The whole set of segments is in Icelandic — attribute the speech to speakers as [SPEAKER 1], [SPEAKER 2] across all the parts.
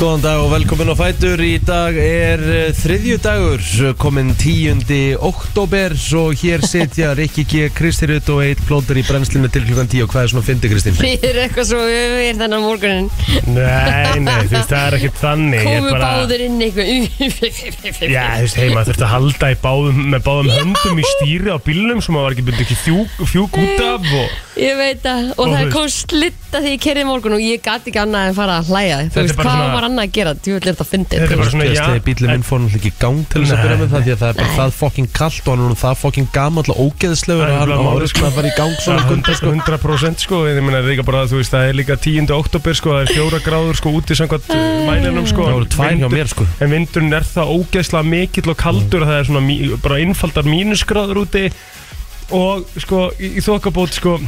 [SPEAKER 1] Góðan dag og velkomin á Fætur Í dag er eh, þriðju dagur eh, komin 10. oktober og hér sitja Rikki G. Kristirut og Eitt Plóter í brennslinu til klukkan 10 og hvað er svona fyndi Kristín?
[SPEAKER 2] Við erum eitthvað svo öfir þennan morgunin
[SPEAKER 3] Nei, nei, þú veist, það er ekkert þannig Ég er
[SPEAKER 2] Komu
[SPEAKER 3] bara-
[SPEAKER 2] báður inn eitthvað
[SPEAKER 3] Já, þú veist, heima þurfti að halda í báðum, með báðum höndum í stýri á bílnum sem maður var ekki byrjuð ekki fjúk, fjúk út af og
[SPEAKER 2] Ég veit það Og
[SPEAKER 3] Og
[SPEAKER 2] það
[SPEAKER 3] þú
[SPEAKER 2] kom slitta því ég kerði morgun og ég gati ekki annað en fara að hlæja Þú
[SPEAKER 3] Þetta er
[SPEAKER 2] veist,
[SPEAKER 3] bara
[SPEAKER 2] hvað
[SPEAKER 3] svona-
[SPEAKER 2] var annað að gera? Þú vil er þetta að fyndi
[SPEAKER 3] Þetta er bara svona, já
[SPEAKER 1] Þegar bílum minn fór náttúrulega ekki í gang til þess að
[SPEAKER 3] Nei.
[SPEAKER 1] byrja með það því að það er bara
[SPEAKER 2] Nei.
[SPEAKER 1] það fokkin kallt og hann er nú það fokkin gamall og ógeðslegur
[SPEAKER 3] Það
[SPEAKER 1] og
[SPEAKER 3] er
[SPEAKER 1] hann
[SPEAKER 3] bara
[SPEAKER 1] á
[SPEAKER 3] málið,
[SPEAKER 1] ári sko að fara í gang svona
[SPEAKER 3] Það
[SPEAKER 1] gunda
[SPEAKER 3] er
[SPEAKER 1] sko
[SPEAKER 3] 100% sko, ég meina líka bara þú veist, það er líka 10. oktober sko, það er fjóra gráður sko úti samkvæmt uh, mælinum sko
[SPEAKER 1] Það voru tvær hjá
[SPEAKER 3] Vindur-
[SPEAKER 1] mér sko
[SPEAKER 3] En vindurinn er það ógeðslega mikill og kaldur það er svona mí- bara innfaldar mínusgráður úti og sko í, í þokkabót sko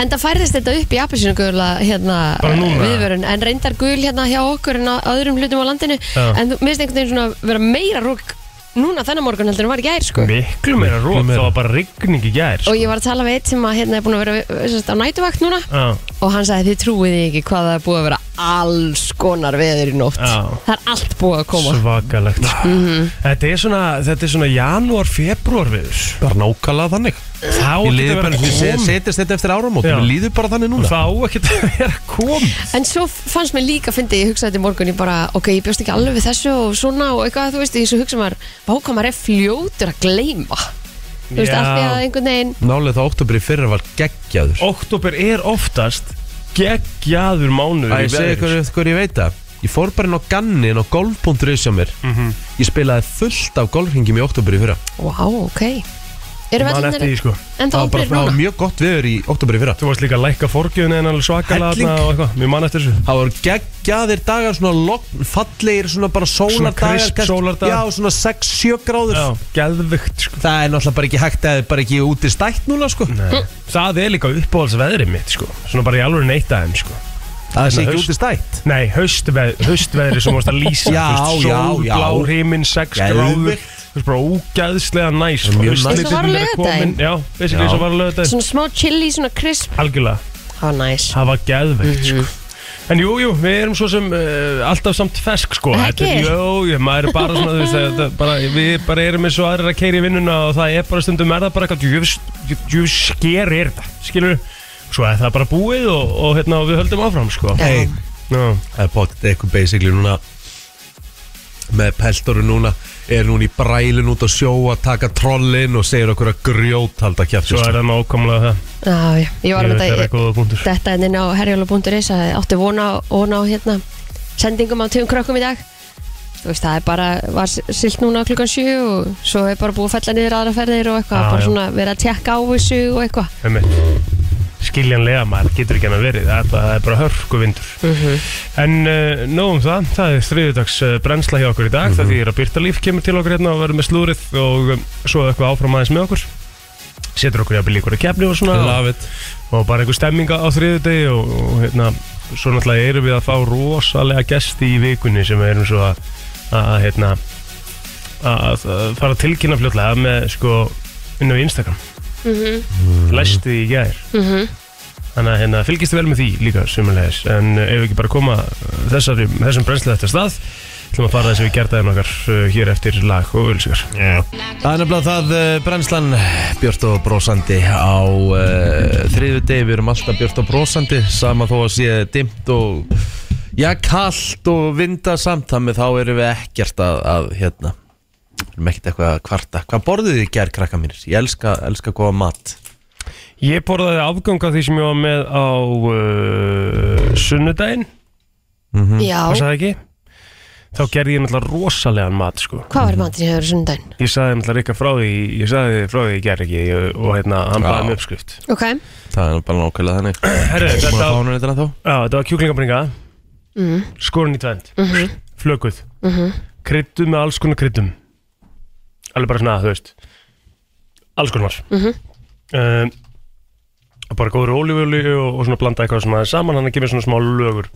[SPEAKER 2] En það færðist þetta upp í appisinu gula hérna,
[SPEAKER 3] Bara núna?
[SPEAKER 2] viðvörun En reyndar gul hérna hjá okkur en á öðrum hlutum á landinu
[SPEAKER 3] Já.
[SPEAKER 2] En þú minnst einhvern veginn svona vera meira rúk núna þennan morgun heldur en var í gær sko
[SPEAKER 3] miklu meira
[SPEAKER 1] Miklu
[SPEAKER 3] rót,
[SPEAKER 1] meira.
[SPEAKER 3] það var bara rigning í gær
[SPEAKER 2] Og
[SPEAKER 3] sko.
[SPEAKER 2] ég var að tala við eitt sem að hérna er búin að vera sérst, á nætuvakt núna
[SPEAKER 3] Já,
[SPEAKER 2] og hann sagði þið trúið því ekki hvað það er búið að vera alls konar veður í nótt
[SPEAKER 3] Já.
[SPEAKER 2] það er allt búið að koma
[SPEAKER 3] svakalegt sko. Þetta er svona, þetta er svona janúar, februar viður
[SPEAKER 1] Bara nákvæmlega þannig
[SPEAKER 3] Þá
[SPEAKER 1] Ég
[SPEAKER 3] getur
[SPEAKER 1] liður
[SPEAKER 3] verið
[SPEAKER 1] bara,
[SPEAKER 3] að
[SPEAKER 1] við
[SPEAKER 3] koma
[SPEAKER 1] setjast þetta eftir áramót
[SPEAKER 3] Já.
[SPEAKER 1] Við líður bara þannig núna
[SPEAKER 3] Þá ekkert að vera að koma
[SPEAKER 2] en svo fannst mér líka að fyndi, ég hugsaði þetta í morgun ég bara, ok, ég bjóst ekki alveg við þessu og svona og eitthvað, þú veist, ég svo hugsa maður báka maður er fljótur að gleyma þú veist,
[SPEAKER 3] Já.
[SPEAKER 2] af því að einhvern veginn
[SPEAKER 1] Nálega þá oktober í fyrra var geggjaður
[SPEAKER 3] Oktober er oftast geggjaður mánuður
[SPEAKER 1] Æ,
[SPEAKER 3] í
[SPEAKER 1] ég segi
[SPEAKER 3] veðri,
[SPEAKER 1] ykkur
[SPEAKER 3] sko.
[SPEAKER 1] hvað ég veit það Ég fór bara inn á gannin á golf.is hjá mér
[SPEAKER 3] Mhm.
[SPEAKER 1] Ég spilaði fullt af golfringjum í oktober í fyrra
[SPEAKER 2] wow, ok, eru
[SPEAKER 3] Man eftir
[SPEAKER 2] vellinir
[SPEAKER 3] því sko
[SPEAKER 2] en það
[SPEAKER 1] var bara
[SPEAKER 2] opnir
[SPEAKER 1] það var
[SPEAKER 2] núna
[SPEAKER 1] mjög gott veður í oktober í fyrra
[SPEAKER 3] Þú varst líka að lækka forgjöfni en alveg svakalega
[SPEAKER 1] Helling.
[SPEAKER 3] þarna og eitthvað Mér man eftir þessu
[SPEAKER 1] Það voru geggjaðir dagar, svona logn, fallegir, svona bara sólardagar
[SPEAKER 3] crisp
[SPEAKER 1] kannski-
[SPEAKER 3] sólardagar.
[SPEAKER 1] Já, svona 6-7 gráður
[SPEAKER 3] Já, geðvikt sko
[SPEAKER 1] Það er náttúrulega bara ekki hægt að það er bara ekki úti stætt núna sko
[SPEAKER 3] Nei. Það er líka uppáhaldsveðrið mitt sko Svona bara í alveg neitt aðeins sko
[SPEAKER 1] Það sé
[SPEAKER 3] Nei,
[SPEAKER 1] ekki
[SPEAKER 3] haust.
[SPEAKER 1] úti stætt
[SPEAKER 3] Nei, haustveð, haustveðrið sem varst að lýsa
[SPEAKER 1] Já,
[SPEAKER 3] þú
[SPEAKER 1] já, já.
[SPEAKER 3] Sólblár heiminn, sex
[SPEAKER 1] Geðveikt.
[SPEAKER 3] gráður Þú veist bara ógæðslega næs
[SPEAKER 1] mjög næs.
[SPEAKER 2] Eins og var á laugardaginn.
[SPEAKER 3] Já, basically
[SPEAKER 1] Já.
[SPEAKER 3] eins og var að löða þetta
[SPEAKER 2] svona smá chili, svona crisp,
[SPEAKER 3] Algjörlega,
[SPEAKER 2] það var næs
[SPEAKER 3] það var geðveikt
[SPEAKER 2] Mhm.
[SPEAKER 3] sko En jú, jú, við erum svo sem uh, alltaf samt fesk sko
[SPEAKER 2] Ekki?
[SPEAKER 3] Þetta er- Jú, jú, maður er bara svona, þú veist þetta, bara, Við bara erum eins og aðrir að keira í vinnuna Og það er bara stundum er það bara eitthvað djöfs- djö- Djöfs sker er þetta, skilur Svo er það bara búið og, og hérna og við höldum áfram sko
[SPEAKER 2] Já.
[SPEAKER 1] Hey,
[SPEAKER 3] Já,
[SPEAKER 1] Það er bótt eitthvað basically núna með peltoru núna er núna í brælin út á sjó að taka trollin og segir okkur að sko. grjót halda kjæft
[SPEAKER 3] Svo er það nákvæmlega það
[SPEAKER 2] Já, já, ég var
[SPEAKER 3] Ég
[SPEAKER 2] með
[SPEAKER 3] veit það er
[SPEAKER 2] þetta
[SPEAKER 3] góða punktur
[SPEAKER 2] þetta er hérna inn á herjóla.is að átti vona, vona á hérna sendingum á tveim krökkum í dag þú veist það er bara, var silt núna klukkan 7 og svo er bara búið að fella niður aðra ferðir og eitthvað,
[SPEAKER 3] Já,
[SPEAKER 2] bara
[SPEAKER 3] já.
[SPEAKER 2] svona verið að tekka á þessu og eitthvað
[SPEAKER 3] Einmitt. Skiljanlega maður getur ekki hann að verið Það er bara, það er bara hörku vindur En uh, nógum það, það er þriðudags uh, brennsla hjá okkur í dag Það þýðir að Byrta Líf kemur til okkur hérna og verður með slúrið Og um, svo eitthvað áfram aðeins með okkur Setur okkur í að byrja ykkur að kefni og svona
[SPEAKER 1] Love it
[SPEAKER 3] Og bara einhver stemminga á þriðudegi og, og hérna, svo náttúrulega erum við að fá rosalega gesti í vikunni Sem við erum svo að, að hérna að að fara að tilkynna fljótlega með sko inn á Instagram Læsti því í gær Þannig að hérna, fylgistu vel með því líka sumulegis En uh, ef við ekki bara koma uh, þessari, þessum brennslu þetta stað ætlum að fara þessi við gerðaðum okkar uh, hér eftir lag og ölsigar
[SPEAKER 1] Það er nefnilega það eh, brennslan Björn og brósandi á uh, þriðu degi, við erum alltaf Björn og brósandi sama þó að sé dimmt og já, kallt og vinda samt þannig þá erum við ekkert að, að hérna, við erum ekkert eitthvað að kvarta Hvað borðið þið í gær, krakka mínir? Ég elska, elska góða mat
[SPEAKER 3] Ég borðaði afgang af því sem ég var með á uh, sunnudaginn, það
[SPEAKER 2] Já,
[SPEAKER 3] Mhm. sagði ekki Þá gerði ég náttúrulega rosalegan mat sko
[SPEAKER 2] hvað var matur í hefur sundaginn?
[SPEAKER 3] Ég sagði náttúrulega Rikka frá því, ég sagði frá því ég ger ekki ég, Og hérna, hann
[SPEAKER 1] Já.
[SPEAKER 3] baði með uppskrift
[SPEAKER 2] Ok,
[SPEAKER 1] Það er bara nákvæmlega þannig
[SPEAKER 3] Herru,
[SPEAKER 1] Búin
[SPEAKER 3] þetta,
[SPEAKER 1] að fá hún þetta þá?
[SPEAKER 3] á, þetta var kjúklingabringa Skorun í tvend Flökuð Kryddum með alls konar kryddum Alveg bara svona, þú veist Alls konar mm -hmm. Bara góður ólífjölu og, og svona blanda eitthvað svona saman Þannig kemur svona smá lögur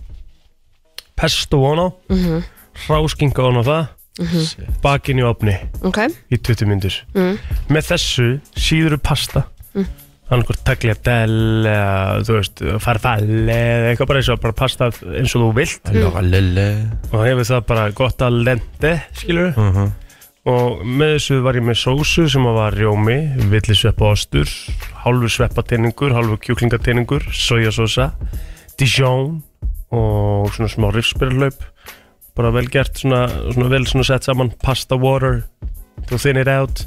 [SPEAKER 3] Pesto ofan á mm -hmm. Ráskinga ofan á það Bakinn í opni
[SPEAKER 2] ok
[SPEAKER 3] í 20 myndir Með þessu síður pasta annarkur tagliatell eða, þú veist, farfalle eða eitthvað bara eins og bara pasta eins og þú vilt og hefur það bara gott að lente skilur og með þessu var ég með sósu sem að var rjómi, villisveppa ostur hálfur sveppatinningur, hálfur kjúklingatinningur sojasósa, dijon og svona smá rifspyrlaup bara vel gert svona, svona vel svona sett saman pasta water to thin it out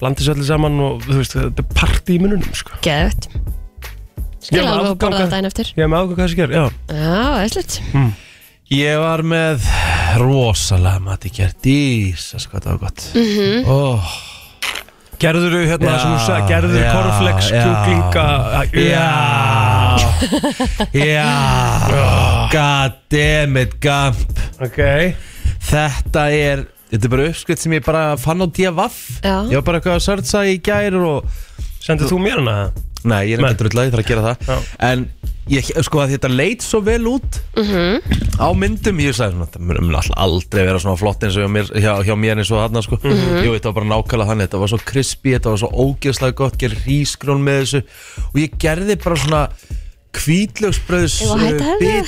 [SPEAKER 3] blandið sér allir saman og þú veist þetta er party í mununum sko
[SPEAKER 2] Geðvett
[SPEAKER 3] Ég
[SPEAKER 2] Skil
[SPEAKER 3] var
[SPEAKER 2] alveg að borða
[SPEAKER 3] afganga.
[SPEAKER 2] þetta einn eftir
[SPEAKER 3] ég hef með ákveð hvað þessi ger, já
[SPEAKER 2] Já, æslut
[SPEAKER 1] Ég var með rosalega mati gert Ísas hvað það var gott mm -hmm.
[SPEAKER 3] gerður þú hérna
[SPEAKER 1] Já,
[SPEAKER 3] sem þú sagði, gerður þú
[SPEAKER 1] já,
[SPEAKER 3] korflex
[SPEAKER 1] já.
[SPEAKER 3] kjúklinga
[SPEAKER 1] Já Já God damn it Gump
[SPEAKER 3] ok,
[SPEAKER 1] Þetta er Þetta er bara uppskrift sem ég bara fann á DFF
[SPEAKER 2] Já.
[SPEAKER 1] Ég var bara eitthvað að sörtsa í gær og
[SPEAKER 3] sendið þú mér hana
[SPEAKER 1] Nei, ég er
[SPEAKER 3] Nei.
[SPEAKER 1] ekki að drulla, ég þarf að gera það
[SPEAKER 3] Já.
[SPEAKER 1] En ég, sko að þetta leit svo vel út -hmm. Á myndum Ég sagði svona, þetta mun mun alltaf aldrei vera svona flott eins og hjá mér, hjá, hjá mér eins og þarna sko. Jú, þetta var bara nákvæmlega þannig Þetta var svo crispy, þetta var svo ógeðslega gott Gerði rísgrón með þessu Og ég gerði bara svona hvítlöksbröðs
[SPEAKER 2] Ég var hætt að hefja.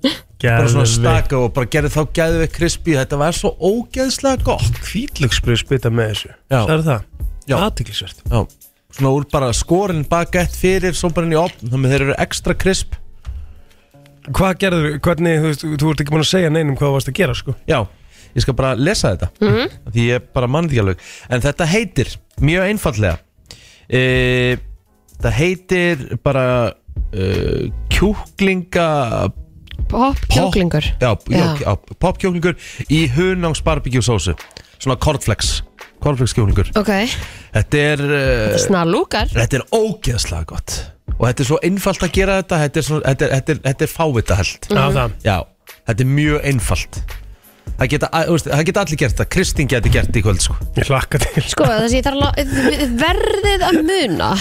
[SPEAKER 1] bita Bara svona staka og bara gerði þá gæði við crispy Þetta var svo ógeðslega gott
[SPEAKER 3] kvítlöksbrið spita með þessu
[SPEAKER 1] Já.
[SPEAKER 3] það er það,
[SPEAKER 1] Já.
[SPEAKER 3] aðtiklisvert
[SPEAKER 1] Já, svona úr bara skorinn bagett fyrir Svo bara inn í opn, þannig að þeir eru ekstra crisp
[SPEAKER 3] hvað gerður, hvernig, þú veist, þú ert ekki búin að segja neinum hvað þú varst að gera sko
[SPEAKER 1] Já, ég skal bara lesa þetta Því ég bara mann því alveg En þetta heitir, mjög einfallega e, Það heitir bara e, Kjúklinga
[SPEAKER 2] Hopp,
[SPEAKER 1] Popp-
[SPEAKER 2] kjóklingur
[SPEAKER 1] Já, já.
[SPEAKER 2] Já.
[SPEAKER 1] já popkjúklingur Í hunangs barbecue sósu Svona cornflakes Cornflakes kjúklingur
[SPEAKER 2] Ok,
[SPEAKER 1] Þetta er e,
[SPEAKER 2] snarlúkar
[SPEAKER 1] Þetta er ógeðslega gott Og þetta er svo einfalt að gera þetta Þetta er, svona, þetta er, þetta er, þetta er fávita held
[SPEAKER 3] já það,
[SPEAKER 1] Já, þetta er mjög einfalt Það geta, að- þú veist, það geta allir gert það Kristín geti gert það í kvöld sko.
[SPEAKER 3] ég hlakka til
[SPEAKER 2] Sko, það sé ég þarf að lá- þið verðið að muna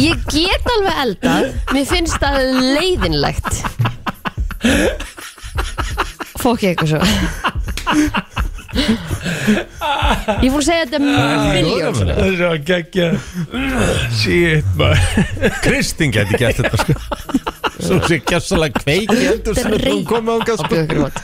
[SPEAKER 2] Ég get alveg eldað Mér finnst það leiðinlegt Fók ég eitthvað svo Ég fór að segja þetta miljón
[SPEAKER 1] Jóra,
[SPEAKER 3] það er svo að gegja shit maður
[SPEAKER 1] Kristín geti gert þetta sko. Svo sé gjössalega kveiki heldur sem þú
[SPEAKER 2] Dreypa.
[SPEAKER 1] komið ánga
[SPEAKER 2] á
[SPEAKER 1] sko.
[SPEAKER 2] bjókur mat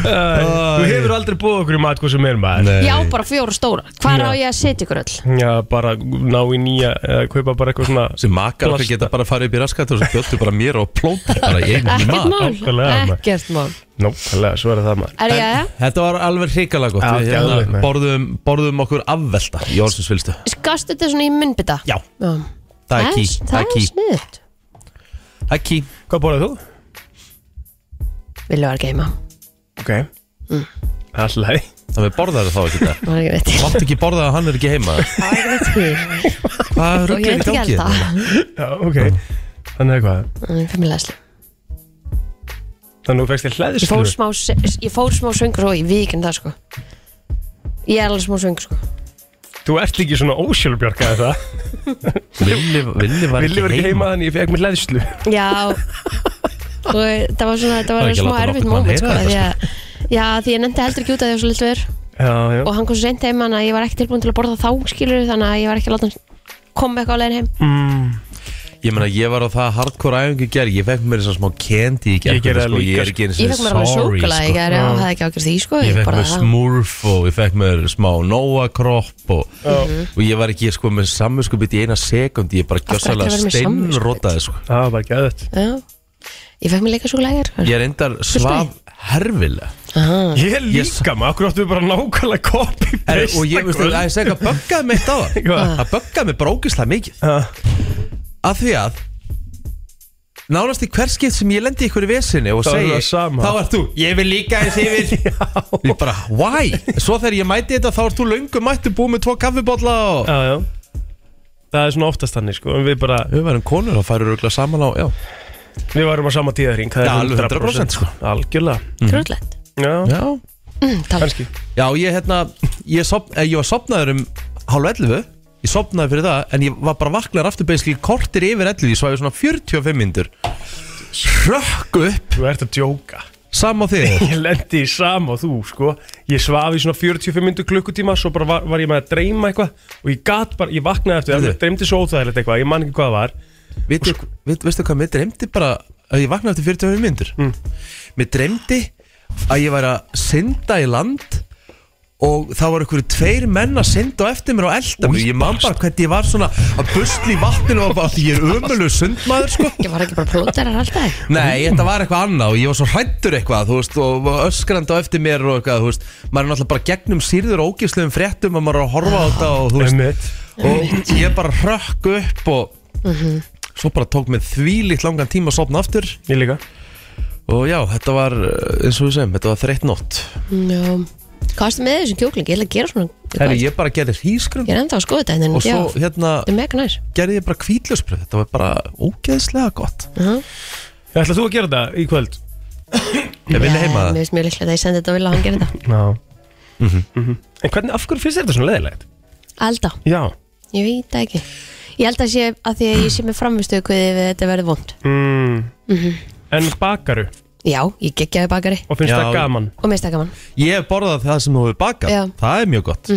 [SPEAKER 3] þú hefur aldrei búið okkur í mat hvað sem er maður
[SPEAKER 2] Ég á bara fjóra stóra Hvar á ég að setja ykkur öll?
[SPEAKER 3] já, bara ná í nýja eða kaupa bara eitthvað svona
[SPEAKER 1] Sem makar okkar
[SPEAKER 3] Plasta.
[SPEAKER 1] geta bara farið upp í raskat og svo bjóttu bara mér og plóta bara í einu
[SPEAKER 2] Ekkert
[SPEAKER 1] mat
[SPEAKER 2] mál,
[SPEAKER 3] nákvæmlega, maður.
[SPEAKER 2] ekkert mál
[SPEAKER 3] nákvæmlega, svo er það maður
[SPEAKER 2] Er ég að?
[SPEAKER 1] Þetta var alveg hrikalega gott
[SPEAKER 3] Já,
[SPEAKER 1] Við
[SPEAKER 3] geðveikt,
[SPEAKER 1] hérna,
[SPEAKER 3] maður.
[SPEAKER 1] borðum, borðum okkur afvelta í orðsins vilstu
[SPEAKER 2] Skastu þetta svona í myndbytta?
[SPEAKER 1] Já, það er
[SPEAKER 2] Það
[SPEAKER 1] ký Það
[SPEAKER 2] er,
[SPEAKER 1] er
[SPEAKER 2] það
[SPEAKER 1] ký
[SPEAKER 2] er sniðut
[SPEAKER 1] Það er ký
[SPEAKER 3] hvað borðið þú?
[SPEAKER 2] Vilja var að geima
[SPEAKER 3] ok alltaf
[SPEAKER 1] Það við borðaðu þá ekki þetta
[SPEAKER 2] Það var ekki rétt
[SPEAKER 1] Mátt ekki borða að hann er ekki heima
[SPEAKER 2] Það var ekki rétt hér
[SPEAKER 1] Hvað
[SPEAKER 2] Og ég
[SPEAKER 1] rugglir
[SPEAKER 2] veit
[SPEAKER 1] í
[SPEAKER 2] ekki
[SPEAKER 1] gangi?
[SPEAKER 2] elda
[SPEAKER 1] hérna?
[SPEAKER 3] já, ok þannig er hvað
[SPEAKER 2] Fimmilegsli
[SPEAKER 3] þannig að þú fegst þér
[SPEAKER 2] Ég fór
[SPEAKER 3] hlæðislu
[SPEAKER 2] smá, se- ég fór smá svöngur og ég vikin það sko Ég er alveg smá svöngur sko
[SPEAKER 3] þú ert ekki svona ósjálfbjörg að það
[SPEAKER 1] Villi, villi var
[SPEAKER 3] Villi var ekki heima þannig ég fekk mér hlæðislu
[SPEAKER 2] Já Og það var svona, það
[SPEAKER 1] Það er
[SPEAKER 2] var
[SPEAKER 1] ekki að
[SPEAKER 2] smá
[SPEAKER 1] láta
[SPEAKER 2] erfitt
[SPEAKER 1] nokkurn mann
[SPEAKER 2] moment
[SPEAKER 1] heyra
[SPEAKER 2] sko
[SPEAKER 1] þetta,
[SPEAKER 2] því að, Já, því ég nefndi heldur ekki út að því að svo litur verið
[SPEAKER 3] já, já
[SPEAKER 2] Og hann kom svo seint heim hann að ég var ekki tilbúin til að borða þá skilur Þannig að ég var ekki að láta hann koma eitthvað á leiðin heim
[SPEAKER 3] mm.
[SPEAKER 1] Ég meina, ég var á það hardcore æfingu í gerð Ég fekk mér þess að smá kendi í gerð
[SPEAKER 3] Ég gerði það
[SPEAKER 1] sko, Ég
[SPEAKER 3] líka,
[SPEAKER 1] er ekki eins
[SPEAKER 2] Ég fekk mér alveg sjúkula í gæri og hafði ekki ágjörð því sko
[SPEAKER 1] sko. Ég fekk mér
[SPEAKER 2] borðaði það.
[SPEAKER 1] smurf og ég fekk mér smá nóakropp og, og ég var ekki sko með samvinskupið í eina sekundi Ég bara
[SPEAKER 2] Mhm.
[SPEAKER 1] gjössalega
[SPEAKER 2] Af hverju ættirðu að vera með
[SPEAKER 1] steinrótaði sko
[SPEAKER 3] það var bara gæðið
[SPEAKER 2] Já Ég fekk mér líka sjúkula í gæri
[SPEAKER 1] Ég er endar svaf herfilega
[SPEAKER 3] ég líka maður, okkur áttu við bara nákvæmlega copy
[SPEAKER 1] er, Og ég veist að það er eitthvað böggaði mig eitt á það
[SPEAKER 3] Hvað?
[SPEAKER 1] Það böggaði mig brókislega mikið Af því að Nánast í hver skipt sem ég lendi í ykkur vesinni og
[SPEAKER 3] Þá er
[SPEAKER 1] segi
[SPEAKER 3] það sama.
[SPEAKER 1] Þá ert þú, ég vil líka eins yfir Ég bara, why? Svo þegar ég mæti þetta þá ert þú löngu mættu búið með tvo kaffibólla og
[SPEAKER 3] já, já það er svona oftast þannig sko en við bara,
[SPEAKER 1] Við verðum konur og færur auðvitað saman á, já
[SPEAKER 3] við varum á sama tíðarhing
[SPEAKER 1] Já,
[SPEAKER 3] það er
[SPEAKER 1] alveg 100% sko.
[SPEAKER 3] algjörlega,
[SPEAKER 2] Grútlegt
[SPEAKER 3] já,
[SPEAKER 1] Já, Mm.
[SPEAKER 2] Mm,
[SPEAKER 3] kannski
[SPEAKER 1] já ég hérna, ég, sop, eh, ég var sopnaður um hálf 11 Ég sopnaði fyrir það, en ég var bara vaknar aftur basically kortir yfir 11 Ég svæði svona 45 myndur Hrökk upp
[SPEAKER 3] þú ert að djóka
[SPEAKER 1] Sam á þig
[SPEAKER 3] Ég lendi í sama og þú, sko Ég svaf í svona 45 myndu klukkutíma Svo bara var, var ég með að dreyma eitthvað Og ég gat bara, ég vaknaði eftir
[SPEAKER 1] Heyrðu.
[SPEAKER 3] Ég dreymdi svo óþægilegt eitthvað, ég man ekki hvað það var
[SPEAKER 1] Veitu, veit, veistu hvað, mér dreymdi bara að ég vaknaði eftir 45 minnur Mér dreymdi að ég var að synda í land og það var einhverju tveir menn að synda á eftir mér og elda mig Ég man bara hvernig ég var svona að busli í vatninu og bara því ég er ömulug sundmaður sko
[SPEAKER 2] Ég var ekki bara plóterar alltaf
[SPEAKER 1] Nei, þetta var eitthvað annað og ég var svo hrættur eitthvað, þú veist, og var öskrandi á eftir mér og eitthvað, þú veist, maður er náttúrulega bara gegnum sýrður og ógifslegum fréttum og maður er að horfa á þetta og þú veist,
[SPEAKER 3] Einmitt.
[SPEAKER 1] og ég bara hrökk upp og
[SPEAKER 2] Mhm.
[SPEAKER 1] svo bara tók mig þvílíkt langan tíma að sopna aftur
[SPEAKER 3] Ég líka
[SPEAKER 1] og já, þetta var, eh, eins og við segjum, þetta var þreytt nótt.
[SPEAKER 2] Já Hvað varstu með þessum kjúkling? Ég ætla að gera svona
[SPEAKER 1] Herri,
[SPEAKER 2] ég...
[SPEAKER 1] ég bara gerði hísgrun
[SPEAKER 2] er enda að skoða þetta en
[SPEAKER 1] og
[SPEAKER 2] já,
[SPEAKER 1] svo, hérna,
[SPEAKER 2] Þetta er mega næs
[SPEAKER 1] gerði ég bara kvítljóspröð, þetta var bara ógeðslega gott.
[SPEAKER 2] uh
[SPEAKER 3] Ætla þú að gera þetta í kvöld?
[SPEAKER 1] Ég vinna heima það.
[SPEAKER 2] Mér finnst mjög líklega að ég sendi þetta á vilja að hann gera þetta
[SPEAKER 3] Já Mhm. En hvernig, af hverju finnst þér þetta svona leðilegt?
[SPEAKER 2] Elda,
[SPEAKER 3] Já
[SPEAKER 2] ég veit það ekki Ég held að sé að því að ég sé með framistu hvað ef þetta verður vond
[SPEAKER 3] mm. En bakaru,
[SPEAKER 2] Já, ég geggjaði bakari
[SPEAKER 3] og finnst
[SPEAKER 1] Já.
[SPEAKER 3] það gaman
[SPEAKER 2] og mista gaman
[SPEAKER 1] Ég hef borðað það sem þú hefur bakað
[SPEAKER 2] Já. Mhm.
[SPEAKER 1] Það er mjög gott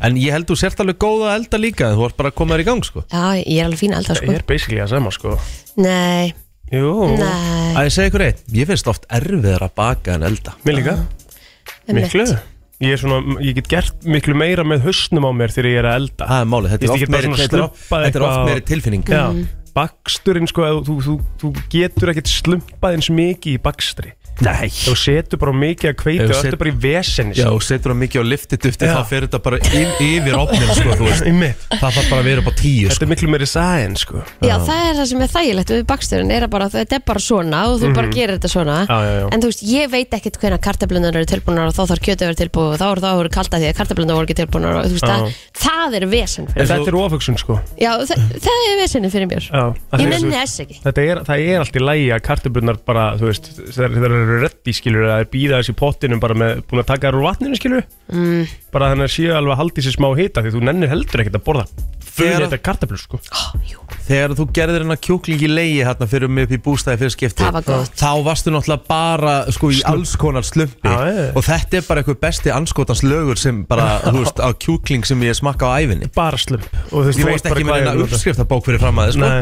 [SPEAKER 1] En ég held þú sért alveg góð að elda líka en Þú ert bara að koma þér í gang sko
[SPEAKER 2] Já, ég er alveg fín að elda
[SPEAKER 3] Ég
[SPEAKER 2] sko
[SPEAKER 3] er basically að sama, sko
[SPEAKER 2] Nei,
[SPEAKER 3] Jú,
[SPEAKER 2] nei,
[SPEAKER 1] Að ég segi ykkur eitt Ég finnst oft erfiðar að baka en elda
[SPEAKER 3] mér líka
[SPEAKER 2] einmitt.
[SPEAKER 3] Miklu Ég, er svona, ég get gert miklu meira með hausnum á mér þegar ég er að elda
[SPEAKER 1] Það er málið, þetta er
[SPEAKER 3] Ég get
[SPEAKER 1] oft
[SPEAKER 3] bara
[SPEAKER 1] meiri,
[SPEAKER 3] svona
[SPEAKER 1] þetta er oft,
[SPEAKER 3] slumpað
[SPEAKER 1] þetta er oft
[SPEAKER 3] eitthvað
[SPEAKER 1] meiri
[SPEAKER 3] á-
[SPEAKER 1] tilfinning
[SPEAKER 3] Já,
[SPEAKER 2] Mhm.
[SPEAKER 3] baksturinn sko ef þú, þú, þú getur ekkert slumpað eins mikið í bakstri
[SPEAKER 1] Nei
[SPEAKER 3] Þú setur bara mikið að kveita
[SPEAKER 1] Ef þú
[SPEAKER 3] og þetta
[SPEAKER 1] set-
[SPEAKER 3] er bara í vesenni
[SPEAKER 1] Já, og setur það mikið á liftið dufti
[SPEAKER 3] Já.
[SPEAKER 1] þá fer þetta bara yf, yfir opnin sko, þú veist.
[SPEAKER 3] Einmitt.
[SPEAKER 1] Það þarf bara að vera upp á tíu
[SPEAKER 3] Þetta
[SPEAKER 1] sko.
[SPEAKER 3] er miklu meiri sæðin sko
[SPEAKER 2] Já, það er það sem er þægilegt við baksturinn er að bara, þetta er bara svona og þú bara gerir þetta svona
[SPEAKER 3] Mhm. Já, já, já.
[SPEAKER 2] en þú veist, ég veit ekkert hvenær kartablunar eru tilbúinar og þá þarf kjötu að vera tilbúið og þá eru þá eru kalda því að kartablunar voru ekki tilbúinar og þú veist, það,
[SPEAKER 3] Já.
[SPEAKER 2] það er vesen
[SPEAKER 3] En
[SPEAKER 2] fyrir mér
[SPEAKER 1] þú-
[SPEAKER 3] þetta er oföksun sko
[SPEAKER 2] Já, það, það er vesenið fyrir mér
[SPEAKER 3] Já,
[SPEAKER 2] Ég nenni þess ekki
[SPEAKER 3] Þetta er, það er allt í lægi að kartöflunar bara, þú veist, þegar þegar þeir eru reddi skilur, það er býða þessi pottinum bara með, búin að taka þær úr vatninu skilur, mm. bara þannig að séu alveg að haldi sér smá hita því þú nennir heldur ekkert að borða fyrir
[SPEAKER 1] Þegar-
[SPEAKER 3] þetta kartöflur sko.
[SPEAKER 1] Þegar þú gerðir hennar kjúkling í leiði hérna fyrir mig upp í bústæði fyrir skipti
[SPEAKER 2] Það var gott.
[SPEAKER 1] Þá varstu náttúrulega bara sko, í alls konar slumpi
[SPEAKER 3] Já, já, já.
[SPEAKER 1] Og þetta er bara eitthvað besti anskotans lögur sem bara, þú veist, á kjúkling sem ég smakka á ævinni
[SPEAKER 3] Bara slump og þú veist,
[SPEAKER 1] Ég
[SPEAKER 3] þú
[SPEAKER 1] varst
[SPEAKER 3] veist
[SPEAKER 1] ekki með
[SPEAKER 3] bara hvað
[SPEAKER 1] eina
[SPEAKER 3] er þetta.
[SPEAKER 1] uppskriftabók fyrir fram að þið sko
[SPEAKER 3] Nei.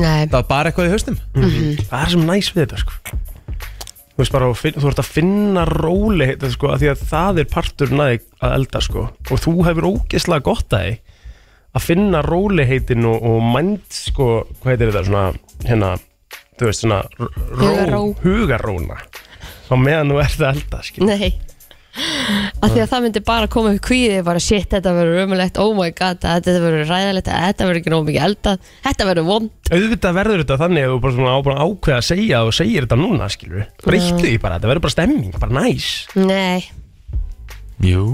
[SPEAKER 2] Nei,
[SPEAKER 1] Það var bara eitthvað í haustum
[SPEAKER 2] Mhm.
[SPEAKER 3] það er sem næs við þetta sko. þú veist bara, þú finn- þú ert að finna róli þetta sko, að því að það er partur næði að elda sko, og þú hefur ógeðslega gott að því að finna róliheitin og, og mænd sko, hvað heitir þetta svona, hérna, þú veist svona r- ró,
[SPEAKER 2] Hugarró.
[SPEAKER 3] hugaróna á meðan þú ert að elda skil.
[SPEAKER 2] nei að því að það myndi bara koma upp kvíði bara shit, þetta verður ömulegt, oh my god þetta verður ræðalegt, þetta verður ekki nóg mikið elda þetta verður vond
[SPEAKER 3] auðvitað verður þetta þannig að þú bara svona á bara ákveða að segja og segir þetta núna skilur breyttu því bara, þetta verður bara stemming, bara næs
[SPEAKER 2] Nei,
[SPEAKER 1] Jú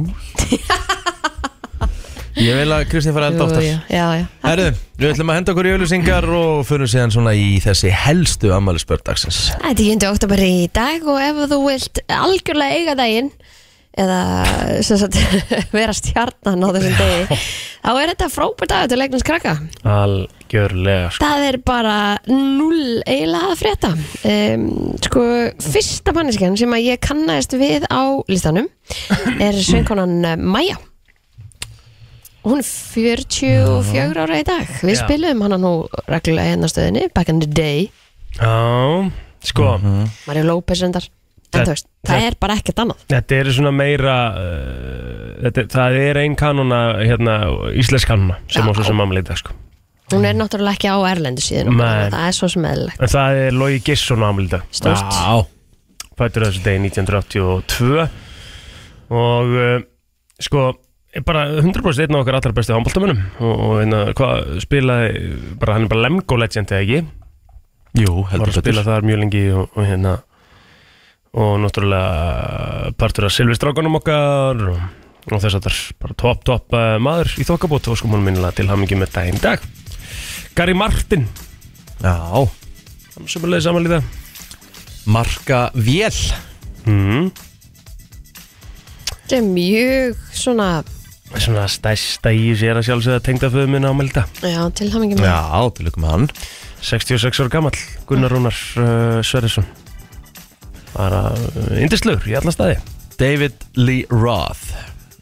[SPEAKER 1] Ég vil að Kristín fara að elda
[SPEAKER 2] Jú,
[SPEAKER 1] oftar
[SPEAKER 2] já, já, já.
[SPEAKER 1] Herðu, við ætlum að henda okkur í auðlýsingar og fyrir síðan svona í þessi helstu ammæli spördagsins
[SPEAKER 2] Það er 10. oktober í dag og ef þú vilt algjörlega eiga daginn eða sem sagt, vera stjarnan á þessum degi þá er þetta frábært dagur til leiknins krakka
[SPEAKER 3] algjörlega sko.
[SPEAKER 2] það er bara null eiginlega að frétta um, sko, fyrsta manneskjan sem að ég kannaðist við á listanum er sveinkonan Maja hún er 44 ára í dag við
[SPEAKER 3] Já.
[SPEAKER 2] spilum hana nú reglulega hérna á stöðinni back in the day
[SPEAKER 3] já, sko
[SPEAKER 2] Mario López endar en
[SPEAKER 3] Það-
[SPEAKER 2] þú veist, það er bara ekkert annað
[SPEAKER 3] Þetta eru svona meira uh, þetta, Það er ein kanona hérna, Íslensk kanona sem á
[SPEAKER 2] Já.
[SPEAKER 3] svo sem mamma leita sko.
[SPEAKER 2] hún er náttúrulega ekki á erlendu síðan
[SPEAKER 3] Nei.
[SPEAKER 2] það er svo sem eðlilegt
[SPEAKER 3] En það er Logi Gisson mamma leita
[SPEAKER 2] Stórt.
[SPEAKER 3] Fættur þessu degi 1982 Og uh, Sko er bara 100% einn af okkar allra bestu handbóltamönnum og, og einna, hvað spilaði bara, hann er bara Lemgo legend eða ekki
[SPEAKER 1] Jú,
[SPEAKER 3] var
[SPEAKER 1] heldur
[SPEAKER 3] að spila
[SPEAKER 1] betur
[SPEAKER 3] þar mjög lengi og, og hérna og náttúrulega partur af Silvistrákanum okkar og, og þess að það er bara topp topp uh, maður í þokkabót og sko múlum minnilega til hamingi með daginn í dag Gary Martin
[SPEAKER 1] Já,
[SPEAKER 3] sem er leiðið samanlíða
[SPEAKER 1] marka vél Mhm.
[SPEAKER 3] mm.
[SPEAKER 2] þetta er mjög svona
[SPEAKER 3] svona stæsta í sér að sjálfsögða tengdaföðu minna ámelda
[SPEAKER 2] já, til hamingi með
[SPEAKER 1] Já, til ykkur með hann
[SPEAKER 3] 66 ára gamall Gunnar Rúnar uh, Sverrisson eh, bara indislugur í alla staði
[SPEAKER 1] David Lee Roth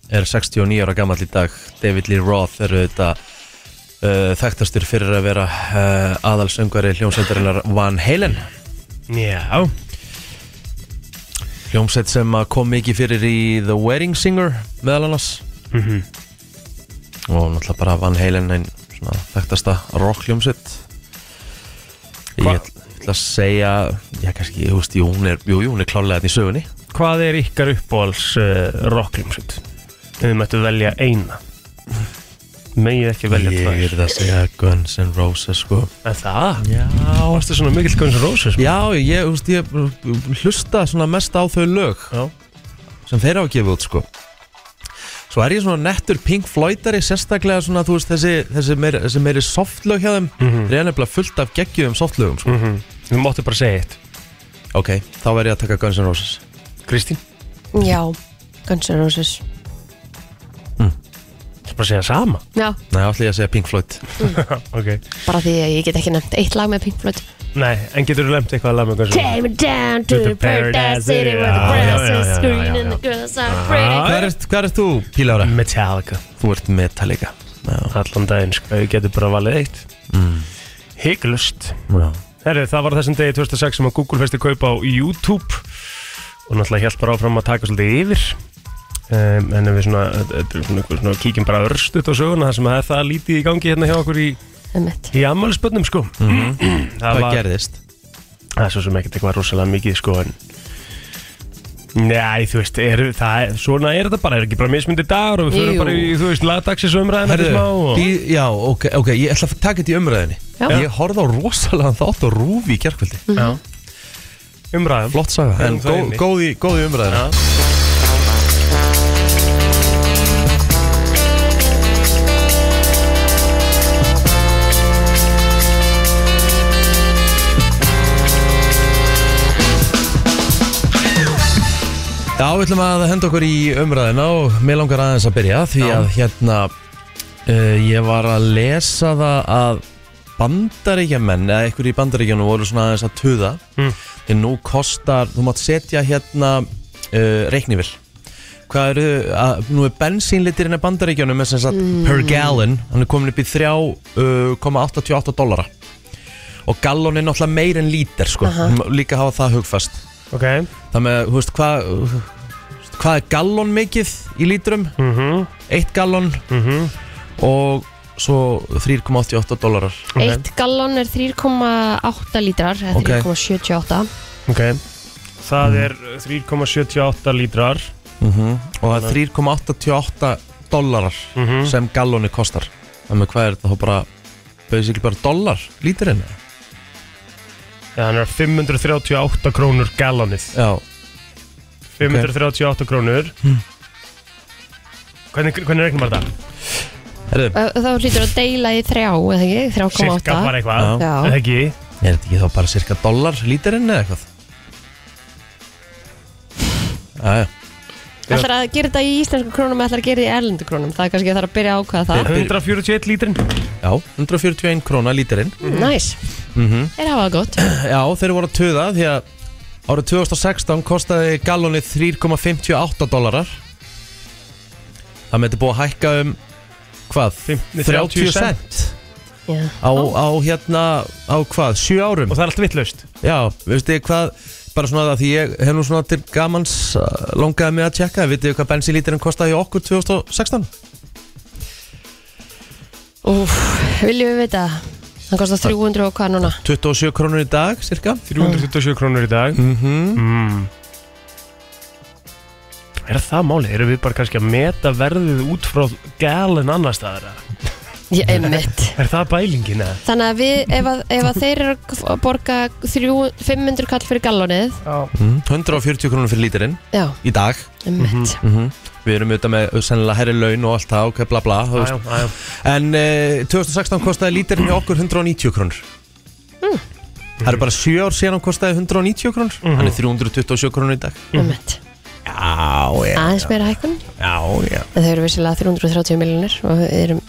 [SPEAKER 1] er 69 ára gammal í dag David Lee Roth er auðvitað uh, þekktastur fyrir að vera uh, aðalsöngari hljómsveitarinnar Van Halen
[SPEAKER 3] Já,
[SPEAKER 1] hljómsveit sem að kom mikið fyrir í The Wedding Singer meðal annars
[SPEAKER 3] Mhm.
[SPEAKER 1] og náttúrulega bara Van Halen einn svona þekktasta rock hljómsveit ég
[SPEAKER 3] Hva-
[SPEAKER 1] ætl- ætla að segja já kannski, þú veist, jú, hún er, jú, jú, hún er klálega þetta í sögunni
[SPEAKER 3] hvað er ykkar uppbóls uh, rockljómsveit? Ef þið mættu velja eina Megið ekki velja
[SPEAKER 1] ég er
[SPEAKER 3] tvær
[SPEAKER 1] það að segja Guns N' Roses sko
[SPEAKER 3] Er það?
[SPEAKER 1] já,
[SPEAKER 3] Þá varstu svona mikill Guns N' Roses maður.
[SPEAKER 1] Já, ég, þú veist, ég hlusta svona mest á þau lög
[SPEAKER 3] Já.
[SPEAKER 1] sem þeir hafa gefið út, sko Svo er ég svona nettur Pink Floydari sérstaklega svona, þú veist, þessi, þessi, meiri, þessi meiri softlög hjá þeim mm -hmm. nefnilega fullt af geggjum softlögum, sko
[SPEAKER 3] Mhm. Við máttu bara segja eitt
[SPEAKER 1] Ok, þá verð ég að taka Guns N' Roses
[SPEAKER 3] Kristín?
[SPEAKER 2] Já, Guns N' Roses
[SPEAKER 3] Það bara segja sama
[SPEAKER 2] Já,
[SPEAKER 1] Nei, allir ég að segja Pink Floyd
[SPEAKER 3] okay.
[SPEAKER 2] bara því að ég get ekki nefnt eitt lag með Pink Floyd
[SPEAKER 3] Nei, en getur þú lemt eitthvað að laga með Guns N' Roses?
[SPEAKER 4] Take me down to, the paradise city where the
[SPEAKER 3] Ah,
[SPEAKER 4] grass
[SPEAKER 3] yeah,
[SPEAKER 4] is
[SPEAKER 3] yeah,
[SPEAKER 4] green
[SPEAKER 3] yeah,
[SPEAKER 4] and the girls are
[SPEAKER 3] Ah.
[SPEAKER 4] pretty.
[SPEAKER 1] Hvað ert, hvað ert þú, Pílára?
[SPEAKER 3] Metallica
[SPEAKER 1] Þú ert Metallica Já,
[SPEAKER 3] Allan daginn, sko, við getum bara valið eitt mm. Hygglust
[SPEAKER 1] já
[SPEAKER 3] Herri, það var á þessum degi 2006 sem að Google festi kaup á YouTube og náttúrulega hjælt bara áfram að taka svolítið yfir um, en ef við svona, þetta er svona, eitthvað svona kíkjum bara örstuðt á söguna þar sem að það er lítið í gangi hérna hjá okkur í,
[SPEAKER 2] Einmitt.
[SPEAKER 3] í ammælisbönnum sko það,
[SPEAKER 1] Mhm. Hvað
[SPEAKER 3] var,
[SPEAKER 1] gerðist?
[SPEAKER 3] það er svo sem ekkert eitthvað rosalega mikið sko en Nei, þú veist, er, það, er- svona er þetta bara, er ekki bara mismyndi dagur og við förum
[SPEAKER 2] Jú.
[SPEAKER 3] bara í, þú veist, lagdagsins umræðin
[SPEAKER 1] Herðu,
[SPEAKER 3] eftir smá og...
[SPEAKER 1] í, já, ok, ok, ég ætla að taka þetta í umræðinni
[SPEAKER 2] Já.
[SPEAKER 1] Ég horfði á rosalega þátt og rúfi í kjarkvöldi
[SPEAKER 3] Já. Umræðum
[SPEAKER 1] Flott saga, en
[SPEAKER 3] Erum það
[SPEAKER 1] gó,
[SPEAKER 3] inni?
[SPEAKER 1] góð í, góð í umræðina Já, við ætlum að henda okkur í umræðina og mér langar aðeins að byrja því
[SPEAKER 3] Já.
[SPEAKER 1] að hérna uh, ég var að lesa það að bandaríkjamenn eða einhver í bandaríkjanum voru svona aðeins að tuða
[SPEAKER 3] Mm.
[SPEAKER 1] því nú kostar, þú mátt setja hérna uh, reiknivill hvað eru, að, nú er bensínlitirinn í bandaríkjanum er sem sagt per gallon hann er komin upp í uh, 3,88 dollara og gallon er náttúrulega meir en lítir sko,
[SPEAKER 2] Aha.
[SPEAKER 1] líka hafa það hugfast
[SPEAKER 3] Ok
[SPEAKER 1] Það með, þú veist, hvað hvað er gallon mikið í lítrum?
[SPEAKER 3] mm -hmm.
[SPEAKER 1] Eitt gallon
[SPEAKER 3] mhm.
[SPEAKER 1] og svo 3,88 dólarar
[SPEAKER 3] Ok.
[SPEAKER 2] Eitt gallon er 3,8 lítrar eða
[SPEAKER 1] Ok.
[SPEAKER 2] 3,78
[SPEAKER 3] Ok Það er 3,78 lítrar
[SPEAKER 1] Mhm. og það er 3,88 dólarar
[SPEAKER 3] mm -hmm.
[SPEAKER 1] sem galloni kostar Það með, hvað er þetta þá bara basically bara dólar líturinn?
[SPEAKER 3] Þannig að 538 krónur gallonið
[SPEAKER 1] Já,
[SPEAKER 3] 538 krónur Hvernig, hvernig regnum maður þetta?
[SPEAKER 1] herðu,
[SPEAKER 2] Þá hlýtur að deila í 3, eða ekki?
[SPEAKER 3] Cirka
[SPEAKER 2] 3,8
[SPEAKER 3] bara eitthvað
[SPEAKER 2] Já.
[SPEAKER 3] Eða Ekki
[SPEAKER 1] er þetta ekki þá bara cirka dólar líturinn eða eitthvað? Jæja,
[SPEAKER 2] Ætlar að gera þetta í íslensku krónum ætlar að gera þetta í erlendu krónum Það er kannski að það er að byrja að ákvæða það
[SPEAKER 3] 141 lítrin
[SPEAKER 1] já, 141 króna líturinn
[SPEAKER 2] Næs, er hafa það gott
[SPEAKER 1] Já, þeir voru að tuða því að árið 2016 kostaði gallonið 3,58 dólarar Það með þetta búið að hækka um hvað?
[SPEAKER 3] 50
[SPEAKER 1] 30 cent
[SPEAKER 2] Já.
[SPEAKER 1] á, á hérna, á hvað? 7 árum
[SPEAKER 3] Og það er allt vittlaust
[SPEAKER 1] Já, veistu ég hvað bara svona það því ég hef nú svona til gamans uh, longaði mig að tjekka vitið þið hvað bensínlítirinn kostaði hjá okkur 2016?
[SPEAKER 2] Úf, viljum við vita Það kostar 300 og hvað núna
[SPEAKER 1] 27 krónur í dag, cirka
[SPEAKER 3] 327 krónur í dag
[SPEAKER 1] mm -hmm.
[SPEAKER 3] mm. Er það málið? Erum við bara kannski að meta verðið út frá gallon annar staðar? eða?
[SPEAKER 2] Ég einmitt
[SPEAKER 3] Er það bælingin eða?
[SPEAKER 2] Þannig að við, ef að, ef að þeir eru að borga 300, 500 kall fyrir gallonið
[SPEAKER 3] Já
[SPEAKER 1] Mhm. 140 krónur fyrir lítirinn
[SPEAKER 2] Já,
[SPEAKER 1] í dag
[SPEAKER 2] einmitt
[SPEAKER 3] Mhm,
[SPEAKER 1] -hmm. Við erum auðvitað með sennilega herri laun og allt það og bla bla þú veist.
[SPEAKER 3] Æjá, æjá
[SPEAKER 1] En uh, 2016 kostaði lítirinn hjá okkur 190 krónur Hmm. Það eru bara 7 ár síðan hann kostaði 190 krónur Hann er 327 krónur í dag
[SPEAKER 3] mhm.
[SPEAKER 2] Einmitt
[SPEAKER 1] Já, já,
[SPEAKER 2] Aðeins meira hækkun
[SPEAKER 1] já, já
[SPEAKER 2] En Þau eru vissilega 330 miljonir og við erum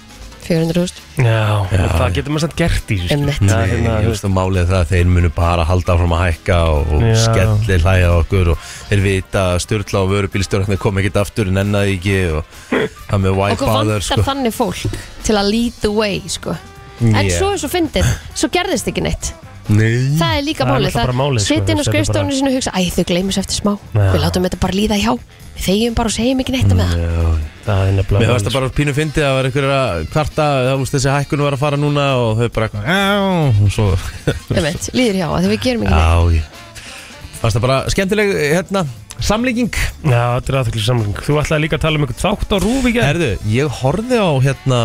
[SPEAKER 2] 400.000
[SPEAKER 3] Já,
[SPEAKER 1] Já,
[SPEAKER 3] og
[SPEAKER 1] já.
[SPEAKER 3] það getur maður samt gert í þessu skilur.
[SPEAKER 2] Einmitt.
[SPEAKER 3] Já,
[SPEAKER 1] Nei,
[SPEAKER 3] hérna,
[SPEAKER 1] ég
[SPEAKER 3] þú
[SPEAKER 1] veist að málið er það að þeir munu bara halda áfram að hækka og, og
[SPEAKER 3] Já.
[SPEAKER 1] skelli hlæja á okkur og þeir vita að styrla og vörubílstjórnarnir kom ekkert aftur en ennaði ekki og það með white
[SPEAKER 2] Okkur
[SPEAKER 1] bother
[SPEAKER 2] vantar
[SPEAKER 1] sko.
[SPEAKER 2] þannig fólk til að lead the way sko. En
[SPEAKER 1] Yeah.
[SPEAKER 2] svo er svo fyndið, svo gerðist ekki neitt
[SPEAKER 1] Nei,
[SPEAKER 2] Það er líka
[SPEAKER 3] Mm. Það er
[SPEAKER 2] málið,
[SPEAKER 3] náttúrulega bara málið, sko,
[SPEAKER 2] Sitt inn á
[SPEAKER 3] þetta er
[SPEAKER 2] skrifstofunni
[SPEAKER 3] bara-
[SPEAKER 2] sinni og hugsa Æ, þau gleymis eftir smá,
[SPEAKER 3] Já. Mm.
[SPEAKER 2] við látum þetta bara líða hjá Við þegjum bara og segjum ekki neitt með það
[SPEAKER 1] Já.
[SPEAKER 3] Það er nefnilega
[SPEAKER 1] Mér varst það bara pínu fyndið að það var einhverjir að kvarta þá veist þessi hækkun var að fara núna og þau bara Já, og svo
[SPEAKER 2] Einmitt, Líður hjá, af því við gerum ekki neitt
[SPEAKER 1] Já, ég Varst það bara skemmtileg hérna, samlíking
[SPEAKER 3] Já, þetta er aðþekli samling Þú ætlaði líka að tala um einhvern þátt á rúf í gerð
[SPEAKER 1] Herðu, ég horfði á hérna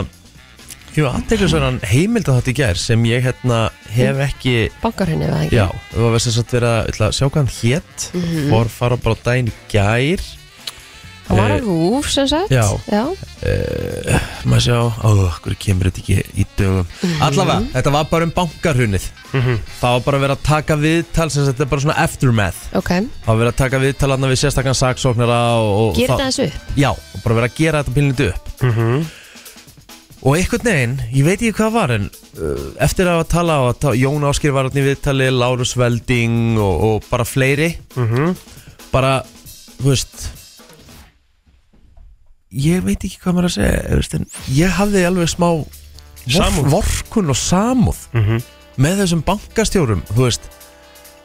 [SPEAKER 1] Ég var aðtekla svona heimild að þetta í gær sem ég hérna hef ekki
[SPEAKER 2] Bankarhenni eða ekki
[SPEAKER 1] Já, við varum þess að vera ég ætla að sjá hvað hann hétt mm -hmm. Fór fara bara á daginn í gær
[SPEAKER 2] Það var
[SPEAKER 1] Eh,
[SPEAKER 2] að rúf sem sagt
[SPEAKER 1] já.
[SPEAKER 2] já.
[SPEAKER 1] Eh, Maður sjá, ó, hverju kemur þetta ekki í dögum Allavega, þetta var bara um bankarhunnið Það var bara að vera að taka viðtal sem sagt, þetta er bara svona aftermath
[SPEAKER 2] ok
[SPEAKER 1] Það var að vera að taka viðtal hann við sérstakann saksóknara og, og
[SPEAKER 2] Gerir
[SPEAKER 1] það-
[SPEAKER 2] það þessu upp?
[SPEAKER 1] Já, og bara vera að gera þetta pílindu upp
[SPEAKER 3] Mhm.
[SPEAKER 1] Og einhvern veginn, ég veit ekki hvað var en uh, eftir að hafa tala á að Jón Áskir var hann í viðtali, Lárus Velding og, og bara fleiri
[SPEAKER 3] Mhm.
[SPEAKER 1] bara, þú veist ég veit ekki hvað maður að segja þú veist, en ég hafði alveg smá
[SPEAKER 3] Samúð.
[SPEAKER 1] vorf, vorkun og samúð með þessum bankastjórum þú veist,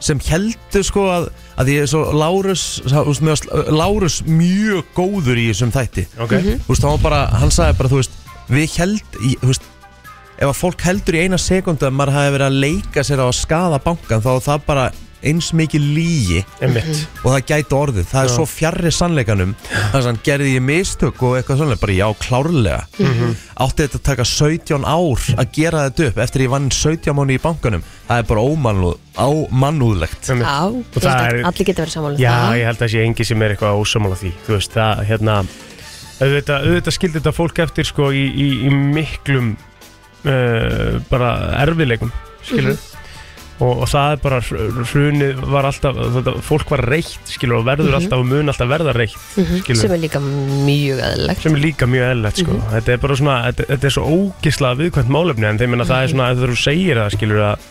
[SPEAKER 1] sem heldur sko að, að ég er svo Lárus, þú veist, mér varst eh, Lárus mjög góður í þessum þætti
[SPEAKER 3] Ok
[SPEAKER 1] þú veist, hann var bara, hann sagði bara, þú veist við held, í, þú veist ef að fólk heldur í eina sekundu að maður hafi verið að leika sér á að skada bankan þá er það bara eins mikið lígi
[SPEAKER 3] Einmitt
[SPEAKER 1] og það gæti orðið, það er svo fjarrri sannleikanum þannig að hann gerði ég mistök og eitthvað svona, bara já, klárlega átti þetta að taka 17 ár að gera þetta upp eftir ég vann 17 mánu í bankanum það er bara ómannúð, ómannúðlegt sko.
[SPEAKER 2] Já, ég held
[SPEAKER 3] Einmitt. það
[SPEAKER 2] að
[SPEAKER 3] er-
[SPEAKER 2] allir geta verið um samanlega
[SPEAKER 3] Já, ég held að sé engi sem er eitthvað ósamála því Þú veist, það, hérna auðvitað, auðvitað skildi þetta fólk eftir sko í, í, í miklum uh, bara erfileikum skilur og, og það er bara hrunið var alltaf, þetta, fólk var reitt skilur og verður alltaf og mun alltaf verða reitt skilur
[SPEAKER 2] Mhm. sem er líka mjög aðlilegt
[SPEAKER 3] sem er líka mjög eðlilegt sko. þetta er bara svona, þetta, þetta er svo ógislega viðkvæmt málefni en þeim en það er svona að þú segir það skilur að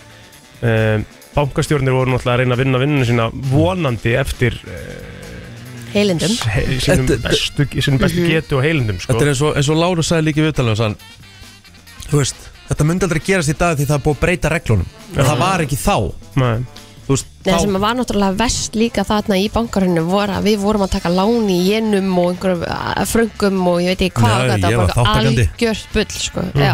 [SPEAKER 3] um, bankastjórnir voru náttúrulega að reyna að vinna vinnuna sína vonandi eftir eh,
[SPEAKER 2] heilindum
[SPEAKER 3] he- sínum
[SPEAKER 1] Þetta-
[SPEAKER 3] bestu, sínum bestu getu og heilindum sko.
[SPEAKER 1] Þetta er eins og, eins og Láru sagði líka í viðtalinu sann, Þú veist, þetta myndi aldrei gerast í dag því það er búið að breyta reglunum En það var ekki þá
[SPEAKER 3] Nei.
[SPEAKER 1] Þú veist,
[SPEAKER 2] Nei, það
[SPEAKER 1] þá
[SPEAKER 2] sem var náttúrulega vest líka þarna í bankarhörnum voru að við vorum að taka lán í jenum og einhverjum eh, fröngum og ég veit ekki hvað
[SPEAKER 1] Nei,
[SPEAKER 2] þetta
[SPEAKER 1] ég var
[SPEAKER 2] bara
[SPEAKER 1] þátttakandi. Mhm.
[SPEAKER 2] algjört bull sko. Já,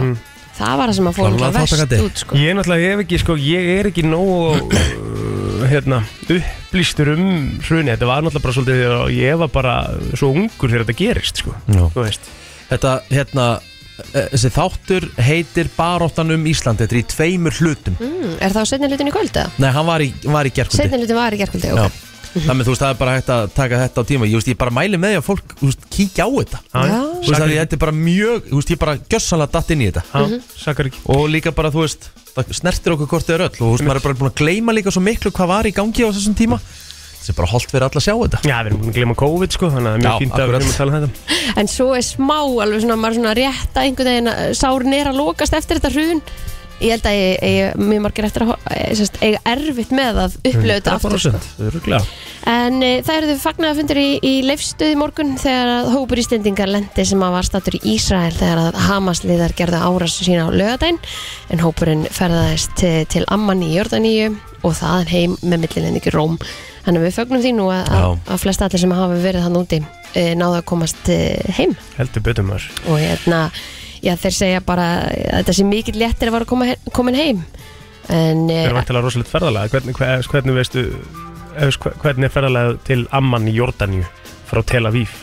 [SPEAKER 2] það var það sem að fórum
[SPEAKER 1] Klárlega
[SPEAKER 2] það vest
[SPEAKER 1] þátttakandi.
[SPEAKER 2] út sko.
[SPEAKER 3] mhm. ég er náttúrulega hef ekki sko, ég er ekki nóg uh, hérna, upplýstur um hruni þetta var náttúrulega bara svolítið þegar ég var bara svo ungur þegar þetta gerist sko.
[SPEAKER 1] Já.
[SPEAKER 3] þú veist
[SPEAKER 1] Þetta, hérna eh, Þessi þáttur heitir Baróttan um Ísland Þetta er í tveimur hlutum
[SPEAKER 2] mm, Er það á setni hlutin í kvöld eða?
[SPEAKER 1] Nei, hann var í, var í gerkundi
[SPEAKER 2] Setni hlutin var í gerkvöldi
[SPEAKER 1] Já.
[SPEAKER 2] okay.
[SPEAKER 1] Þannig þú veist, það er bara hægt að taka þetta á tíma Ég, veist, ég bara mæli með því að fólk þú veist, kíkja á þetta
[SPEAKER 3] Já.
[SPEAKER 2] Já.
[SPEAKER 1] Þú veist, af því Þetta er bara mjög, þú veist, ég bara gjössanlega datt inn í þetta
[SPEAKER 3] Já, sakar ekki
[SPEAKER 1] Og líka bara, þú veist, það snertir okkur hvort þau er öll Og þú veist, maður er bara búin að gleyma líka svo miklu hvað var í gangi á þessum tíma Þetta er bara holdt fyrir alla að sjá þetta
[SPEAKER 3] Já, við erum búin að glema COVID sko, þannig að það er
[SPEAKER 1] Já,
[SPEAKER 3] mjög fínt að við
[SPEAKER 1] akkurat.
[SPEAKER 3] erum að tala um þetta
[SPEAKER 2] En svo er smá alveg svona, maður svona rétt að einhvern veginn að sárin er að lokast eftir þetta hrun Ég held að ég, ég, mér margir eftir að ho- eh, sem sagt, eiga erfitt með að
[SPEAKER 3] Mm,
[SPEAKER 2] upplöðu þetta aftur sko.
[SPEAKER 3] 100% örugglega.
[SPEAKER 2] En e, það eru þau fagnaðafundur í, í leifstöði morgun þegar að hópur íslendingar lendi sem að var statur í Ísrael þegar að Hamas-liðar gerðu árásu sína á lögadæn en hópurinn ferðaðist til, til Amman í Jordaníu og þaðan heim með millilendingi Róm. Þannig að við fögnum því nú að, að,
[SPEAKER 1] Já.
[SPEAKER 2] að flest allir sem hafa verið þann úti e, náðu að komast e, heim
[SPEAKER 3] Heldur betur maður
[SPEAKER 2] og hérna, já þeir segja bara að þetta sé mikill léttir að vera koma, he- komin heim. En,
[SPEAKER 3] Það er
[SPEAKER 2] e,
[SPEAKER 3] vantilega rosalegt ferðalega Hvernig, hvernig, hvernig veistu eh, sko, Hvernig er ferðalega til Amman í Jordaníu Frá Tel Aviv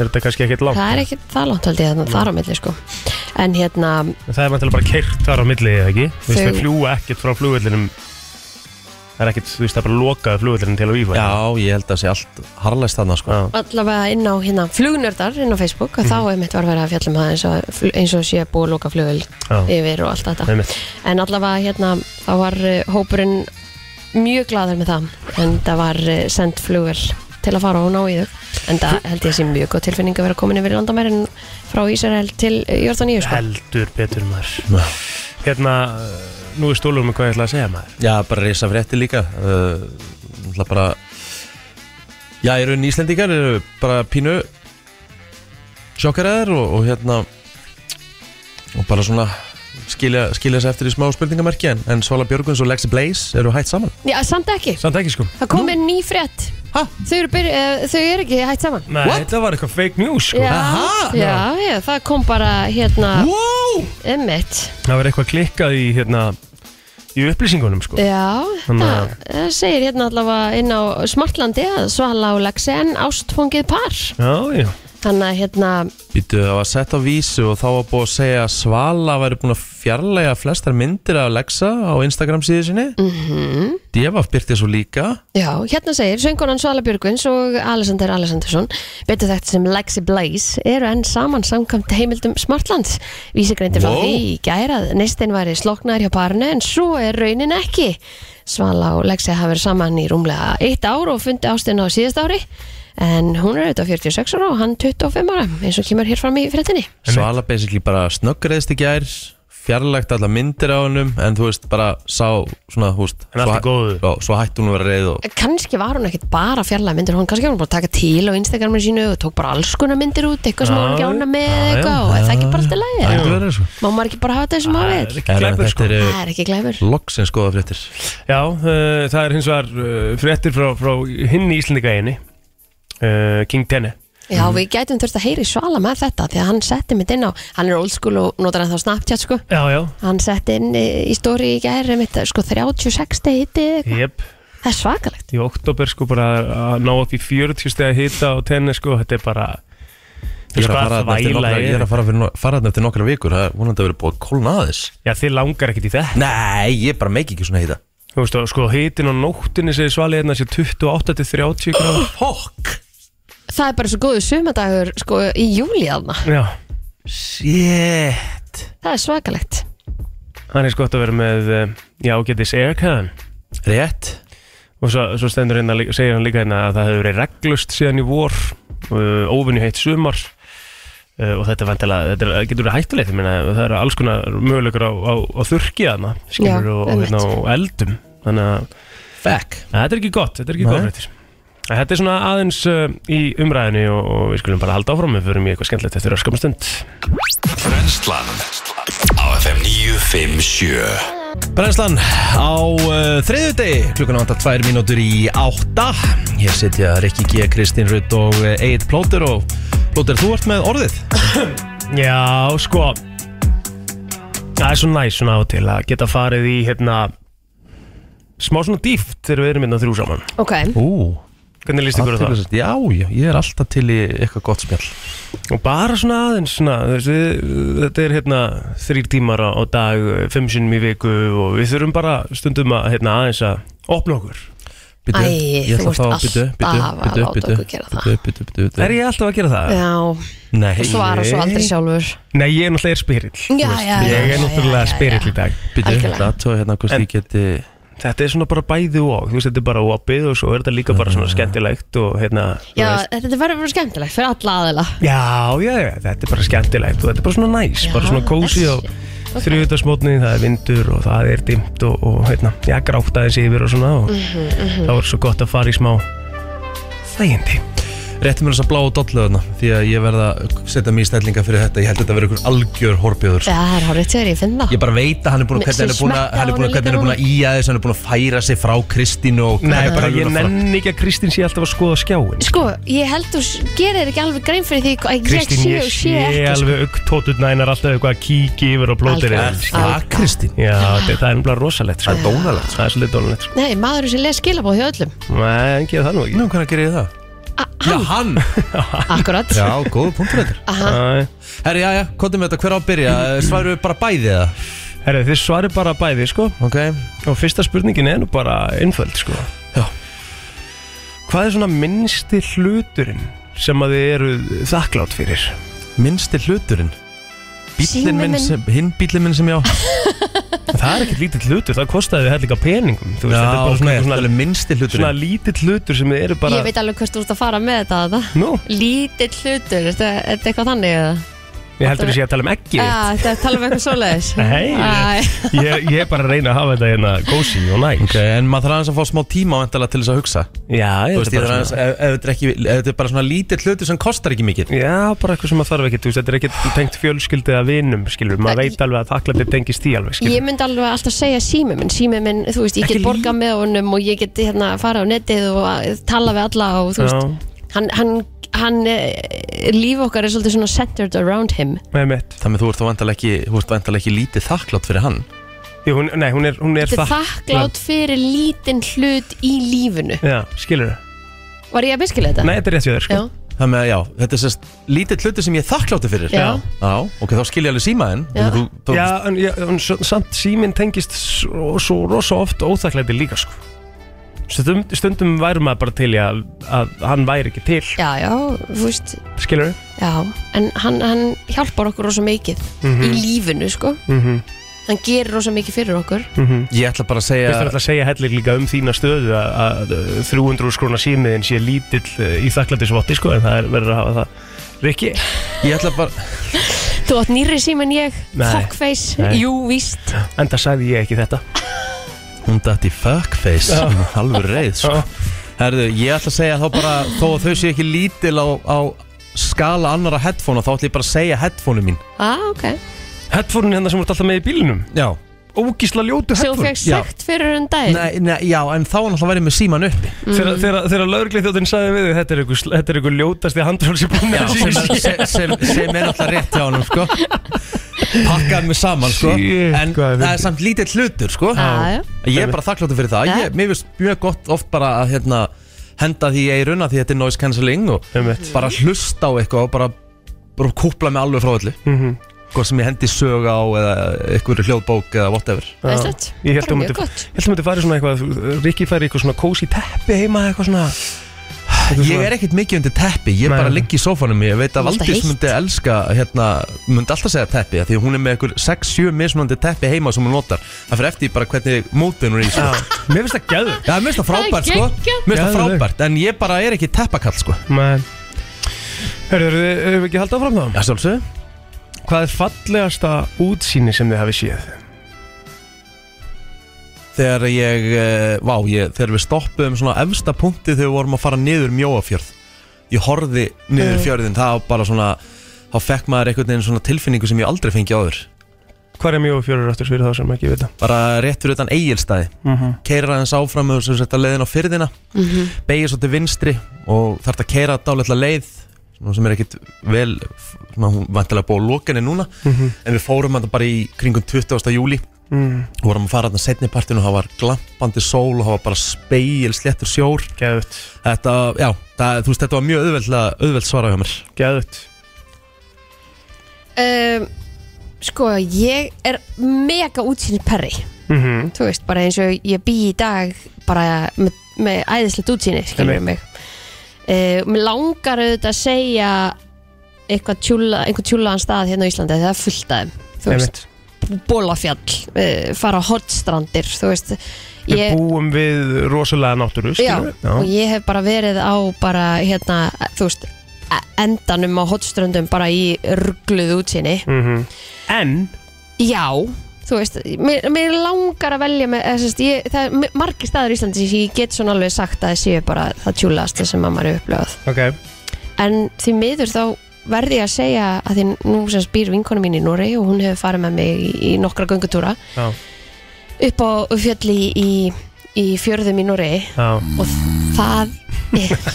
[SPEAKER 3] Er þetta kannski ekkert langt?
[SPEAKER 2] það er ekki það langt held ég að það þar á milli sko. En hérna,
[SPEAKER 3] En Það er vantilega bara keirt þar á milli eða ekki Þú veist
[SPEAKER 2] Þau-
[SPEAKER 3] það fljúa ekkert frá flugvellinum Það er ekkert, þú veist það er bara lokaði flugvellinum til Aviv
[SPEAKER 1] Já, ég held að það sé allt harlæst þarna, sko
[SPEAKER 3] Já.
[SPEAKER 2] allavega inn á hérna flugnördar inn á Facebook að
[SPEAKER 3] Mhm.
[SPEAKER 2] þá einmitt var verið að fjallum það eins og, fl- eins og sé búið að lóka flugvel
[SPEAKER 3] Já.
[SPEAKER 2] yfir og allt þetta
[SPEAKER 3] einmitt.
[SPEAKER 2] en allavega hérna þá var uh, hópurinn mjög gladur með það en það var uh, eh, send flugvel til að fara og ná í þau en það held ég sé mjög góð tilfinning að vera komin yfir landamærin frá Ísrael til Jórdaníu sko.
[SPEAKER 3] heldur betur maður hérna, uh, nú er stólur með hvað ég ætla að segja maður
[SPEAKER 1] Já, bara reysa frétti líka uh, Það bara Já, ég raun Íslendingar eru bara pínu sjokkaraðar og, og hérna og bara svona skilja, skilja sér eftir í smá spurningamerki en, en Svala Björguns og Lexi Blaze eru hætt saman
[SPEAKER 2] Já, samt ekki,
[SPEAKER 3] samt ekki sko
[SPEAKER 2] það kom með ný frétt
[SPEAKER 1] Ha?
[SPEAKER 2] þau eru, byrj, uh, þau eru ekki hægt saman
[SPEAKER 3] Nei,
[SPEAKER 1] What?
[SPEAKER 3] þetta var eitthvað fake news sko
[SPEAKER 2] já,
[SPEAKER 1] Aha.
[SPEAKER 2] já, já, það kom bara hérna,
[SPEAKER 1] Wow!
[SPEAKER 2] emmitt
[SPEAKER 3] það var eitthvað klikkað í hérna í upplýsingunum sko
[SPEAKER 2] Já,
[SPEAKER 3] Þannig
[SPEAKER 2] það
[SPEAKER 3] að-
[SPEAKER 2] það segir hérna allavega inn á Smartlandi að Svala og Lexi en ástfóngið par
[SPEAKER 3] já, já,
[SPEAKER 2] Þannig að hérna,
[SPEAKER 1] Býtu, það var sett á vísu og þá var búið að segja að Svala væri búin að fjarlæga flestar myndir af Lexa á Instagram síðu sinni mm -hmm. Devaf byrti svo líka
[SPEAKER 2] já, hérna segir söngkonan Svala Björgvins og Alexander Alexandersson betur þetta sem Lexi Blaze eru enn saman samkvæmt heimildum Smartlands Vísigreindir frá
[SPEAKER 1] Wow.
[SPEAKER 2] því í gær að neistinn væri sloknar hjá parinu en svo er raunin ekki Svala og Lexi hafa verið saman í rúmlega eitt ár og fundi ástina á síðast ári en hún er auðvitað 46 ára og hann 25 ára eins og kemur hér fram í fréttinni
[SPEAKER 1] Svala basically bara snöggreðist í gær fjarlægt alla myndir á hennum en þú veist bara sá svona þú veist,
[SPEAKER 3] En allt í
[SPEAKER 1] svo hæ-
[SPEAKER 3] góðu.
[SPEAKER 1] já, svo hætti hún að vera reið og
[SPEAKER 2] kannski var hún ekkert bara fjarlæg myndir hún kannski var hún bara að taka til á Instagraminu sínu og tók bara alls konar myndir út eitthvað sem hún var ekki
[SPEAKER 3] Já,
[SPEAKER 2] ána með
[SPEAKER 3] já,
[SPEAKER 2] eitthvað
[SPEAKER 3] já,
[SPEAKER 2] og er það ekki bara alltaf
[SPEAKER 3] Það getur
[SPEAKER 2] lægir
[SPEAKER 3] verið, sko.
[SPEAKER 2] má maður ekki bara hafa þetta sem
[SPEAKER 3] Það
[SPEAKER 2] maður
[SPEAKER 3] er
[SPEAKER 2] vil
[SPEAKER 3] ekki glæpur, sko.
[SPEAKER 1] þetta
[SPEAKER 2] það er ekki glæfur
[SPEAKER 1] eru loksins góða fréttir
[SPEAKER 3] Já, uh, það er hins vegar uh, fréttir frá, frá hinn í Íslandingaginni uh, King Tenne
[SPEAKER 2] já við gætum þurft að heyri svala með þetta því að hann setti mitt inn á hann er old school og notar hann þá Snapchat sko
[SPEAKER 3] Já, já
[SPEAKER 2] hann setti inn í í story í gæri mitt sko 36 stegi hiti eitthvað.
[SPEAKER 3] Jep,
[SPEAKER 2] það er svakalegt
[SPEAKER 3] í oktober sko bara að ná upp í 40 steg að hita á Tenne sko, þetta er bara
[SPEAKER 1] ég er að fara þarna eftir nokkra-
[SPEAKER 3] þvæla
[SPEAKER 1] ég
[SPEAKER 3] er
[SPEAKER 1] er að fara fyrir no- fara þarna eftir nokkra vikur það er vonandi að vera búið að kólna aðeins
[SPEAKER 3] Já, þið langar ekkit í þetta
[SPEAKER 1] nei, ég bara meik ekki svona heita
[SPEAKER 3] Þú veist, og sko hitin á nóttinni segir svalið hérna sé 28 til 30 gráður
[SPEAKER 1] fokk
[SPEAKER 2] það er bara svo góðu sumadagur sko í júli aðna
[SPEAKER 1] Ah.
[SPEAKER 3] Já,
[SPEAKER 1] shit
[SPEAKER 2] það er svakalegt
[SPEAKER 3] hann er sko gott að vera með uh, já, getis aircan
[SPEAKER 1] rétt
[SPEAKER 3] og svo, svo stendur hérna, líka- segir hann líka hérna að það hefur verið reglust síðan í vor uh, óvinni heitt sumar uh, og þetta er vantilega, þetta er, getur verið hættulegt ég meina, það eru alls konar mögulegur á, á, á þurki þarna, skilur
[SPEAKER 2] Já,
[SPEAKER 3] og, og,
[SPEAKER 2] einmitt.
[SPEAKER 3] hérna, og eldum þannig að
[SPEAKER 1] fekk
[SPEAKER 3] að þetta er ekki gott, þetta er ekki
[SPEAKER 1] Nei.
[SPEAKER 3] gott fréttir En Þetta er svona aðeins uh, í umræðinni og, og við skulum bara halda áfram, við förum í eitthvað skemmtilegt eftir öskum stund.
[SPEAKER 5] Brennslan á FM 957
[SPEAKER 1] Brennslan á uh, þriðju degi, klukkan vantar tvær mínútur í átta Hér sitja Rikki G, Kristín Rutt og uh, Eid Plóter og Plóter, þú ert með orðið
[SPEAKER 3] Já, sko, það er svo næs svona á til að geta farið í hérna, smá svona dýft þegar við erum hérna þrjú saman.
[SPEAKER 2] ok
[SPEAKER 1] Ú,
[SPEAKER 3] Hvernig líst ykkur á það?
[SPEAKER 1] aðteglisvægt, já, já, ég er alltaf til í eitthvað gott spjall
[SPEAKER 3] Og bara svona aðeins svona, þú veist, við, þetta er hérna þrýr tímar á á dag, fimm sinnum í viku og við þurfum bara stundum að hérna, aðeins að opna okkur.
[SPEAKER 1] Bíddu,
[SPEAKER 2] Æ,
[SPEAKER 1] ég ætla
[SPEAKER 2] þú ert
[SPEAKER 1] þá-
[SPEAKER 2] alltaf
[SPEAKER 1] bíddu, bíddu,
[SPEAKER 2] að láta
[SPEAKER 1] bíddu,
[SPEAKER 2] okkur
[SPEAKER 1] bíddu,
[SPEAKER 2] gera
[SPEAKER 1] bíddu, bíddu, bíddu, bíddu.
[SPEAKER 3] Er ég alltaf að gera það?
[SPEAKER 2] Já,
[SPEAKER 1] Nei,
[SPEAKER 2] og svara svo aldrei sjálfur
[SPEAKER 3] Nei, ég er náttúrulega spirill.
[SPEAKER 2] Já, já, já,
[SPEAKER 3] Ég
[SPEAKER 2] já,
[SPEAKER 3] er
[SPEAKER 2] já,
[SPEAKER 3] náttúrulega
[SPEAKER 2] já, já.
[SPEAKER 3] spirill í dag.
[SPEAKER 1] Býtu,
[SPEAKER 2] Algjörlega.
[SPEAKER 1] aðtóa hérna hvort
[SPEAKER 3] En-
[SPEAKER 1] ég geti
[SPEAKER 3] Þetta er svona bara bæði og, þú veist, þetta er bara opið og svo er þetta líka bara svona skemmtilegt og hérna, þú
[SPEAKER 2] Já,
[SPEAKER 3] veist.
[SPEAKER 2] þetta verður að vera skemmtilegt fyrir alla aðila
[SPEAKER 3] Já, já, já, þetta er bara skemmtilegt og þetta er bara svona næs,
[SPEAKER 2] Já,
[SPEAKER 3] bara svona kósi
[SPEAKER 2] þessi.
[SPEAKER 3] og þrjúðarsmótni, það er vindur og það er dimmt og, og hérna, já, grátt aðeins yfir og svona og
[SPEAKER 2] Mhm,
[SPEAKER 3] þá er svo gott að fara í smá þægindi.
[SPEAKER 1] Rétti mér þess að blá og dollu þarna Því að ég verða að setja mér í stellinga fyrir þetta Ég held að þetta verður einhver algjör horbjöður
[SPEAKER 2] Já, það er hárið þegar ég finn það
[SPEAKER 1] Ég bara veit að hann er búin að
[SPEAKER 2] Mér
[SPEAKER 1] hvernig hann er búin að
[SPEAKER 2] smekkaði
[SPEAKER 1] hann er búin að
[SPEAKER 2] honum
[SPEAKER 1] hvernig hann er búin að íja þess hann er búin að færa sig frá Kristínu og
[SPEAKER 3] Nei, bara
[SPEAKER 1] tölvuna
[SPEAKER 3] ég
[SPEAKER 1] frá-
[SPEAKER 3] nenni ekki að Kristín sé alltaf að skoða skjáin.
[SPEAKER 2] Sko, ég held þú s- gerir þér ekki alveg grein fyrir því að ég
[SPEAKER 3] Kristín,
[SPEAKER 2] sé
[SPEAKER 3] ég
[SPEAKER 2] og sé
[SPEAKER 3] sé
[SPEAKER 2] ekki sko.
[SPEAKER 3] alveg augtótut nænar alltaf eitthvað að kíkja yfir og blótir
[SPEAKER 2] Algjörlega.
[SPEAKER 3] yfir.
[SPEAKER 1] Ja, Kristín
[SPEAKER 3] Já, þetta, það er nefnilega rosalegt. sko.
[SPEAKER 1] Það er dónalegt
[SPEAKER 3] Það er svolítið dólanett.
[SPEAKER 2] Nei, maður sem les skilabóð hjá öllum
[SPEAKER 3] Nei, en gefa það nú ekki.
[SPEAKER 1] Nú, hvernig gerir ég það?
[SPEAKER 2] A
[SPEAKER 1] Já, hann
[SPEAKER 2] Akkurat
[SPEAKER 1] Já, góða punktur þetta
[SPEAKER 2] Aha.
[SPEAKER 3] Æ.
[SPEAKER 1] Herri, já, já, kvotum við þetta hver á að byrja
[SPEAKER 3] Mm.
[SPEAKER 1] Sværu bara bæði það
[SPEAKER 3] Herru, þið svarir bara bæði, sko
[SPEAKER 1] Ok
[SPEAKER 3] Og fyrsta spurningin er nú bara einföld, sko
[SPEAKER 1] Já.
[SPEAKER 3] Hvað er svona minnsti hluturinn sem að þið eru þakklátt fyrir?
[SPEAKER 1] Minnsti hluturinn Bíllinn
[SPEAKER 2] Síminn
[SPEAKER 1] minn
[SPEAKER 2] minn.
[SPEAKER 1] sem Hinn bíllinn minn sem ég á
[SPEAKER 3] það er ekkert lítill hlutur, það kostaði við hellinga peningum þú
[SPEAKER 1] Já,
[SPEAKER 3] veist, þetta er bara
[SPEAKER 1] ok, um þetta
[SPEAKER 3] svona,
[SPEAKER 1] er
[SPEAKER 3] svona,
[SPEAKER 1] alveg minnsti hlutur
[SPEAKER 3] svona lítill hlutur sem þið eru bara
[SPEAKER 2] Ég veit alveg hvort þú ert að fara með þetta að það
[SPEAKER 3] Nú,
[SPEAKER 2] Lítill hlutur, er þetta er þetta eitthvað þannig eða?
[SPEAKER 3] ég heldur að sé að tala um ekki
[SPEAKER 2] Já, þetta er talað um eitthvað svoleiðis
[SPEAKER 3] Nei.
[SPEAKER 2] Æ,
[SPEAKER 3] ég, ég er bara að reyna að hafa þetta hérna gósi og næs
[SPEAKER 1] Ok, en maður þarf aðeins að fá smá tíma vantala til þess að hugsa
[SPEAKER 3] Já, ég
[SPEAKER 1] Þú veist, ég
[SPEAKER 3] þetta er
[SPEAKER 1] þarf
[SPEAKER 3] bara
[SPEAKER 1] aðeins,
[SPEAKER 3] svona
[SPEAKER 1] ef, ef, þetta er ekki- ef þetta er bara svona lítill hlutur sem kostar ekki mikið
[SPEAKER 3] Já, bara eitthvað sem maður þarf ekkert, þú veist, þetta er ekkert tengt fjölskyldi eða vinum, skilur, maður
[SPEAKER 2] Það-
[SPEAKER 3] veit alveg að þakklæti tengist í alveg, skilur
[SPEAKER 2] Ég myndi alveg alltaf segja sími minn Sími minn, þú veist, ég
[SPEAKER 3] Ekki
[SPEAKER 2] get borgað með honum og ég get hérna fara á netið og að- tala við alla og þú veist hann, hann, hann eh, líf okkar er svolítið svona centered around him
[SPEAKER 3] með mitt
[SPEAKER 1] Þannig að þú ert vantala ekki, þú ert vantala ekki lítið þakklátt fyrir hann
[SPEAKER 3] Jú, hún, nei, hún er, hún er
[SPEAKER 2] Þetta er þakklátt fyrir lítinn hlut í lífinu
[SPEAKER 3] Já, skilur
[SPEAKER 2] Var ég að miskila þetta?
[SPEAKER 3] Nei, þetta er rétt við þér, sko
[SPEAKER 2] Já,
[SPEAKER 1] Þannig að já, þetta er sérst lítill hlutur sem ég er þakklátti fyrir
[SPEAKER 2] já,
[SPEAKER 1] Já, ok, þá skil ég alveg símaðinn
[SPEAKER 2] Já.
[SPEAKER 1] Þú, þú,
[SPEAKER 3] Já, en, já, en s- samt síminn tengist svo, svo rosa oft óþakklæti líka, sko Stundum, stundum væri maður bara til í að, að hann væri ekki til,
[SPEAKER 2] já, já, þú veist
[SPEAKER 3] skilur
[SPEAKER 2] Já, en hann, hann hjálpar okkur rosa mikið í lífinu, sko
[SPEAKER 3] Mhm.
[SPEAKER 2] Hann gerir rosa mikið fyrir okkur
[SPEAKER 3] Mm.
[SPEAKER 1] Ég ætla bara að segja
[SPEAKER 3] Þú veist að segja hellir líka um þína stöðu að, að uh, 300 skrona símiðin sé lítill uh, í þakklætisvotti, sko, en það er verður að hafa það Rikki,
[SPEAKER 1] Ég ætla bara
[SPEAKER 2] Þú átt nýri síma en ég,
[SPEAKER 3] Nei.
[SPEAKER 2] fuckface,
[SPEAKER 3] Nei.
[SPEAKER 2] jú, víst
[SPEAKER 3] enda sagði ég ekki þetta
[SPEAKER 1] Hún datt í fuckface Alveg reið sko.
[SPEAKER 3] Já.
[SPEAKER 1] Herðu, ég ætla að segja þá bara Þó að þau séu ekki lítil á, á skala annara headphone Þá ætla ég bara að segja headphone mín
[SPEAKER 2] Ah, ok
[SPEAKER 3] Headphone hérna sem voru alltaf með í bílinum
[SPEAKER 1] Já
[SPEAKER 3] Ógísla ljótu
[SPEAKER 2] Svo þú
[SPEAKER 3] headphone
[SPEAKER 2] fekk
[SPEAKER 1] já.
[SPEAKER 2] sagt fyrir um daginn
[SPEAKER 1] Nei, nei, já, en þá er náttúrulega verið með síman uppi
[SPEAKER 3] Þegar- Þegar þegar lögreglið þjóttinn sagði við þig, þetta er einhver- þetta er einhver ljótasti handról sem búin
[SPEAKER 1] Já,
[SPEAKER 3] að
[SPEAKER 1] sem,
[SPEAKER 3] síma
[SPEAKER 1] sem, sem, sem er náttúrulega rétt hjá hann sko. Pakkaði mig saman sko.
[SPEAKER 3] Shit,
[SPEAKER 1] En
[SPEAKER 3] hvað
[SPEAKER 1] það
[SPEAKER 3] er
[SPEAKER 1] er
[SPEAKER 3] fyndið.
[SPEAKER 1] samt lítill hlutur sko.
[SPEAKER 2] Já, já.
[SPEAKER 1] Ég er bara þakkláttur fyrir það
[SPEAKER 2] Já.
[SPEAKER 1] ég, Mér finnst mjög gott oft bara að hérna, henda því í eiruna Því þetta er noise cancelling og
[SPEAKER 3] Einmitt.
[SPEAKER 1] Bara hlusta á eitthvað og bara, bara kúpla mig alveg frá öllu
[SPEAKER 3] Mhm.
[SPEAKER 1] Hvað sem ég hendi sög á eða einhverju hljóðbók eða whatever
[SPEAKER 2] Það er
[SPEAKER 3] Já.
[SPEAKER 2] slett.
[SPEAKER 3] Ég
[SPEAKER 2] Bara
[SPEAKER 3] held
[SPEAKER 2] mjög
[SPEAKER 3] að myndi,
[SPEAKER 2] gott.
[SPEAKER 3] held að myndi farið svona eitthvað Rikki færi eitthvað svona kósi teppi heima eitthvað svona eitthvað
[SPEAKER 1] Ég er ekkert mikið undir teppi, ég
[SPEAKER 3] Nei.
[SPEAKER 1] bara ligg í sófanum Ég veit að
[SPEAKER 2] Þú ert alltaf
[SPEAKER 1] Valdís
[SPEAKER 2] heitt.
[SPEAKER 1] myndi elska hérna, myndi alltaf segja teppi af Því að hún er með einhver 6-7 mismunandi teppi heima sem hún notar Það fyrir eftir því bara hvernig mótin hún er í sko.
[SPEAKER 3] Já. Mér finnst það gæðu
[SPEAKER 1] Já, mér finnst það
[SPEAKER 2] Það er
[SPEAKER 1] frábært sko
[SPEAKER 2] geggjað.
[SPEAKER 1] Mér finnst það
[SPEAKER 3] Já, það er.
[SPEAKER 1] frábært, en ég bara er ekki teppakall sko
[SPEAKER 3] Hörru, hefur ekki haldið áfram þá?
[SPEAKER 1] Já, sjálfsög
[SPEAKER 3] Hvað er fallegasta útsýni sem þið hafi séð?
[SPEAKER 1] Þegar ég, eh, vá, ég, þegar við stoppuðum svona efsta punkti þegar við vorum að fara niður mjóafjörð Ég horfði
[SPEAKER 2] Mm.
[SPEAKER 1] niður fjörðin, það var bara svona Þá fekk maður einhvern veginn svona tilfinningu sem ég aldrei fengi áður
[SPEAKER 3] Hvað er mjög fjörur áttur fyrir þá sem ekki vita?
[SPEAKER 1] Bara rétt fyrir utan eigilstæði keirar aðeins áfram og sem setja leiðin á fyrðina mm beigir svo til vinstri og þarf að keira dálitla leið svona sem er ekkit vel svona, hún vantilega búið á lokinni núna
[SPEAKER 3] Mhm.
[SPEAKER 1] en við fórum þetta bara í kringum 20. júli
[SPEAKER 3] Mm.
[SPEAKER 1] og vorum að fara þarna setni partinu og það var glampandi sól og það var bara speil sléttur sjór
[SPEAKER 3] Gæðut,
[SPEAKER 1] þetta, já, það, þú veist, þetta var mjög auðveld, auðveld svara hjá mér
[SPEAKER 3] gæðut
[SPEAKER 2] Um, sko, ég er mega útsýnir perri
[SPEAKER 3] mm -hmm.
[SPEAKER 2] Þú veist, bara eins og ég bý í dag bara með, með æðislegt útsýni skilur
[SPEAKER 3] Einmitt.
[SPEAKER 2] mig uh, Mér langar auðvitað að segja eitthvað tjúla, einhvern tjúlaðan stað hérna á Íslandi það er fullt af þeim, þú veist, bólafjall uh, fara á hotstrandir, þú veist
[SPEAKER 3] Við búum við rosalega náttúru
[SPEAKER 2] Já,
[SPEAKER 3] skilur við?
[SPEAKER 2] og ég hef bara verið á bara, hérna, þú veist e- endanum á hotströndum bara í ruggluð útsinni
[SPEAKER 3] Mhm. En
[SPEAKER 2] Já, þú veist, mér, mér langar að velja með, eða, sérst, ég, það er m- margir staður í Íslandi sem ég get svona alveg sagt að það séu bara það tjúlaðasta sem að maður er upplöð
[SPEAKER 3] okay.
[SPEAKER 2] en því miður þá verði ég að segja að því nú sem spýr vinkonu mín í Noregi og hún hefur farið með mig í, í nokkra göngutúra
[SPEAKER 3] Já.
[SPEAKER 2] upp á fjalli í, í fjörðum í Noregi
[SPEAKER 3] Já.
[SPEAKER 2] og það er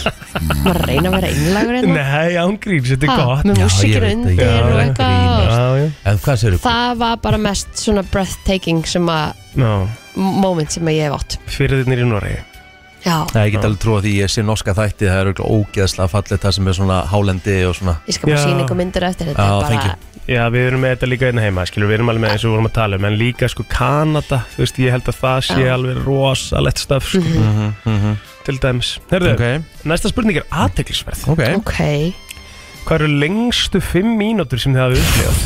[SPEAKER 2] maður reyna að vera einlagur hérna
[SPEAKER 3] Nei, ángríns, þetta er
[SPEAKER 2] Ha, með
[SPEAKER 3] gott
[SPEAKER 1] Já, ég
[SPEAKER 2] músikir
[SPEAKER 1] veit
[SPEAKER 2] undir
[SPEAKER 1] það,
[SPEAKER 3] já,
[SPEAKER 2] og
[SPEAKER 3] já,
[SPEAKER 2] eitthvað og-
[SPEAKER 3] Já, já.
[SPEAKER 1] En hvað séu
[SPEAKER 2] það var bara mest svona breathtaking sem að
[SPEAKER 3] Já,
[SPEAKER 2] moment sem að ég hef átt
[SPEAKER 3] fyrirðinir í Noregi
[SPEAKER 2] já,
[SPEAKER 1] Nei, ég get alveg trúið því ég sé norska þætti það er örugglega ógeðslega fallið það sem er svona hálendi og svona
[SPEAKER 2] ég skal bara
[SPEAKER 3] Já.
[SPEAKER 2] sína ykkur myndir eftir þetta
[SPEAKER 1] Já,
[SPEAKER 2] er
[SPEAKER 1] thank you.
[SPEAKER 2] bara,
[SPEAKER 3] Já, við erum með þetta líka einn heima, skilur, við erum alveg með eins og við vorum að tala um, en líka sko Kanada, þú veist, ég held að það sé
[SPEAKER 2] Já. Mhm.
[SPEAKER 3] alveg rosalett stöf, sko,
[SPEAKER 1] mm -hmm.
[SPEAKER 3] til dæmis. Herðu, næsta spurning er aðteglisverð.
[SPEAKER 1] ok
[SPEAKER 2] ok
[SPEAKER 3] Hvað eru lengstu fimm mínútur sem þið hafið upplifað?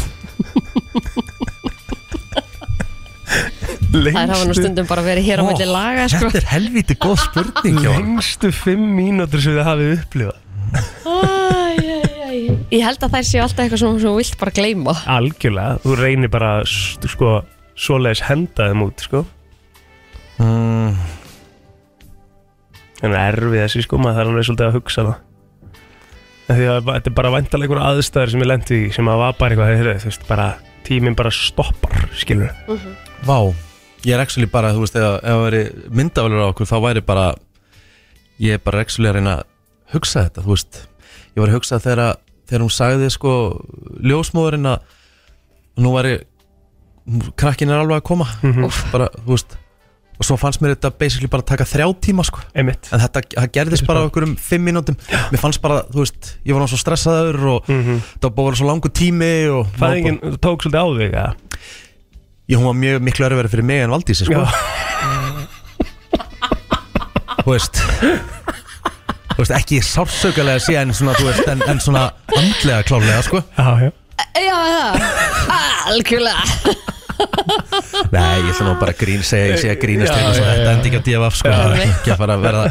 [SPEAKER 2] Það er hafa nú stundum bara verið hér á milli laga sko.
[SPEAKER 1] Þetta er helviti góð spurning hjá honum.
[SPEAKER 3] Lengstu fimm mínútur sem þið hafið upplifað
[SPEAKER 2] Æ, æ, æ. Ég held að þær séu alltaf eitthvað svona sem þú vilt bara gleyma
[SPEAKER 3] Algjörlega, þú reynir bara að, sko, svoleiðis henda þeim út sko.
[SPEAKER 1] Mm,
[SPEAKER 3] en erfið þessi sko, maður þarf alveg svolítið að hugsa það En því að þetta er bara væntalega einhverja aðstæður sem ég lendi í sem að var bara eitthvað, heyrðu, þú veist, bara tíminn bara stoppar, skilur
[SPEAKER 1] vá, ég er actually bara, þú veist, ef ef það væri myndavælur á okkur, þá væri bara, ég er bara actually að reyna að hugsa þetta, þú veist. Ég var að hugsa þegar, að- þegar hún sagði, sko, ljósmóðurinn að nú væri, krakkin er alveg að koma, bara, þú veist. Og svo fannst mér þetta basically bara að taka þrjá tíma, sko.
[SPEAKER 3] Einmitt
[SPEAKER 1] en þetta það gerðist bara á einhverjum fimm mínútum mér fannst bara, þú veist, ég var náttúrulega svo stressaður og það var bara að vera svo langur tími og
[SPEAKER 3] Fæðingin tók svolítið á þig, eða?
[SPEAKER 1] ég, hún var mjög miklu erfið fyrir mig en Valdísi sko. þú veist þú veist, ekki sársaukalega sé en svona, þú veist, en, en svona andlega klálega, sko
[SPEAKER 3] Já, já
[SPEAKER 2] Já, það Algjörlega
[SPEAKER 1] nei, ég ætla nú bara að grín, segja, ég sé að grínast hérna, svo þetta endi ekki að djöfa af, sko Það er ekki að fara að verða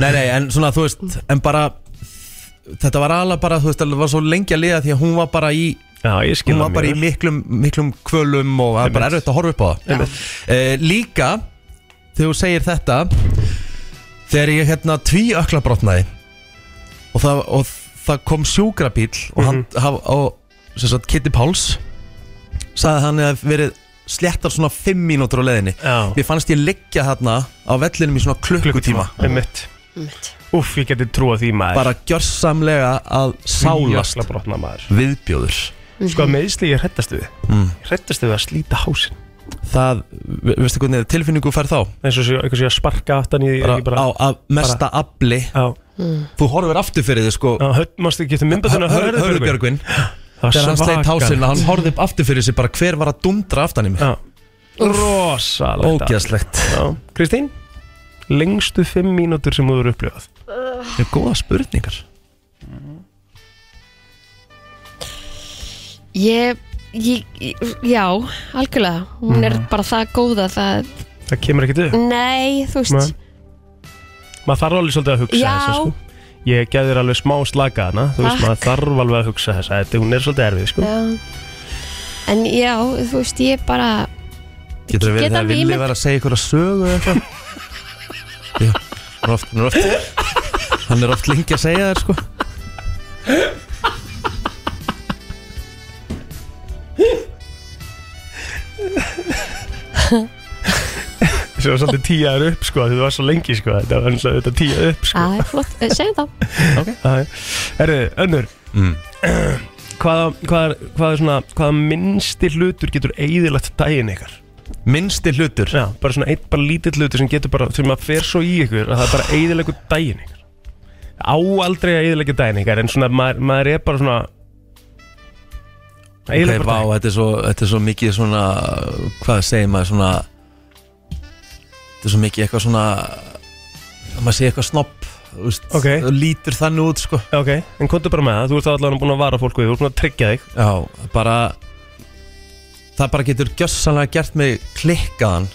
[SPEAKER 1] nei, nei, en svona, þú veist, en bara þetta var alveg bara, þú veist, það var svo lengi að liða því að hún var bara í
[SPEAKER 3] Já, ég skil
[SPEAKER 1] hún
[SPEAKER 3] það
[SPEAKER 1] var bara í
[SPEAKER 3] mjög vel.
[SPEAKER 1] miklum, miklum kvölum og það er bara erfitt að horfa upp á það uh, Líka þegar þú segir þetta þegar ég hérna tví ökla brotnaði og það, og það kom sjúkrabíl og, hann, haf, og sem sagt, Kitty Páls sagði að hann hefði verið sléttar svona 5 mínútur á leiðinni
[SPEAKER 3] Já.
[SPEAKER 1] Mér fannst ég liggja þarna á vellinum í svona klukkutíma,
[SPEAKER 3] Einmitt Úff, ég geti trúa því maður
[SPEAKER 1] bara gjörsamlega að sálast
[SPEAKER 3] Jafla brotna maður
[SPEAKER 1] viðbjóður
[SPEAKER 3] Sko að meðsli ég hrættast við
[SPEAKER 1] Mm.
[SPEAKER 3] Ég hrættast við að slíta hásin
[SPEAKER 1] Það, ve- veistu hvernig tilfinningu fær þá?
[SPEAKER 3] eins og sé, eitthvað sé að sparka aftan í
[SPEAKER 1] bara,
[SPEAKER 3] ekki bara
[SPEAKER 1] á að mesta afli
[SPEAKER 3] á,
[SPEAKER 1] þú horfir aftur fyrir þig sko
[SPEAKER 3] á höll, mástu ekki eftir myndböndinu að hörðu Björgvin
[SPEAKER 1] Hörðubjörgvin
[SPEAKER 3] það
[SPEAKER 1] þegar hann sleit hásinn hann horfði upp aftur fyrir sig bara hver var að dundra aftan í mig
[SPEAKER 3] Já. rosalegt
[SPEAKER 1] ógeðslegt
[SPEAKER 3] Já. Kristín lengstu fimm mínútur sem þú eru upplifað
[SPEAKER 1] það er góða spurningar
[SPEAKER 2] Ég, ég, ég- já, algjörlega Hún er bara það góða það
[SPEAKER 3] það kemur ekki til
[SPEAKER 2] Nei, þú veist
[SPEAKER 3] maður þarf alveg svolítið að hugsa
[SPEAKER 2] Já.
[SPEAKER 3] þessa sko. ég gæði þér alveg smá slaka hana þú veist
[SPEAKER 2] Takk.
[SPEAKER 3] maður þarf alveg að hugsa þessa þetta hún er svolítið erfið sko.
[SPEAKER 2] já. En já, þú veist, ég bara
[SPEAKER 1] getur það verið
[SPEAKER 2] Geta
[SPEAKER 1] þegar
[SPEAKER 2] við
[SPEAKER 1] Vili
[SPEAKER 2] ímynd-
[SPEAKER 1] var að segja ykkur að sögu eða eitthvað já, hann er oft, hann er oft hann er oft lengi að segja þér sko
[SPEAKER 3] sem var svolítið tíjar upp sko, því þú var svo lengi sko, þetta var svolítið tíjar upp sko.
[SPEAKER 2] Æ, flott, eh, segjum það
[SPEAKER 3] ah. Herðu, önnur
[SPEAKER 1] Mm.
[SPEAKER 3] hvaða, hvaða, hvaða, svona, hvaða minnsti hlutur getur eigðilegt daginn ykkar
[SPEAKER 1] minnsti hlutur
[SPEAKER 3] Já, bara svona eitt bara lítill hlutur sem getur bara þegar maður fer svo í ykkur að það er bara eigðilegu daginn ykkar á aldrei að eigðilegu daginn ykkar en svona maður, maður er bara svona
[SPEAKER 1] okay,
[SPEAKER 3] Eyðileggur
[SPEAKER 1] vá,
[SPEAKER 3] daginn.
[SPEAKER 1] þetta, er svo, þetta er svo mikið svona hvað segir maður svona þetta er svo mikið eitthvað svona að maður segir eitthvað snopp þú veist,
[SPEAKER 3] Ok.
[SPEAKER 1] það lítur þannig út sko.
[SPEAKER 3] Ok, en kontu bara með það, þú ert allavega búin að vara fólku þú ert búin að tryggja þig
[SPEAKER 1] já, bara það bara getur gjössanlega gert mig klikkaðan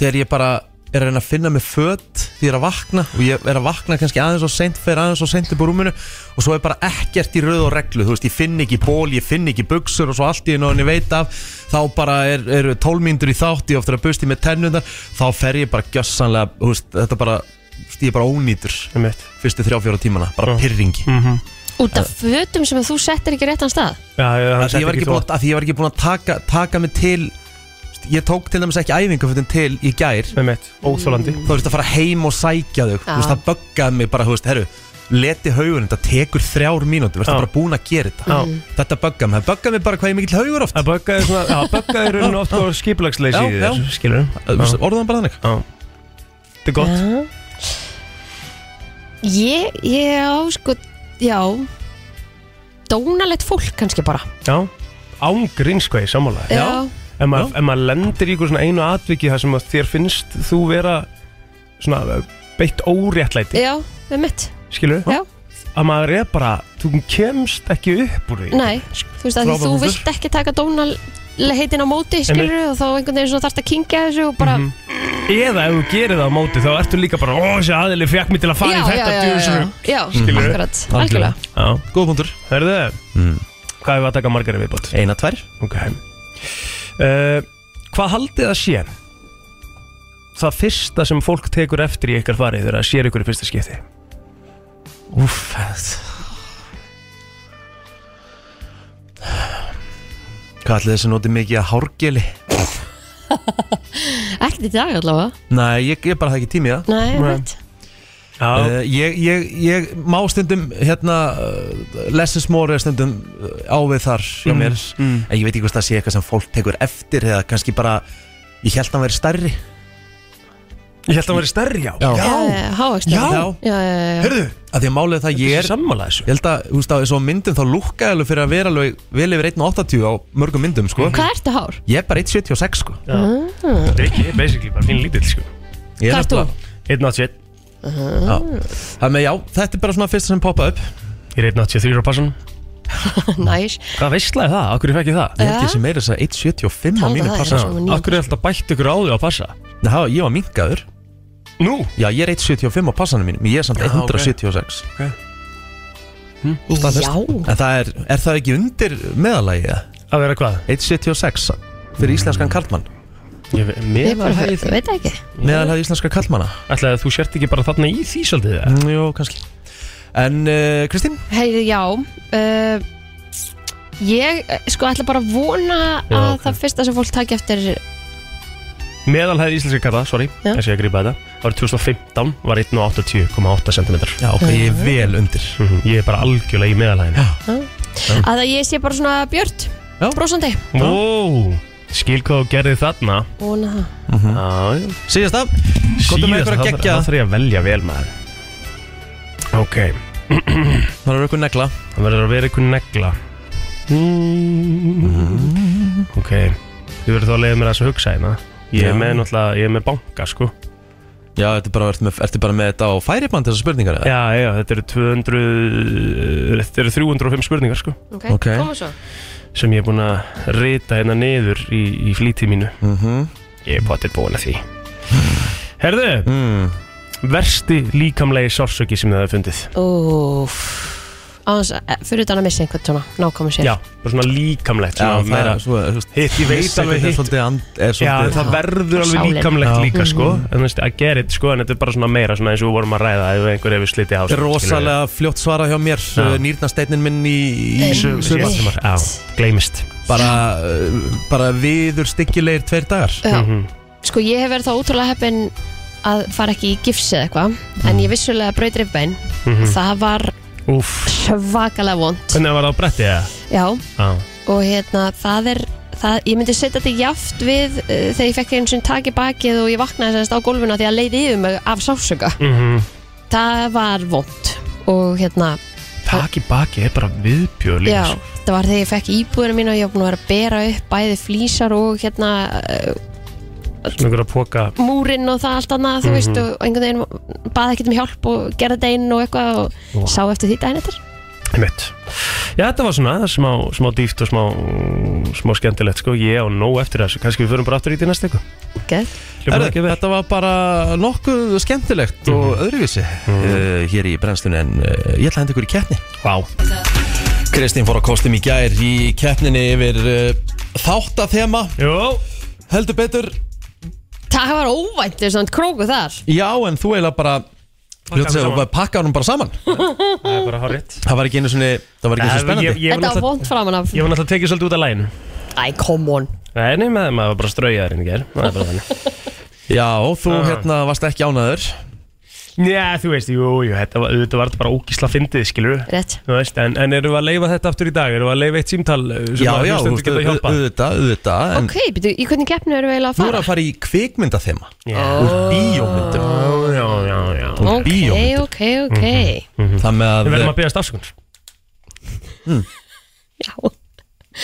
[SPEAKER 1] þegar ég bara er að reyna að finna mig fött því ég er að vakna og ég er að vakna kannski aðeins og seint fer aðeins og seint upp úr rúminu og svo er bara ekkert í rauð og reglu þú veist, ég finn ekki ból, ég finn ekki buksur og svo allt í einu og ég veit af þá bara er- eru er tólmyndur í þátt ég ofta er að busti með tennundar þá fer ég bara gjössanlega, þú veist, þetta bara þú veist, ég er bara ónýtur
[SPEAKER 3] Einmitt.
[SPEAKER 1] fyrstu þrjá fjóra tímana, bara pyrringi
[SPEAKER 3] Mhm.
[SPEAKER 2] Út af fötum sem að þú settir ekki á réttan stað
[SPEAKER 3] Já, já, hann
[SPEAKER 1] að því
[SPEAKER 3] setti
[SPEAKER 1] ég var ekki
[SPEAKER 3] svo-
[SPEAKER 1] búin að, að, því ég var ekki búin að taka, taka mig til ég tók til dæmis ekki æfingafötin til í gær
[SPEAKER 3] Einmitt, óþólandi
[SPEAKER 1] þá veist að fara heim og sækja þau þú veist það böggaði mig bara, þú veist, herru leti haugun, þetta tekur þrjár mínútur verður
[SPEAKER 3] Já.
[SPEAKER 1] bara búin að gera þetta
[SPEAKER 3] Já.
[SPEAKER 1] þetta böggaði mig, það böggaði mig bara hvað ég er mikill haugur oft
[SPEAKER 3] Það böggaði svona, já, böggaði raun og oft og skipulagsleysi
[SPEAKER 1] Já,
[SPEAKER 3] í
[SPEAKER 1] já.
[SPEAKER 3] þessu, skilur
[SPEAKER 1] Þú veist, orðaðan bara þannig
[SPEAKER 3] Þetta er gott,
[SPEAKER 2] Ég, ég á, sko, já Dónalegt fólk kannski bara
[SPEAKER 3] já Ángrín sko í sammála
[SPEAKER 2] Já,
[SPEAKER 3] Ef maður ef maður lendir í ykkur svona einu atviki þar sem að þér finnst þú vera svona beitt óréttlæti
[SPEAKER 2] já, með mitt
[SPEAKER 3] skilur
[SPEAKER 2] Eh, Já.
[SPEAKER 3] að maður er bara, þú kemst ekki upp úr því
[SPEAKER 2] Nei, þú veist að því
[SPEAKER 3] Frábær
[SPEAKER 2] þú
[SPEAKER 3] punktur.
[SPEAKER 2] vilt ekki taka dónal heitin á móti skilur og þá einhvern veginn svona þarft að kingja þessu og
[SPEAKER 3] Mhm.
[SPEAKER 2] bara
[SPEAKER 3] Eða ef þú gerir það á móti þá ertu líka bara Ó, þessi aðili fekk mig til að fara í þetta djúsum."
[SPEAKER 2] já,
[SPEAKER 3] Skilurðu?
[SPEAKER 2] akkurat, algjörlega
[SPEAKER 3] Já,
[SPEAKER 1] Góð punktur
[SPEAKER 3] hörðu það
[SPEAKER 1] Mm.
[SPEAKER 3] Hvað hefur að taka margar í viðbót?
[SPEAKER 1] Eina, tvær
[SPEAKER 3] Ok uh, Hvað haldið að sé? Það fyrsta sem fólk tekur eftir í ykkar farið þegar það sér ykkur í fyrsta skipti
[SPEAKER 1] Úff það- Hvað ætli þessi noti mikið að hárgeli?
[SPEAKER 2] ekkert í dag allavega,
[SPEAKER 1] Nei, ég, ég bara það ekki tími í það
[SPEAKER 2] nei,
[SPEAKER 3] Nei.
[SPEAKER 2] veit
[SPEAKER 3] Já, Eh,
[SPEAKER 1] Uh, ég, ég, ég má stundum hérna uh, lessons more er stundum uh, ávið þar hjá mér
[SPEAKER 3] mm.
[SPEAKER 1] en ég veit ekki hvort það sé eitthvað sem fólk tekur eftir eða kannski bara, ég held að hann veri stærri
[SPEAKER 3] ég held að það væri stærri já
[SPEAKER 1] Já.
[SPEAKER 2] hávægst
[SPEAKER 3] Já.
[SPEAKER 2] já, já, já, já.
[SPEAKER 1] Herðu, að því að málið er það að
[SPEAKER 3] Ég
[SPEAKER 1] ég
[SPEAKER 3] er
[SPEAKER 1] er
[SPEAKER 3] sammála þessu
[SPEAKER 1] ég held að, þú veist að þessu á myndum þá lúkka alveg fyrir að vera alveg vel yfir 1.80 á mörgum myndum sko
[SPEAKER 2] hvað ertu hár?
[SPEAKER 1] ég er bara 1.76 sko
[SPEAKER 3] Þetta er ekki, basically, bara fín lítill sko
[SPEAKER 1] Ég
[SPEAKER 2] Hvað ert þú?
[SPEAKER 1] nefnilega-
[SPEAKER 3] 1.81
[SPEAKER 1] Já. Þannig að já, þetta er bara svona fyrsta sem poppa upp
[SPEAKER 3] Ég er 1.83 á passan
[SPEAKER 2] næs,
[SPEAKER 3] Hvað veistlaði það? Akkur fekk ég það?
[SPEAKER 1] Ég held ég sem meira þess að 1.75 á
[SPEAKER 2] Taldi
[SPEAKER 1] mínu
[SPEAKER 2] það,
[SPEAKER 1] passa
[SPEAKER 2] já.
[SPEAKER 1] sko.
[SPEAKER 2] Nýr.
[SPEAKER 3] Akkur er alltaf bætt ykkur á því á passa
[SPEAKER 1] Nei, það var- ég var minkaður
[SPEAKER 3] Nú?
[SPEAKER 1] Já, ég er 1.75 á passanum mínum Ég er samt
[SPEAKER 3] Já, ok.
[SPEAKER 1] 176
[SPEAKER 2] já
[SPEAKER 1] En það er, er það ekki undir meðalagi? eða?
[SPEAKER 3] Að vera hvað?
[SPEAKER 1] 1.76 fyrir íslenskan karlmann
[SPEAKER 3] Mm. Ég ve- mér
[SPEAKER 2] ég bara,
[SPEAKER 3] var
[SPEAKER 2] ég
[SPEAKER 3] hægð
[SPEAKER 2] veit það ekki
[SPEAKER 1] Meðalagi íslenska karlmanna
[SPEAKER 3] Ætlaði að þú sért ekki bara þarna í því svolítið eða?
[SPEAKER 1] mm, Jó, kannski En uh, Kristín?
[SPEAKER 2] heiði, já uh, ég, eh, sko, ætla bara að vona
[SPEAKER 3] Já,
[SPEAKER 2] að
[SPEAKER 3] ok.
[SPEAKER 2] það fyrsta sem fólk takja eftir
[SPEAKER 3] Meðalhæð íslenska kalla, sorry,
[SPEAKER 2] Já.
[SPEAKER 3] þessi ég að grípa þetta Árið 2015 var 1.80,8 cm
[SPEAKER 1] Já, ok, ég er vel undir
[SPEAKER 3] Mhm, Ég er bara algjörlega í meðalhæðin
[SPEAKER 2] að ég sé bara svona björt
[SPEAKER 1] Já.
[SPEAKER 2] brósandi,
[SPEAKER 3] Ó, skil hvað þú gerði þarna
[SPEAKER 2] vona það
[SPEAKER 3] Mhm. Já, já.
[SPEAKER 1] Síðasta Komdu með
[SPEAKER 3] Síðast,
[SPEAKER 1] einhverja
[SPEAKER 3] það þarf-
[SPEAKER 1] geggjaða.
[SPEAKER 3] það þarf ég að velja vel maður Ok,
[SPEAKER 1] Það er eitthvað negla
[SPEAKER 3] það verður að vera einhver negla Ok, þið verður þá að leiða mér aðeins að hugsa hérna Ég
[SPEAKER 1] Já.
[SPEAKER 3] er með náttúrulega, ég er með banka sko
[SPEAKER 1] Já, ertu bara, ertu með, ertu bara með þetta á færiband þessar spurningar? eða?
[SPEAKER 3] Já, já, þetta eru 200, þetta eru 305 spurningar sko
[SPEAKER 2] ok,
[SPEAKER 1] Ok.
[SPEAKER 2] koma svo
[SPEAKER 3] sem ég er búinn að rita hérna niður í, í flítið mínu
[SPEAKER 1] Mhm.
[SPEAKER 3] Ég er potið búin að því Herðu,
[SPEAKER 1] Mm.
[SPEAKER 3] versti líkamlegi sársöki sem þið hafa fundið
[SPEAKER 2] Úf Aðeins, eh, fyrir utan að missa einhvern svona nákvæmum sér
[SPEAKER 3] Já, bara svona líkamlegt
[SPEAKER 1] Já,
[SPEAKER 3] svona
[SPEAKER 1] það
[SPEAKER 3] meira,
[SPEAKER 1] er svo, þú veist
[SPEAKER 3] Hitt, ég veit
[SPEAKER 1] missa
[SPEAKER 3] alveg
[SPEAKER 1] einhvern
[SPEAKER 3] hitt
[SPEAKER 1] svolítið and- er
[SPEAKER 3] Já, en
[SPEAKER 1] svolítið-
[SPEAKER 3] það verður alveg
[SPEAKER 2] Sálin.
[SPEAKER 3] líkamlegt
[SPEAKER 1] Já. Mhm.
[SPEAKER 3] líka sko En þú veist, að gera þetta sko En þetta er bara svona meira svona eins og við vorum að ræða Ef einhver hefur slitið á
[SPEAKER 1] Þetta er rosalega fljótt svara hjá mér
[SPEAKER 3] Já.
[SPEAKER 1] Nýrnasteinnin minn í, í
[SPEAKER 2] Einmitt.
[SPEAKER 1] sumar
[SPEAKER 3] Sumar, já, gleymist
[SPEAKER 1] bara, uh, bara viður styggilegir tveir dagar
[SPEAKER 2] Já.
[SPEAKER 3] Mhm.
[SPEAKER 2] Sko ég hef verið þá útrúlega heppin að fara ekki í gifs eða eitthvað
[SPEAKER 3] Mhm.
[SPEAKER 2] En ég vissulega braut rifbein Það var
[SPEAKER 3] Úff
[SPEAKER 2] svakalega vond
[SPEAKER 3] Hvernig var það á bretti eða?
[SPEAKER 2] Já,
[SPEAKER 3] Já,
[SPEAKER 2] og hérna það er það, Ég myndi setja þetta jaft við uh, Þegar ég fekk einu sinni tak í bakið og ég vaknaði sérst á gólfinu Því að leiði yfir mig af sásöka
[SPEAKER 3] mhm
[SPEAKER 2] Það var vond Og hérna,
[SPEAKER 3] Takk í baki er bara viðbjör líka
[SPEAKER 2] já,
[SPEAKER 3] sko.
[SPEAKER 2] þetta var þegar ég fekk íbúðina mín og ég var búin að vera að bera upp bæði flísar og hérna uh,
[SPEAKER 3] Svona einhver að póka
[SPEAKER 2] múrin og það allt annað, þú
[SPEAKER 3] Mhm.
[SPEAKER 2] veist, og einhvern veginn baði ekkert um hjálp og gerði deginn og eitthvað og
[SPEAKER 3] Vá.
[SPEAKER 2] sá eftir því daginn eftir.
[SPEAKER 3] Einmitt. Já, þetta var svona smá, smá dýft og smá, smá skemmtilegt sko. Ég á nóg eftir þessu, kannski við förum bara aftur í því næst eitthvað
[SPEAKER 2] Geð.
[SPEAKER 1] Herðu, Þetta var bara nokkuð skemmtilegt og öðruvísi uh, hér í brennslunni en uh, ég ætla að henda ykkur í keppni
[SPEAKER 3] Vá,
[SPEAKER 1] Kristín fór á kostum í gær í keppninni yfir uh, þáttathema
[SPEAKER 3] jú,
[SPEAKER 1] heldur betur
[SPEAKER 2] Það var óvænt, þess að króku þar.
[SPEAKER 1] já en þú eiginlega bara
[SPEAKER 3] Pakkaði saman.
[SPEAKER 1] pakka hann bara saman
[SPEAKER 3] það er bara horrið
[SPEAKER 1] það var ekki einu svona það var ekki einu svona spennandi
[SPEAKER 3] Ég, ég, var
[SPEAKER 2] Þetta var
[SPEAKER 3] náttúrulega-
[SPEAKER 2] vond framan af.
[SPEAKER 3] ég var náttúrulega tekið svolítið út af læginu
[SPEAKER 2] Æ, come on.
[SPEAKER 3] Nei, nei, maður, maður var bara straujaður inn í ger Það er bara þannig
[SPEAKER 1] já þú
[SPEAKER 3] Ah.
[SPEAKER 1] hérna varst ekki ánaður
[SPEAKER 3] Já, þú veist, jú, jú, þetta var, þetta var bara ógísla fyndið, skilur
[SPEAKER 2] Rétt.
[SPEAKER 3] Þú veist, en, en erum við að leifa þetta aftur í dag? Erum við að leifa eitt símtal uh, sem
[SPEAKER 1] já
[SPEAKER 3] að
[SPEAKER 1] já þú
[SPEAKER 3] hlustendur
[SPEAKER 1] veist
[SPEAKER 3] geta að
[SPEAKER 1] au-
[SPEAKER 3] hjálpa?
[SPEAKER 1] auðvitað auðvitað en
[SPEAKER 2] Ok, býtu, í hvernig keppnu erum við eiginlega að
[SPEAKER 1] þú er
[SPEAKER 2] fara?
[SPEAKER 1] að fara í kvikmyndathema
[SPEAKER 3] Já,
[SPEAKER 1] úr bíómyndum
[SPEAKER 3] já, já, já
[SPEAKER 1] úr
[SPEAKER 2] Ok,
[SPEAKER 1] bíómyndum Mhm.
[SPEAKER 2] ok, ok.
[SPEAKER 1] það með
[SPEAKER 3] Við
[SPEAKER 1] að
[SPEAKER 3] verðum að beðast afsökunar
[SPEAKER 2] Já,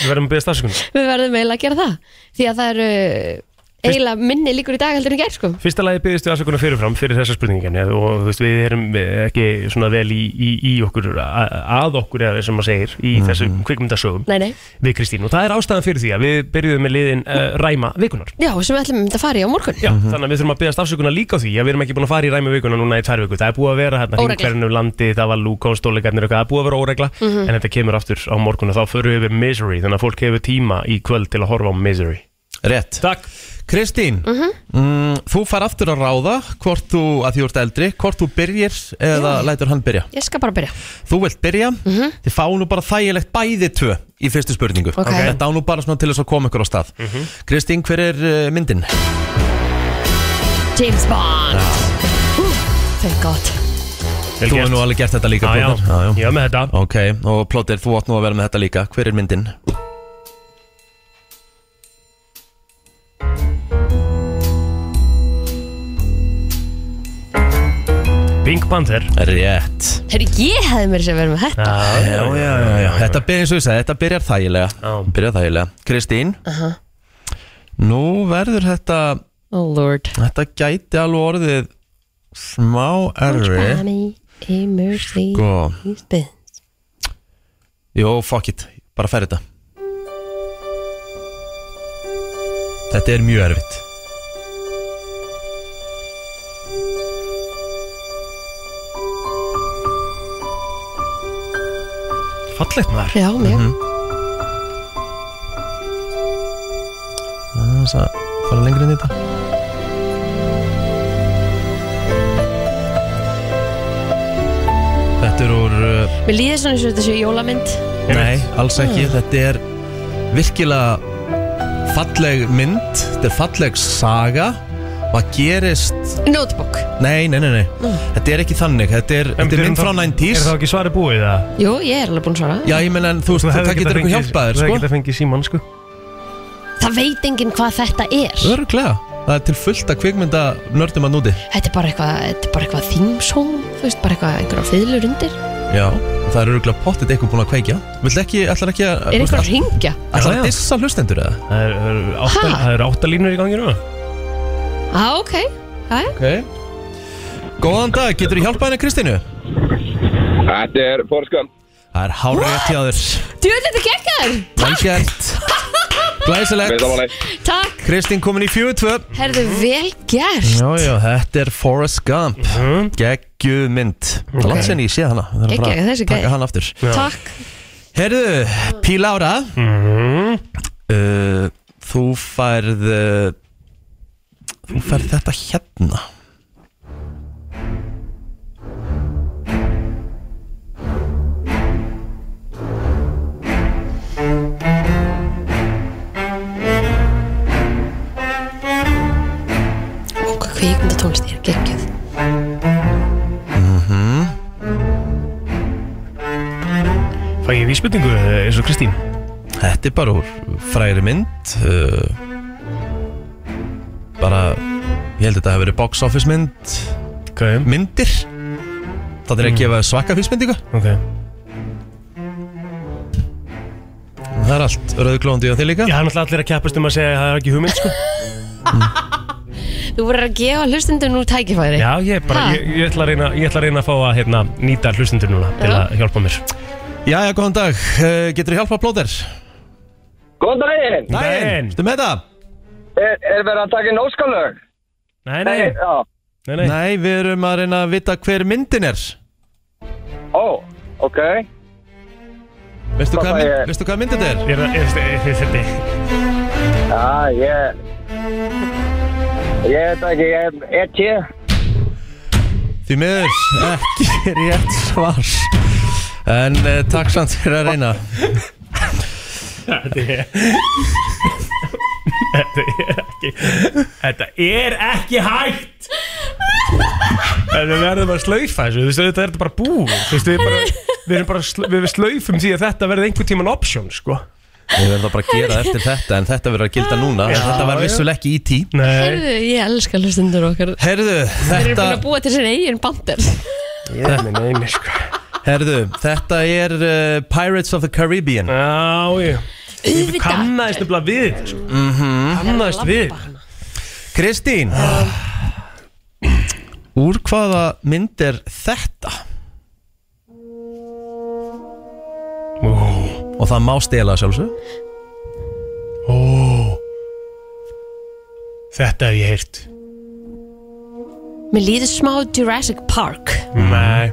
[SPEAKER 3] Við verðum að beðast afsökunar
[SPEAKER 2] við verðum eiginlega að gera það. Því að það eru eiginlega minni líkur í dag heldur en í gær sko
[SPEAKER 3] Fyrsta lagi byggðist við afsökunar fyrirfram fyrir þessa spurningin ja, og þú veist, við erum eh, ekki svona vel í, í, í okkur a- að okkur eða sem maður segir í
[SPEAKER 1] Mhm.
[SPEAKER 3] þessum kvikmyndasögum
[SPEAKER 2] Nei, nei,
[SPEAKER 3] við Kristín og það er ástæðan fyrir því að við byrjuðum með liðin uh,
[SPEAKER 2] Mm.
[SPEAKER 3] ræma vikunar
[SPEAKER 2] já, sem við ætlum að fara í á morgun
[SPEAKER 3] Já,
[SPEAKER 1] Mhm.
[SPEAKER 3] þannig að við þurfum að byggast afsökunar líka á því að við erum ekki búin að fara í ræma vikuna núna í tvær viku það er búið að vera hérna
[SPEAKER 2] Óregla.
[SPEAKER 3] hringverðinu landi það var lúkóstóleikarnir eitthvað, það er búið að vera óregla
[SPEAKER 2] Mhm.
[SPEAKER 3] en þetta kemur aftur á morgun og þá förum við yfir Misery þannig að fólk hefur tíma í kvöld til að horfa á Misery
[SPEAKER 1] Rétt
[SPEAKER 3] Takk
[SPEAKER 1] Kristín,
[SPEAKER 2] Mhm.
[SPEAKER 1] mm, þú far aftur að ráða hvort þú, að því þú ert eldri, hvort þú byrjir eða lætur hann byrja.
[SPEAKER 2] Ég skal bara byrja
[SPEAKER 1] Þú vilt byrja, þið fáu nú bara þægilegt bæði tvö í fyrstu spurningu.
[SPEAKER 2] Mhm. Ok.
[SPEAKER 1] Þetta á nú bara svona til þess að koma ykkur á stað. Kristín, hver er eh, myndin?
[SPEAKER 2] James Bond Hú, Thank god
[SPEAKER 3] Vel
[SPEAKER 1] Þú
[SPEAKER 3] gert.
[SPEAKER 1] hefur nú alveg gert þetta líka,
[SPEAKER 3] Já, já,
[SPEAKER 1] Plóter. Já, já.
[SPEAKER 3] ég var með þetta
[SPEAKER 1] Ok, og Plóter, þú átt nú að vera með þetta líka. Hver er myndin?
[SPEAKER 3] Pink Panther
[SPEAKER 1] Rétt.
[SPEAKER 2] Herri, ég hefði mér sér verið með þetta
[SPEAKER 1] Já, já, já, já. Þetta byrjar eins og ég segi, þetta byrjar þægilega.
[SPEAKER 3] Já.
[SPEAKER 1] Byrjar þægilega. Kristín,
[SPEAKER 2] Aha.
[SPEAKER 1] nú verður þetta,
[SPEAKER 2] Oh lord
[SPEAKER 1] þetta gæti alveg orðið smá erfið.
[SPEAKER 2] Johnny, Emerson,
[SPEAKER 1] Sko,
[SPEAKER 2] Lisbeth.
[SPEAKER 1] jú, fuck it, bara færi þetta Þetta er mjög erfitt
[SPEAKER 3] Fallegt maður
[SPEAKER 2] Já, mjög
[SPEAKER 1] Mhm. Þess að fara lengri inn í þetta Þetta er úr uh,
[SPEAKER 2] Mér líður svona eins og þetta séu jólamynd
[SPEAKER 1] Nei, alls ekki, þetta er virkilega falleg mynd, þetta er falleg saga og það gerist
[SPEAKER 2] Notebook
[SPEAKER 1] Nei, nei, nei, nei. Þetta er ekki þannig Þetta er, þetta er mynd frá
[SPEAKER 3] Er
[SPEAKER 1] 90s
[SPEAKER 3] það ekki svari búið það?
[SPEAKER 2] Jú, ég er alveg búin að svara
[SPEAKER 1] Já, ég menn en þú veist, það getur eitthvað hjálpað þér,
[SPEAKER 3] Það
[SPEAKER 1] sko
[SPEAKER 3] getur að fengið síman, sko
[SPEAKER 2] Það veit enginn hvað þetta er
[SPEAKER 1] Örglega, það er til fullt að kvikmynda nördum að núti
[SPEAKER 2] Þetta er bara eitthvað, þetta er bara eitthvað theme song Þú veist, bara eitthvað, einhverja fiðlur undir
[SPEAKER 1] Já, það er örglega pottit eitthvað búin að kveikja Vill ekki, ætlar ekki að
[SPEAKER 2] Er einhver að ringja?
[SPEAKER 1] Ætlar
[SPEAKER 3] Já, já.
[SPEAKER 1] að dissa hlustendur eða?
[SPEAKER 3] Það er- það eru átta-
[SPEAKER 2] Ha?
[SPEAKER 3] það eru áttalínur í gangi núna
[SPEAKER 2] Á, ok Æ,
[SPEAKER 1] Ok Góðan dag, getur þú hjálpað henni Kristínu?
[SPEAKER 6] Þetta er Forskan
[SPEAKER 1] Það er hárið til aður
[SPEAKER 2] djöðu þetta gekkar
[SPEAKER 1] Velgjert Glæsilegt
[SPEAKER 6] Veitamáli
[SPEAKER 2] Takk,
[SPEAKER 1] Kristín komin í 4-2
[SPEAKER 2] herðu vel gert
[SPEAKER 1] Já, já, þetta er Forrest Gump
[SPEAKER 3] Mhm.
[SPEAKER 1] Geggjuð mynd Það er langt sen ég sé hana Það er að fara
[SPEAKER 2] Geggjuð,
[SPEAKER 1] að
[SPEAKER 2] þessi
[SPEAKER 1] Taka
[SPEAKER 2] gæi.
[SPEAKER 1] hana aftur
[SPEAKER 2] Takk,
[SPEAKER 1] Herðu, Pí Lára uh, Þú færð uh, Þú færð þetta hérna
[SPEAKER 2] ok, kvikmynda tónlist er gekkjuð
[SPEAKER 3] Fæ ég vísbytningu eh, eins og Kristín
[SPEAKER 1] Þetta er bara úr fræri mynd uh, Bara Ég held að þetta hefur verið box office mynd
[SPEAKER 3] Ok,
[SPEAKER 1] Myndir Það er að gefa svaka fyrstmyndingu
[SPEAKER 3] ok
[SPEAKER 1] Það er allt rauðglóðandi á þig líka
[SPEAKER 3] Já, það er náttúrulega allir að keppast um að segja að það er ekki hugmynd, sko
[SPEAKER 2] Þú voru að gefa hlustendum nú tækifæri
[SPEAKER 3] Já, ég bara,
[SPEAKER 2] Ha?
[SPEAKER 3] ég, ég, ætla að reyna, ég ætla að reyna að fá að hérna, nýta hlustundur núna til
[SPEAKER 2] Já.
[SPEAKER 3] að hjálpa mér
[SPEAKER 1] Jæja, góðan dag, uh, getur þú hjálpað plóðir?
[SPEAKER 6] Góðan daginn
[SPEAKER 1] Dæin,
[SPEAKER 3] Daginn.
[SPEAKER 1] stu með það?
[SPEAKER 6] Er, er verið að taka inn óskalög?
[SPEAKER 3] Nei, nei,
[SPEAKER 6] Já
[SPEAKER 3] nei, nei
[SPEAKER 1] Nei, við erum að reyna að vita hver myndin er
[SPEAKER 6] Ó, ok
[SPEAKER 1] Veistu
[SPEAKER 6] Hvað
[SPEAKER 1] hvað,
[SPEAKER 6] það
[SPEAKER 1] mynd,
[SPEAKER 6] er?
[SPEAKER 1] veistu hvað myndin þetta er?
[SPEAKER 3] Ég er að, ég er að, ég er
[SPEAKER 6] Já, ég Ég veit ekki, ég er ekki
[SPEAKER 1] Því miður, ekki rétt svar En uh, takk samt fyrir að reyna
[SPEAKER 3] Þetta er ekki Þetta er ekki hægt En við verðum bara að slaufa þessu Þú veist, þetta er þetta bara bú Þú veist, við, bara, við erum bara sl við slaufum því að þetta verði einhvern tíman option, sko
[SPEAKER 1] Við verðum það bara að gera eftir þetta En þetta verður að gilda núna En Þetta var vissuleg ekki E í tí
[SPEAKER 3] Nei,
[SPEAKER 2] Herðu, ég elska hlustendur okkar
[SPEAKER 1] Herðu,
[SPEAKER 2] Þeir eru
[SPEAKER 1] þetta,
[SPEAKER 2] búin að búa til sinni eigin bandir
[SPEAKER 3] ég er minn einu, sko
[SPEAKER 1] herðu, þetta er uh, Pirates of the Caribbean
[SPEAKER 3] Já, ég
[SPEAKER 2] Auðvitað
[SPEAKER 3] Kannaðist nefnilega við, þetta, sko Kannaðist við
[SPEAKER 2] Labba hana.
[SPEAKER 1] Kristín Úr hvaða mynd er þetta? Og það má stela sjálfsög
[SPEAKER 3] Þetta hef ég heyrt
[SPEAKER 2] Mér líður smá Jurassic Park
[SPEAKER 3] Nei,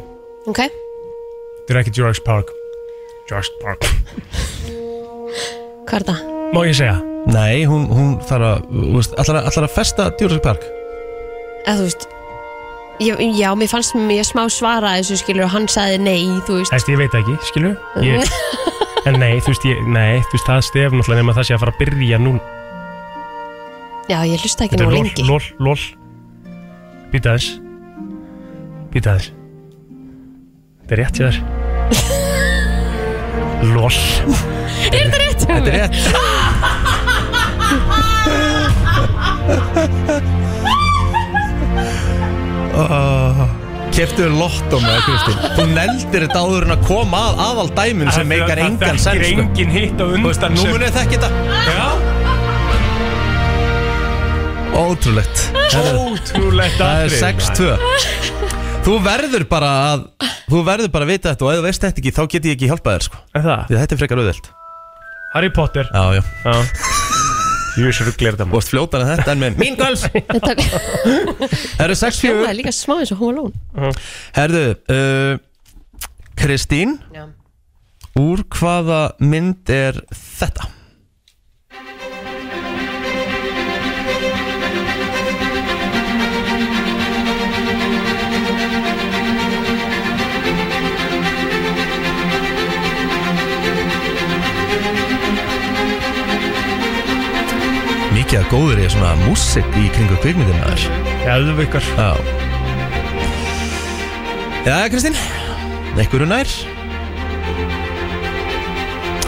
[SPEAKER 2] Ok,
[SPEAKER 3] þetta er ekki Jurassic Park Jurassic Park
[SPEAKER 2] hvað er það?
[SPEAKER 3] Má ég segja?
[SPEAKER 1] Nei, hún, hún þarf að þú veist, ætlar, að- ætlar að festa Jurassic Park
[SPEAKER 2] Eða þú veist ég, Já, mér fannst mér smá svara þessu skilur og hann sagði nei, þú veist
[SPEAKER 3] Æst, ég veit það ekki, skilur ég, En nei, þú veist, ég, nei, þú veist, það stef náttúrulega nema það sé að fara að byrja nú
[SPEAKER 2] Já, ég hlusta ekki
[SPEAKER 3] Þetta
[SPEAKER 2] nú
[SPEAKER 3] er
[SPEAKER 2] lengi
[SPEAKER 3] lol, lol, lol Býta aðeins Býta aðeins Þetta er rétt hjá þér Lol
[SPEAKER 1] Þetta er rétt oh, Keftuður lottum með Kristín Þú neldir þetta áður en að koma að aðal dæminu sem meikar engan
[SPEAKER 3] Það
[SPEAKER 1] sens
[SPEAKER 3] er
[SPEAKER 1] sko.
[SPEAKER 3] engin hitt á
[SPEAKER 1] Þú veist,
[SPEAKER 3] undan
[SPEAKER 1] Nú
[SPEAKER 3] sem-
[SPEAKER 1] munið þekk þetta
[SPEAKER 3] Já,
[SPEAKER 1] Ótrúlegt Herru,
[SPEAKER 3] Ótrúlegt
[SPEAKER 1] Það er
[SPEAKER 3] atrið.
[SPEAKER 1] 6-2 Þú verður bara að Þú verður bara að vita þetta og ef þú veist þetta ekki þá get ég ekki hjálpað þér sko
[SPEAKER 3] Er það?
[SPEAKER 1] Því að þetta er frekar auðvelt
[SPEAKER 3] Harry Potter
[SPEAKER 1] Já, já
[SPEAKER 3] Já Jú, svo rugglir þetta
[SPEAKER 1] Þú veist fljótan að þetta en með Mín gals
[SPEAKER 2] Þetta
[SPEAKER 1] Það eru 6-4
[SPEAKER 2] hljómaði líka smá eins og Home Alone
[SPEAKER 1] Herðu, uh, Kristín
[SPEAKER 2] Já.
[SPEAKER 1] Úr hvaða mynd er þetta? Mikið að góður er svona músik í kringu kvikmyndina þar
[SPEAKER 3] Eða ykkur
[SPEAKER 1] Já Já, Kristín Ekkur er nær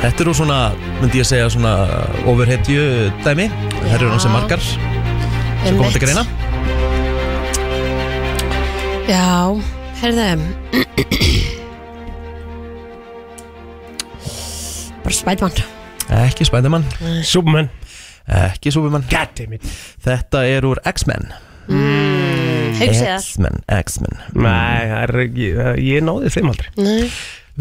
[SPEAKER 1] Þetta eru svona, myndi ég segja svona overhetju dæmi Það eru hann sem margar sem koma til greina
[SPEAKER 2] Já, herðu Bara Spiderman
[SPEAKER 1] Ekki Spiderman,
[SPEAKER 3] Superman
[SPEAKER 1] ekki Superman
[SPEAKER 3] Goddammit
[SPEAKER 1] Þetta er úr X-Men
[SPEAKER 2] Hauksið það
[SPEAKER 1] X-Men, X-Men
[SPEAKER 3] Nei, það er ekki það- Ég náði þeim aldrei
[SPEAKER 2] Nei.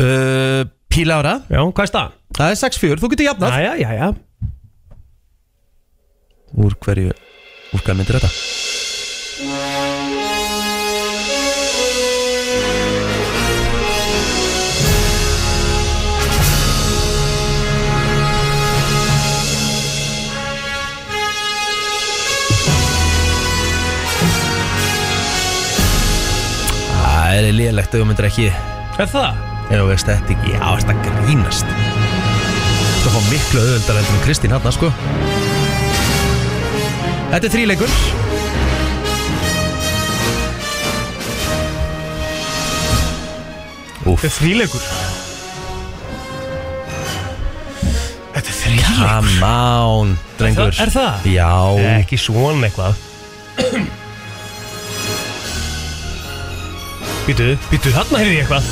[SPEAKER 1] uh, Pílára,
[SPEAKER 3] Já, hvað er staðan?
[SPEAKER 1] það er 6-4, þú getur jafnað
[SPEAKER 3] Jæja, jæja
[SPEAKER 1] Úr hverju, úr hvað myndir er þetta? Það er lélegt ef þú myndir ekki ef
[SPEAKER 3] Er það?
[SPEAKER 1] þú veist þetta ekki, já, þetta grínast Það fá miklu auðvöldar heldur en Kristín hann, sko Þetta er þríleikur Úf,
[SPEAKER 3] Þetta er þríleikur Þetta er þríleikur
[SPEAKER 1] come on, drengur
[SPEAKER 3] Er það?
[SPEAKER 1] Já,
[SPEAKER 3] Ekki svona eitthvað Býtu, býtu, þarna heyrði ég eitthvað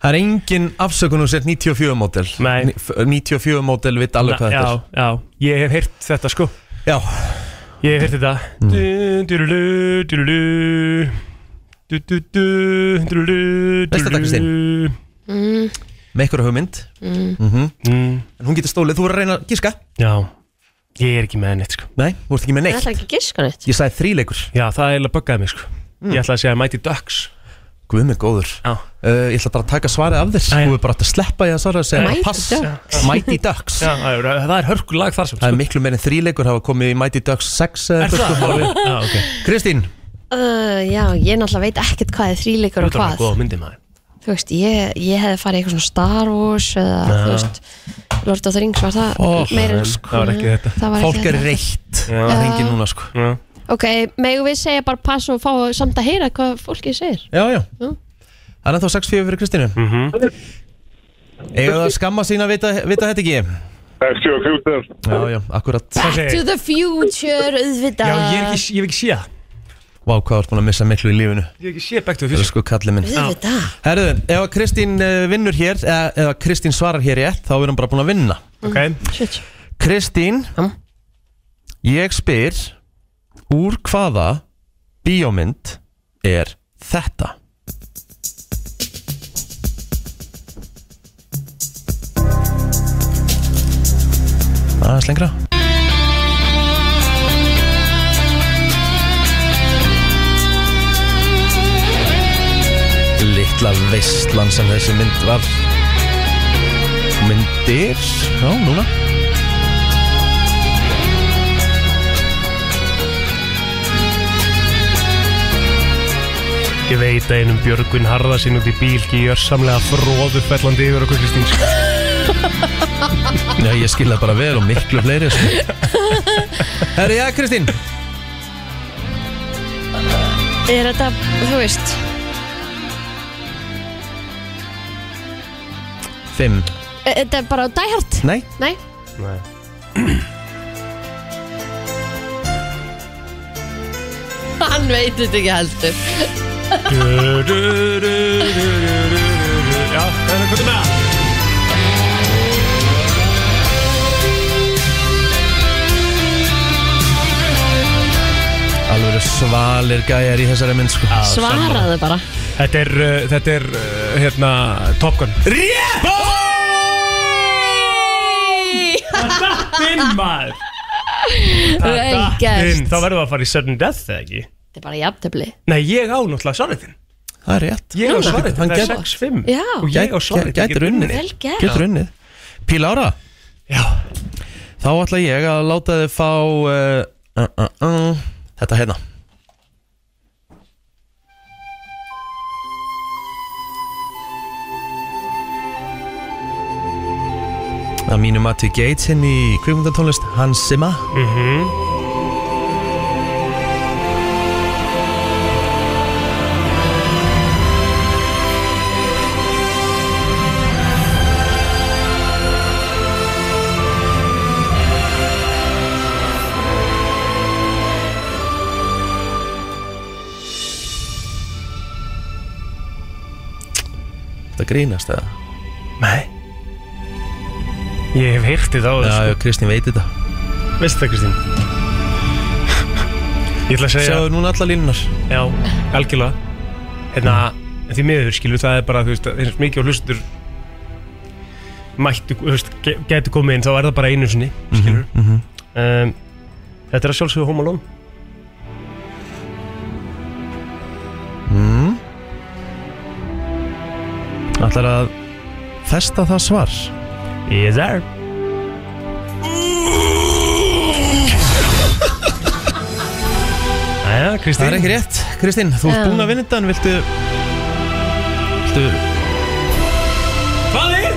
[SPEAKER 1] það er engin afsökun og sett 94 mótel
[SPEAKER 3] Nei.
[SPEAKER 1] 94 mótel vitt alveg hvað
[SPEAKER 3] Já,
[SPEAKER 1] þetta er
[SPEAKER 3] já, ég hef heyrt þetta sko
[SPEAKER 1] Já,
[SPEAKER 3] Ég hef heyrt þetta Du, durulu, durulu Du, du, du, durulu,
[SPEAKER 1] Veist þetta, Kristín? með ykkur hugmynd Mhm.
[SPEAKER 3] Mm,
[SPEAKER 1] En hún getur stólið, þú verður að reyna að gíska
[SPEAKER 3] Já, ég er ekki með henni sko
[SPEAKER 1] Nei, þú ert ekki með
[SPEAKER 2] Það
[SPEAKER 1] neitt
[SPEAKER 2] ætla ekki að giska neitt
[SPEAKER 1] Ég sagði þríleikur
[SPEAKER 3] Já, það eiginlega buggaði mig sko Ég ætlaði að segja Mighty Ducks
[SPEAKER 1] Guð mig góður
[SPEAKER 3] Já
[SPEAKER 1] uh, Ég ætla bara að taka svarið af þér
[SPEAKER 3] Æ, já.
[SPEAKER 1] Þú er bara átt að sleppa ég að svara og segja bara
[SPEAKER 2] Mighty
[SPEAKER 1] pass.
[SPEAKER 2] Ducks.
[SPEAKER 1] Mighty Ducks
[SPEAKER 3] Já, það er- það er hörkulag þar sem sko.
[SPEAKER 1] Það er miklu meirinn þríleikur hafa komið í Mighty Ducks 6 eða
[SPEAKER 3] Er
[SPEAKER 1] eitthvað,
[SPEAKER 3] það?
[SPEAKER 1] sko.
[SPEAKER 3] Já, ok
[SPEAKER 1] Kristín
[SPEAKER 2] uh, Já, ég náttúrulega veit ekkert hvað er þríleikur og
[SPEAKER 3] Þetta var
[SPEAKER 2] hvað
[SPEAKER 3] góð myndi maður
[SPEAKER 2] Þú veist, ég, ég hefði farið í eitthvað svona Star Wars eða, þú veist Lord of the Rings var það
[SPEAKER 1] Ó,
[SPEAKER 2] meira sko. hérna.
[SPEAKER 3] en það var ekki þetta.
[SPEAKER 2] það var
[SPEAKER 1] Fólk
[SPEAKER 2] ekki
[SPEAKER 1] er
[SPEAKER 2] þetta.
[SPEAKER 1] reitt Það er engin núna sko
[SPEAKER 3] Já.
[SPEAKER 2] Ok, megum við segja bara pass og fá samt að heyra hvað fólkið segir
[SPEAKER 1] Já, já Það er ennþá 6-4 fyrir Kristínu mm -hmm. Eða það skamma sín að vita, vita þetta ekki
[SPEAKER 7] Ekki og kjúttir.
[SPEAKER 1] Já, já, akkurat
[SPEAKER 3] segir-
[SPEAKER 2] the future, auðvitað
[SPEAKER 3] Já, ég hef ekki, ég hef ekki séð það.
[SPEAKER 1] Vá, Vá, hvað þú ert búin að missa miklu í lífinu
[SPEAKER 3] Ég hef ekki sé back to
[SPEAKER 1] Það
[SPEAKER 3] the
[SPEAKER 1] er
[SPEAKER 3] future
[SPEAKER 1] sko kallið minn
[SPEAKER 2] Auðvitað.
[SPEAKER 1] Herðu, ef að Kristín eh, vinnur hér eða, eða Kristín svarar hér rétt þá er hún bara búin að vinna
[SPEAKER 2] Mm.
[SPEAKER 3] Ok,
[SPEAKER 2] Shit.
[SPEAKER 1] Kristín
[SPEAKER 2] Mm.
[SPEAKER 1] Ég spyr Úr hvaða bíómynd er þetta? Aðeins lengra Littla veistlan sem þessi mynd var Myndir Já, núna
[SPEAKER 3] Ég veit að einum Björgvin Harðarsinn út í bíl gjör samlega fróðu fellandi yfir okkur Kristín sko.
[SPEAKER 1] Já, ég skil það bara vel og miklu fleiri sko. Herri, já, Kristín
[SPEAKER 2] Er þetta, þú veist
[SPEAKER 1] 5
[SPEAKER 2] er Þetta er bara á Die Hard
[SPEAKER 1] Nei,
[SPEAKER 2] Nei,
[SPEAKER 3] Nei.
[SPEAKER 2] hann veit þetta ekki heldur
[SPEAKER 3] Du, du, du, du, du, du, du. Já, það er hvernig með það
[SPEAKER 1] alveg eru svalir gæjar í þessari mynd sko.
[SPEAKER 2] Svaraðu bara
[SPEAKER 3] Þetta er, uh, þetta er uh, hérna, Top Gun Rétt! Dattinn maður
[SPEAKER 2] Vel
[SPEAKER 3] Dattinn,
[SPEAKER 2] gert.
[SPEAKER 3] þá verðum við að fara í sudden death eða ekki
[SPEAKER 2] Þetta er bara jafntöfli
[SPEAKER 3] Nei, ég á náttúrulega svaretinn
[SPEAKER 1] Það er rétt
[SPEAKER 3] Ég á
[SPEAKER 2] Núna?
[SPEAKER 3] svaretinn,
[SPEAKER 1] Hann
[SPEAKER 3] það er
[SPEAKER 1] gæti-
[SPEAKER 3] 6-5
[SPEAKER 2] Já.
[SPEAKER 3] Og ég á svaretinn
[SPEAKER 1] Gætur unnið
[SPEAKER 2] Vel gert.
[SPEAKER 1] Gætur unnið Píl Ára,
[SPEAKER 3] Já,
[SPEAKER 1] þá ætla ég að láta þið fá uh, uh, uh, uh, Þetta hérna Að mínu mati Gates hinn í kvikmyndatónlist Hans Zimmer Þetta grínast eða?
[SPEAKER 3] nei Ég hef heyrtið á
[SPEAKER 1] Já,
[SPEAKER 3] þessu
[SPEAKER 1] já, Kristín veit þetta
[SPEAKER 3] sko. Veistu það Kristín? Ég ætla að segja
[SPEAKER 1] Sjáðu núna alla línunar
[SPEAKER 3] Já, algjörlega Hérna, en því miður skilur það er bara þú veist, það er mikið á hlustur mættu, þú veist, ge- gætu komið inn þá er það bara einu sinni, skilur um, Þetta er að sjálfsögðu Home Alone
[SPEAKER 1] Ætlar að festa það svar
[SPEAKER 3] Yes, sir Jæja,
[SPEAKER 1] Það er
[SPEAKER 3] Kristín
[SPEAKER 1] ekki rétt, Kristín, þú ert
[SPEAKER 2] Já.
[SPEAKER 1] búin að vinna þetta en viltu Viltu
[SPEAKER 3] Hvað er?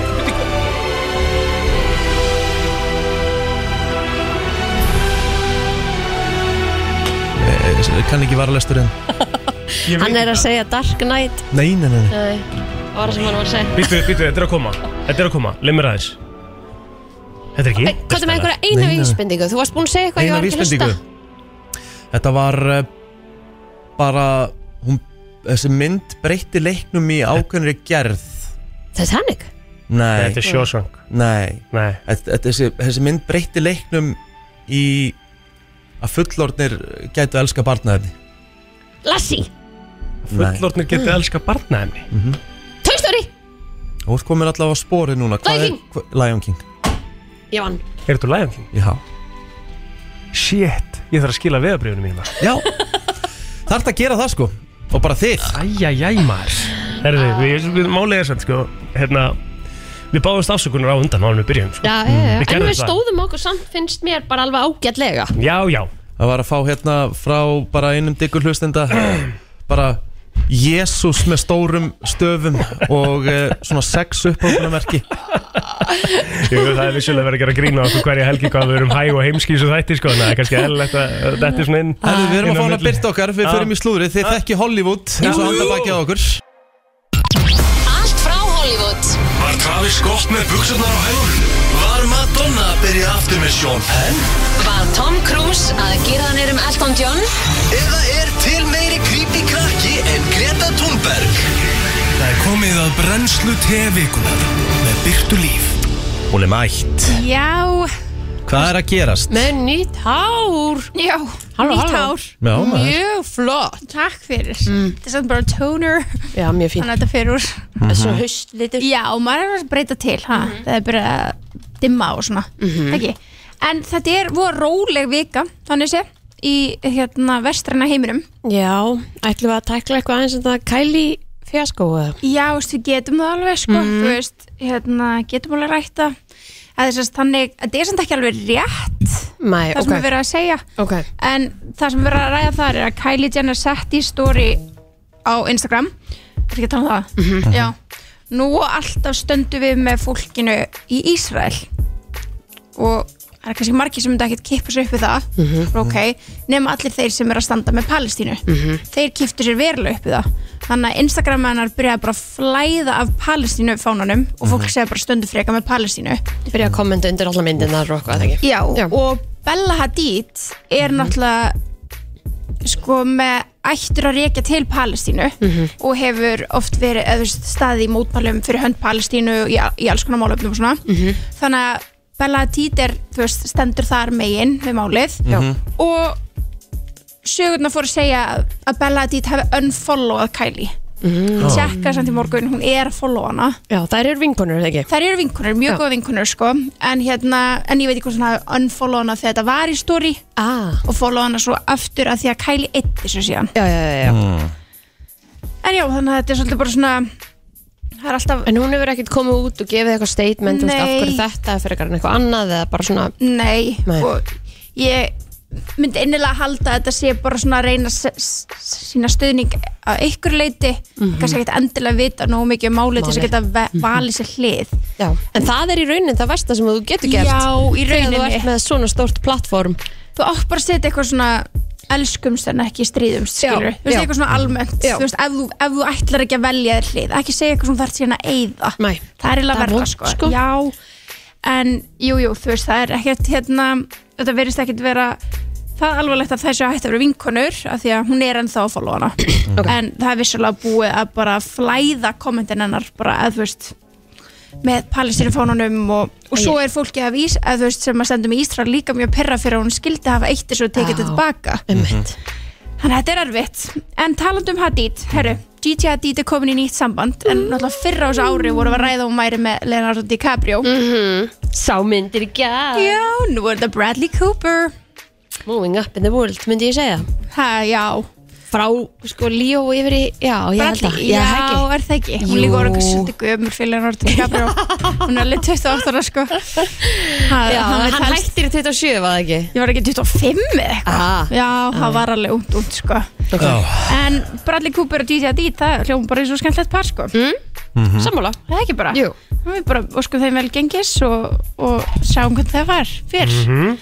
[SPEAKER 1] eh, kann ekki varalesturinn
[SPEAKER 2] Hann er að segja Dark Knight
[SPEAKER 1] Nei, nei, nei, nei
[SPEAKER 2] Nei, það var það sem hann var að segja
[SPEAKER 3] Býttu, býttu, þetta er að koma Þetta er að koma, leið mér aðeins Þetta er ekki
[SPEAKER 2] Hey, Hvað er með einhverja
[SPEAKER 1] Nei,
[SPEAKER 2] eina
[SPEAKER 1] nei.
[SPEAKER 2] vísbendingu? Þú varst búin að segja eitthvað, ég
[SPEAKER 1] Eina
[SPEAKER 2] var ekki að hlusta
[SPEAKER 1] vísbendingu Þetta var uh, bara hún, þessi mynd breytti leiknum í ákveðnri gerð
[SPEAKER 2] Titanic?
[SPEAKER 1] Nei,
[SPEAKER 3] Þetta er sjósvang
[SPEAKER 1] nei
[SPEAKER 3] Nei
[SPEAKER 1] Þetta- þetta- þessi, þessi mynd breytti leiknum í að fullornir gætu elska barnaði
[SPEAKER 2] Lassie?
[SPEAKER 3] Fullornir getið elska barnaðinni
[SPEAKER 2] Toy Story?
[SPEAKER 1] Þú ert komin allavega á spórið núna Hvað
[SPEAKER 2] Lion
[SPEAKER 1] er- hva- Lion King
[SPEAKER 2] Ég vann
[SPEAKER 3] Er þetta Lion King?
[SPEAKER 1] Já,
[SPEAKER 3] Shit, ég þarf að skila hérna. veðabriðunum mínum
[SPEAKER 1] Já. Þarft að gera það sko Og bara þið
[SPEAKER 3] Æjæjæj maður Herðu,
[SPEAKER 2] Ah.
[SPEAKER 3] við, við málið er samt sko Hérna, við báðumst afsökunar á undan Málum við byrjum sko
[SPEAKER 2] Já, já, já.
[SPEAKER 3] Við
[SPEAKER 2] En
[SPEAKER 3] gerðum
[SPEAKER 2] við
[SPEAKER 3] það.
[SPEAKER 2] stóðum okkur samt finnst mér bara alveg ágætlega
[SPEAKER 3] Já, já,
[SPEAKER 1] Það var að fá hérna frá bara einum diggur hlustenda Bara Jésús með stórum stöfum Og eh, svona sex upphóknarmerki
[SPEAKER 3] Jú, það er vissulega verið að gera grína okkur hverja helgi hvað við erum hæg og heimskís og þætti sko, en það er kannski eðlilegt að að þetta er svona inn
[SPEAKER 1] Herðu, Við erum að
[SPEAKER 3] inn á
[SPEAKER 1] fá hana
[SPEAKER 3] milli.
[SPEAKER 1] byrt okkar Við förum í slúðrið Þið þekki Hollywood eins og handa bakið á okkur
[SPEAKER 2] Allt frá Hollywood
[SPEAKER 5] Var Travis gott með buksarnar á hælunum? Var Madonna að byrja er ég aftur með Sean Penn?
[SPEAKER 7] Var Tom Cruise að gera hann erum Elton John?
[SPEAKER 5] Eða er til meiri creepy krakki en Greta Thunberg? Það er komið að brennslu tevikunar með Byrtu Líf.
[SPEAKER 1] Hún er mætt
[SPEAKER 8] Já,
[SPEAKER 1] Hvað er að gerast?
[SPEAKER 2] Með nýtt hár
[SPEAKER 8] já,
[SPEAKER 2] Halló, halló.
[SPEAKER 8] nýtt hár
[SPEAKER 1] Já, maður
[SPEAKER 2] Mjög flott
[SPEAKER 8] Takk fyrir, þetta er samt bara toner
[SPEAKER 2] Já, mjög fín
[SPEAKER 8] Þannig að þetta fyrir úr
[SPEAKER 2] Svo haustlitur
[SPEAKER 8] Já, og maður er að breyta til ha? Það er bara að dimma og svona ekki? En þetta er voru róleg vika Þannig sé Í hérna vestræna heiminum
[SPEAKER 2] Já, ætlum við að tækla eitthvað aðeins en það Kylie fjaskó eða?
[SPEAKER 8] Já, veist, við getum það alveg sko Þú veist, hérna, getum alveg rækta að þess að þannig, að þetta er samt ekki alveg rétt
[SPEAKER 2] Mæ,
[SPEAKER 8] það sem
[SPEAKER 2] ok,
[SPEAKER 8] er verið að segja
[SPEAKER 2] ok
[SPEAKER 8] en það sem verið að ræða þar er að Kylie Jenner sett í story á Instagram er ekki að tala um það já, nú alltaf stöndum við með fólkinu í Ísrael og það er kannski margir sem myndi ekkert kippa sér upp við það ok, nema allir þeir sem eru að standa með Palestínu þeir kiptu sér verulega upp við það þannig að Instagram hennar byrjaði bara að flæða af Palestínu fánanum og fólk segja bara stöndum freka með Palestínu
[SPEAKER 2] Byrja að kommenta undir alla myndinar og eitthvað ekki
[SPEAKER 8] Já,
[SPEAKER 2] Já.
[SPEAKER 8] og Bella Hadid er náttúrulega sko með ættur að rekja til Palestínu og hefur oft verið eða þú veist, staðið í mótmælum fyrir hönd Palestínu í, í alls konar málöfnum og svona þannig að Bella Hadid er þú veist, stendur þar megin við málið
[SPEAKER 2] Já.
[SPEAKER 8] og sögurnar fóru að segja að Bella Hadid hafi unfollowað Kylie mm. tjekka samt í morgun, hún er að followa hana
[SPEAKER 2] Já, þær eru vinkonur, eða ekki?
[SPEAKER 8] Þær eru vinkunur, mjög
[SPEAKER 2] Já.
[SPEAKER 8] góð vinkunur sko en, hérna, en ég veit ekki hvort hann hafi unfollow hana þegar þetta var í story
[SPEAKER 2] Ah,
[SPEAKER 8] og follow hana svo aftur að því að Kylie eitt þessu síðan
[SPEAKER 2] já, já, já, já
[SPEAKER 8] En já, þannig að þetta er svolítið bara svona það er alltaf,
[SPEAKER 2] En hún hefur ekkert komið út og gefið eitthvað statement Nei. Veist, af
[SPEAKER 8] Nei.
[SPEAKER 2] hverju þetta er fyrir eitthvað eitthvað annað eða bara svona
[SPEAKER 8] nei,
[SPEAKER 2] Nei.
[SPEAKER 8] og ég myndi innilega halda að þetta sé bara svona að reyna s- s- sína stuðning að ykkur leiti kannski ekkert endilega vita nógu mikið um málið til
[SPEAKER 2] Mhm.
[SPEAKER 8] þess að
[SPEAKER 2] Málið.
[SPEAKER 8] geta ve- valið sér hlið
[SPEAKER 2] Já. En það er í raunin það versta sem þú getur gert
[SPEAKER 8] Já, í
[SPEAKER 2] Þegar þú
[SPEAKER 8] rauninni.
[SPEAKER 2] ert með svona stórt plattform
[SPEAKER 8] þú átt bara að setja eitthvað svona elskumst en ekki stríðumst
[SPEAKER 2] Já,
[SPEAKER 8] skilur, þú veist
[SPEAKER 2] já.
[SPEAKER 8] eitthvað svona almennt
[SPEAKER 2] Já.
[SPEAKER 8] þú veist, ef, þú, ef þú ætlar ekki að velja þér hlið ekki segja eitthvað svona þarf síðan að eyða
[SPEAKER 2] Nei.
[SPEAKER 8] það er eiginlega
[SPEAKER 2] Það er
[SPEAKER 8] verða
[SPEAKER 2] vont,
[SPEAKER 8] sko.
[SPEAKER 2] sko.
[SPEAKER 8] já, en jú, jú, þú veist það er ekkert hérna, þetta verðist ekkert vera það alvarlegt að þessu hætti að vera vinkonur af því að hún er ennþá að followa hana en það er vissulega búið að bara flæða kommentin hennar bara að þú veist með palestinufónunum og, og svo er fólki af Ís, að, þú veist, sem að sendum í Ísra líka mjög perra fyrir að hún skildi hafa eitt þessu og tekið
[SPEAKER 2] Já.
[SPEAKER 8] þetta tilbaka
[SPEAKER 2] Einmitt.
[SPEAKER 8] þannig að þetta er erfitt en talandum Hadid, herru Gigi Hadid er komin í nýtt samband
[SPEAKER 2] Mm.
[SPEAKER 8] en náttúrulega fyrra á þessu ári voru að ræða hún væri með Leonardo DiCaprio
[SPEAKER 2] Mm. Sá myndir í gær
[SPEAKER 8] já, nú er þetta Bradley Cooper
[SPEAKER 2] Moving up in the world, myndi ég segja
[SPEAKER 8] ha, já,
[SPEAKER 2] Frá sko Líó yfir í Já, ég held að
[SPEAKER 8] Bradley,
[SPEAKER 2] Já,
[SPEAKER 8] já,
[SPEAKER 2] ekki
[SPEAKER 8] er það ekki hún
[SPEAKER 2] Jú.
[SPEAKER 8] líka voru eitthvað svolítið gömur fyrir Leonardo DiCaprio hún er alveg 28 ára sko ha,
[SPEAKER 2] Já, hann,
[SPEAKER 8] er talstur-
[SPEAKER 2] hættir í 27, var það ekki?
[SPEAKER 8] ég var ekki 25 eða eitthvað
[SPEAKER 2] Ah.
[SPEAKER 8] já, það var alveg umt, umt sko
[SPEAKER 1] Já,
[SPEAKER 8] en Bradley Cooper og DJ Hadid það hljóðum bara eins og skemmtlegt par sko
[SPEAKER 2] Sammála
[SPEAKER 8] það er ekki bara
[SPEAKER 2] Mm. Jú.
[SPEAKER 8] við bara óskum þeim vel gengis og, og sjáum hvernig það var fyrr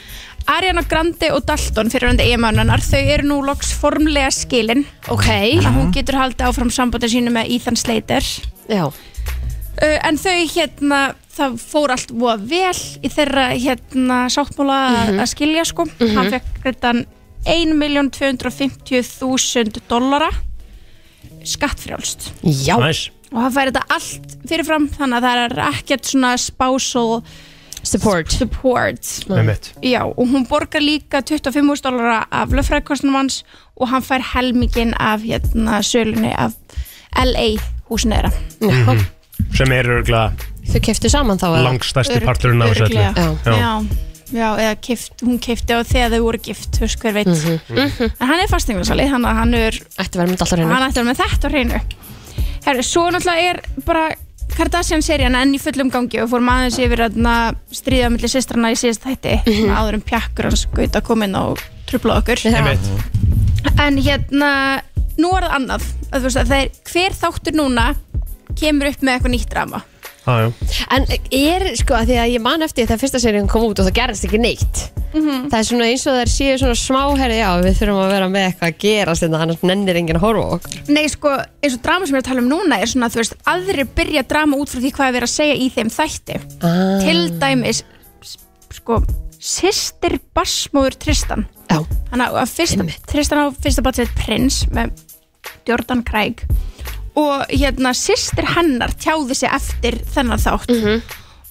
[SPEAKER 8] Ariana Grande og Dalton fyrirhundi eiginmannunar þau eru nú loks formlega skilin
[SPEAKER 2] Ok
[SPEAKER 8] þannig að hún getur haldið áfram sambandin sínu með Ethan Slater
[SPEAKER 2] Já,
[SPEAKER 8] Uh, en þau hérna, það fór allt voða vel í þeirra hérna sáttmála mm að skilja sko. Hann fekk greitan 1.250.000 dollara skattfrjálst.
[SPEAKER 2] já
[SPEAKER 3] Næs
[SPEAKER 8] Og hann fær þetta allt fyrirfram þannig að það er ekkert svona spousal
[SPEAKER 2] Support
[SPEAKER 8] support.
[SPEAKER 3] Með mitt
[SPEAKER 8] Já, og hún borgar líka 25.000 dollara af löffræðkostnum hans og hann fær helmingin af hérna sölunni af LA húsinu þeirra.
[SPEAKER 2] Já,
[SPEAKER 3] Sem er örgulega
[SPEAKER 2] Þau keftu saman þá eða?
[SPEAKER 3] langstæsti
[SPEAKER 8] Örugg-
[SPEAKER 3] parturinn af þessu öllu.
[SPEAKER 8] örugglega.
[SPEAKER 3] Já.
[SPEAKER 8] já, já, eða kift, hún kifti á þegar þau voru gift, þú veist hver veit en hann er fastingarsali, hann, hann er
[SPEAKER 2] Ætti verið mynd alltaf reyna
[SPEAKER 8] hann ætti að vera með þetta á hreinu herru, svo náttúrulega er bara Kardashian-serían enn í fullum gangi og fórum aðeins yfir hérna, að stríða millir sýstrana í síðast þætti svona áður um pjakkur hans gauta komin og trubla okkur
[SPEAKER 3] Einmitt.
[SPEAKER 8] en hérna, nú er það annað að þú veist að það er hver þáttur núna kemur upp með eitthvað nýtt drama
[SPEAKER 3] Já, já.
[SPEAKER 2] En er, sko, að því að ég man eftir þegar fyrsta seríun kom út og það gerðist ekki neitt Það er svona eins og þær séu svona smáherri Já, við þurfum að vera með eitthvað að gera Þannig að annars nennir enginn að horfa á okkur
[SPEAKER 8] Nei, sko, eins og drama sem ég er að tala um núna er svona, þú veist, aðrir byrja drama út frá því hvað er verið að segja í þeim þætti. Til dæmis sko, sýstir barsmóður Tristan
[SPEAKER 2] Já,
[SPEAKER 8] Þannig að fyrsta,
[SPEAKER 2] Einmitt.
[SPEAKER 8] Tristan á fyrsta batsið prins með Jordan Craig og hérna sýstir hennar tjáði sig eftir þennan þátt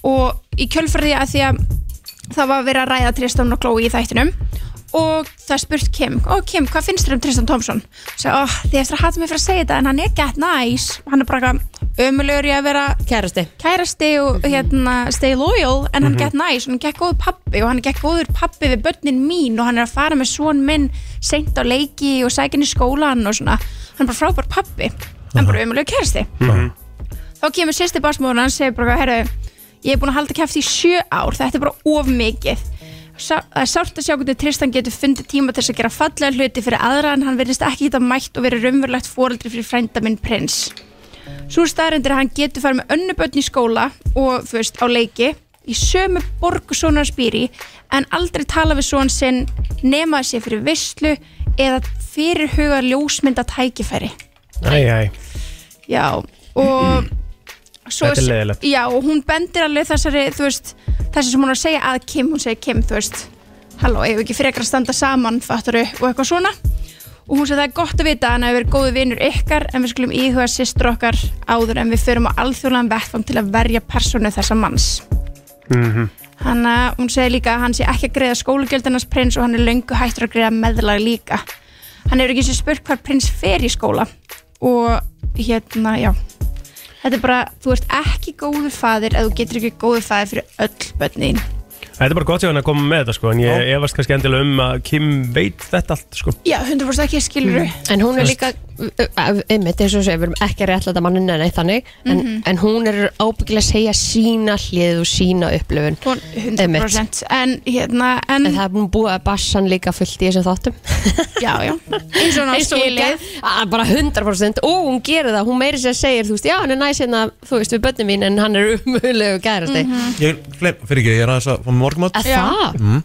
[SPEAKER 8] og í kjölfærði að því að það var verið að ræða Tristan og Chloe í þættinum og það er spurt Kim og Kim, hvað finnst þér um Tristan Thompson? Og sagði, oh, því eftir að hata mig fyrir að segja þetta en hann er gett næs, hann er bara ömulegur í að vera
[SPEAKER 2] kærasti
[SPEAKER 8] kærasti og hérna stay loyal en hann gekk næs og hann gekk góður pappi og hann gekk góður pappi við börnin mín og hann er að fara með svon minn seint á leiki og sækinn í skólan og svona hann er bara frábær pappi en bara umlega kærasti þá kemur sérsti basmóður og hann segir bara herru ég er búin að halda kæft í sjö ár þetta er bara of mikið Sá- það er sárt að sjá hvernig Tristan getur fundið tíma til þess að gera fallega hluti fyrir aðra en hann verðist ekki geta mætt og verið raunverulegt fóreldri fyrir frænda minn prins Svo staðarindir að hann getur farið með önnu börn í skóla og þú veist á leiki í sömu borg og sonar spýri en aldrei tala við son sinn nema að sé fyrir visslu eða fyrir huga ljósmynda tækifæri.
[SPEAKER 3] Æj, æj
[SPEAKER 8] Já, og svo,
[SPEAKER 3] Þetta er leiðilegt.
[SPEAKER 8] Já, og hún bendir alveg þessari, þú veist, þessi sem hún er að segja að Kim, hún segir Kim, þú veist, halló, ef við ekki frekar að standa saman, fattaru, og eitthvað svona. Og hún segir það er gott að vita að hann hefur verið góðu vinur ykkar, en við skulum íhuga sýstur okkar áður en við förum á alþjóðlegan vettfang til að verja personu þessa manns.
[SPEAKER 3] Mhm.
[SPEAKER 8] Þannig að hún segir líka að hann sé ekki að greiða skólugjöldinans prins og hann er löngu hættur að greiða meðlag líka. Hann hefur ekki eins og spurt hvað prins fer í skóla og hérna, já. Þetta er bara, þú ert ekki góður faðir eða þú getur ekki góður faðir fyrir öll börnin.
[SPEAKER 3] Þetta er bara gott hjá hann að koma með þetta sko En ég efast kannski endilega um að Kim veit þetta allt sko
[SPEAKER 8] Já, 100% ekki skilur mm.
[SPEAKER 2] En hún er líka, uh, uh, einmitt eins og segja, við erum ekki að réttlæta manninn en eitt þannig en,
[SPEAKER 8] Mhm.
[SPEAKER 2] en hún er ábyggilega að segja sína hlið og sína upplöfun
[SPEAKER 8] 100% En hérna, en,
[SPEAKER 2] En það er búin búið að bassan líka fullt í þessum þáttum
[SPEAKER 8] já, já Eins og hann
[SPEAKER 2] Eins og hún
[SPEAKER 8] skilið
[SPEAKER 2] ger- Ah, Bara 100% og hún gerir það, hún meiri sér segir þú veist, já hann er næs hérna, þú veist, við börnum mín en hann er umhullu kærasti
[SPEAKER 8] Mhm.
[SPEAKER 9] Ég glem, fyrir ekki, ég er aðeins að fá morgumat
[SPEAKER 2] Að það?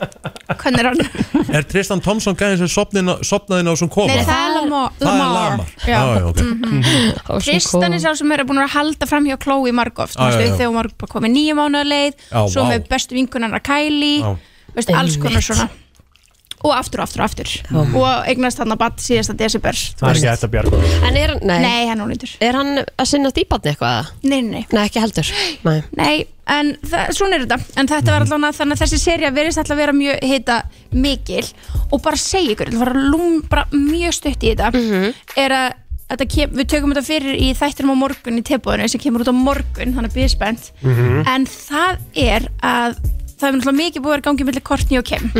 [SPEAKER 8] Hvernig er hann?
[SPEAKER 9] Er Tristan Thompson gæðin sem sopnaðin á þessum koma?
[SPEAKER 8] Nei, það er Lamar.
[SPEAKER 9] það er Lamar
[SPEAKER 8] Já.
[SPEAKER 9] Já, já, ok
[SPEAKER 2] Og svo
[SPEAKER 8] Tristan er
[SPEAKER 2] kom-
[SPEAKER 8] sá sem er búin að halda fram hjá Chloe margóft
[SPEAKER 9] Já, já, já.
[SPEAKER 8] þegar hún var bara komið nýju mánuða leið
[SPEAKER 9] Já,
[SPEAKER 8] svo
[SPEAKER 9] vá.
[SPEAKER 8] með bestu vinkunarna Kylie
[SPEAKER 9] Já.
[SPEAKER 8] veist, alls konar
[SPEAKER 2] Einmitt.
[SPEAKER 8] svona og aftur, aftur, aftur og eignast hann að batt síðasta desember
[SPEAKER 3] Það er ekki hægt að bjarga
[SPEAKER 2] En er, nei,
[SPEAKER 8] Nei, hann ónýtur
[SPEAKER 2] er hann að sinna dýbarni eitthvað? eða?
[SPEAKER 8] Nei, nei, nei.
[SPEAKER 2] Nei, ekki heldur Nei,
[SPEAKER 8] Nei, en það- svona er þetta en þetta var allavega þannig að þessi seria verðist alltaf að vera mjög hita mikil og bara segja ykkur, það var lúm bara mjög stutt í þetta er að Þetta kem, við tökum þetta fyrir í þættinum á morgun í tebóðinu sem kemur út á morgun, þannig að býðið spennt en það er að það er náttúrulega mikið búið að vera gangið millir Kortni og Kim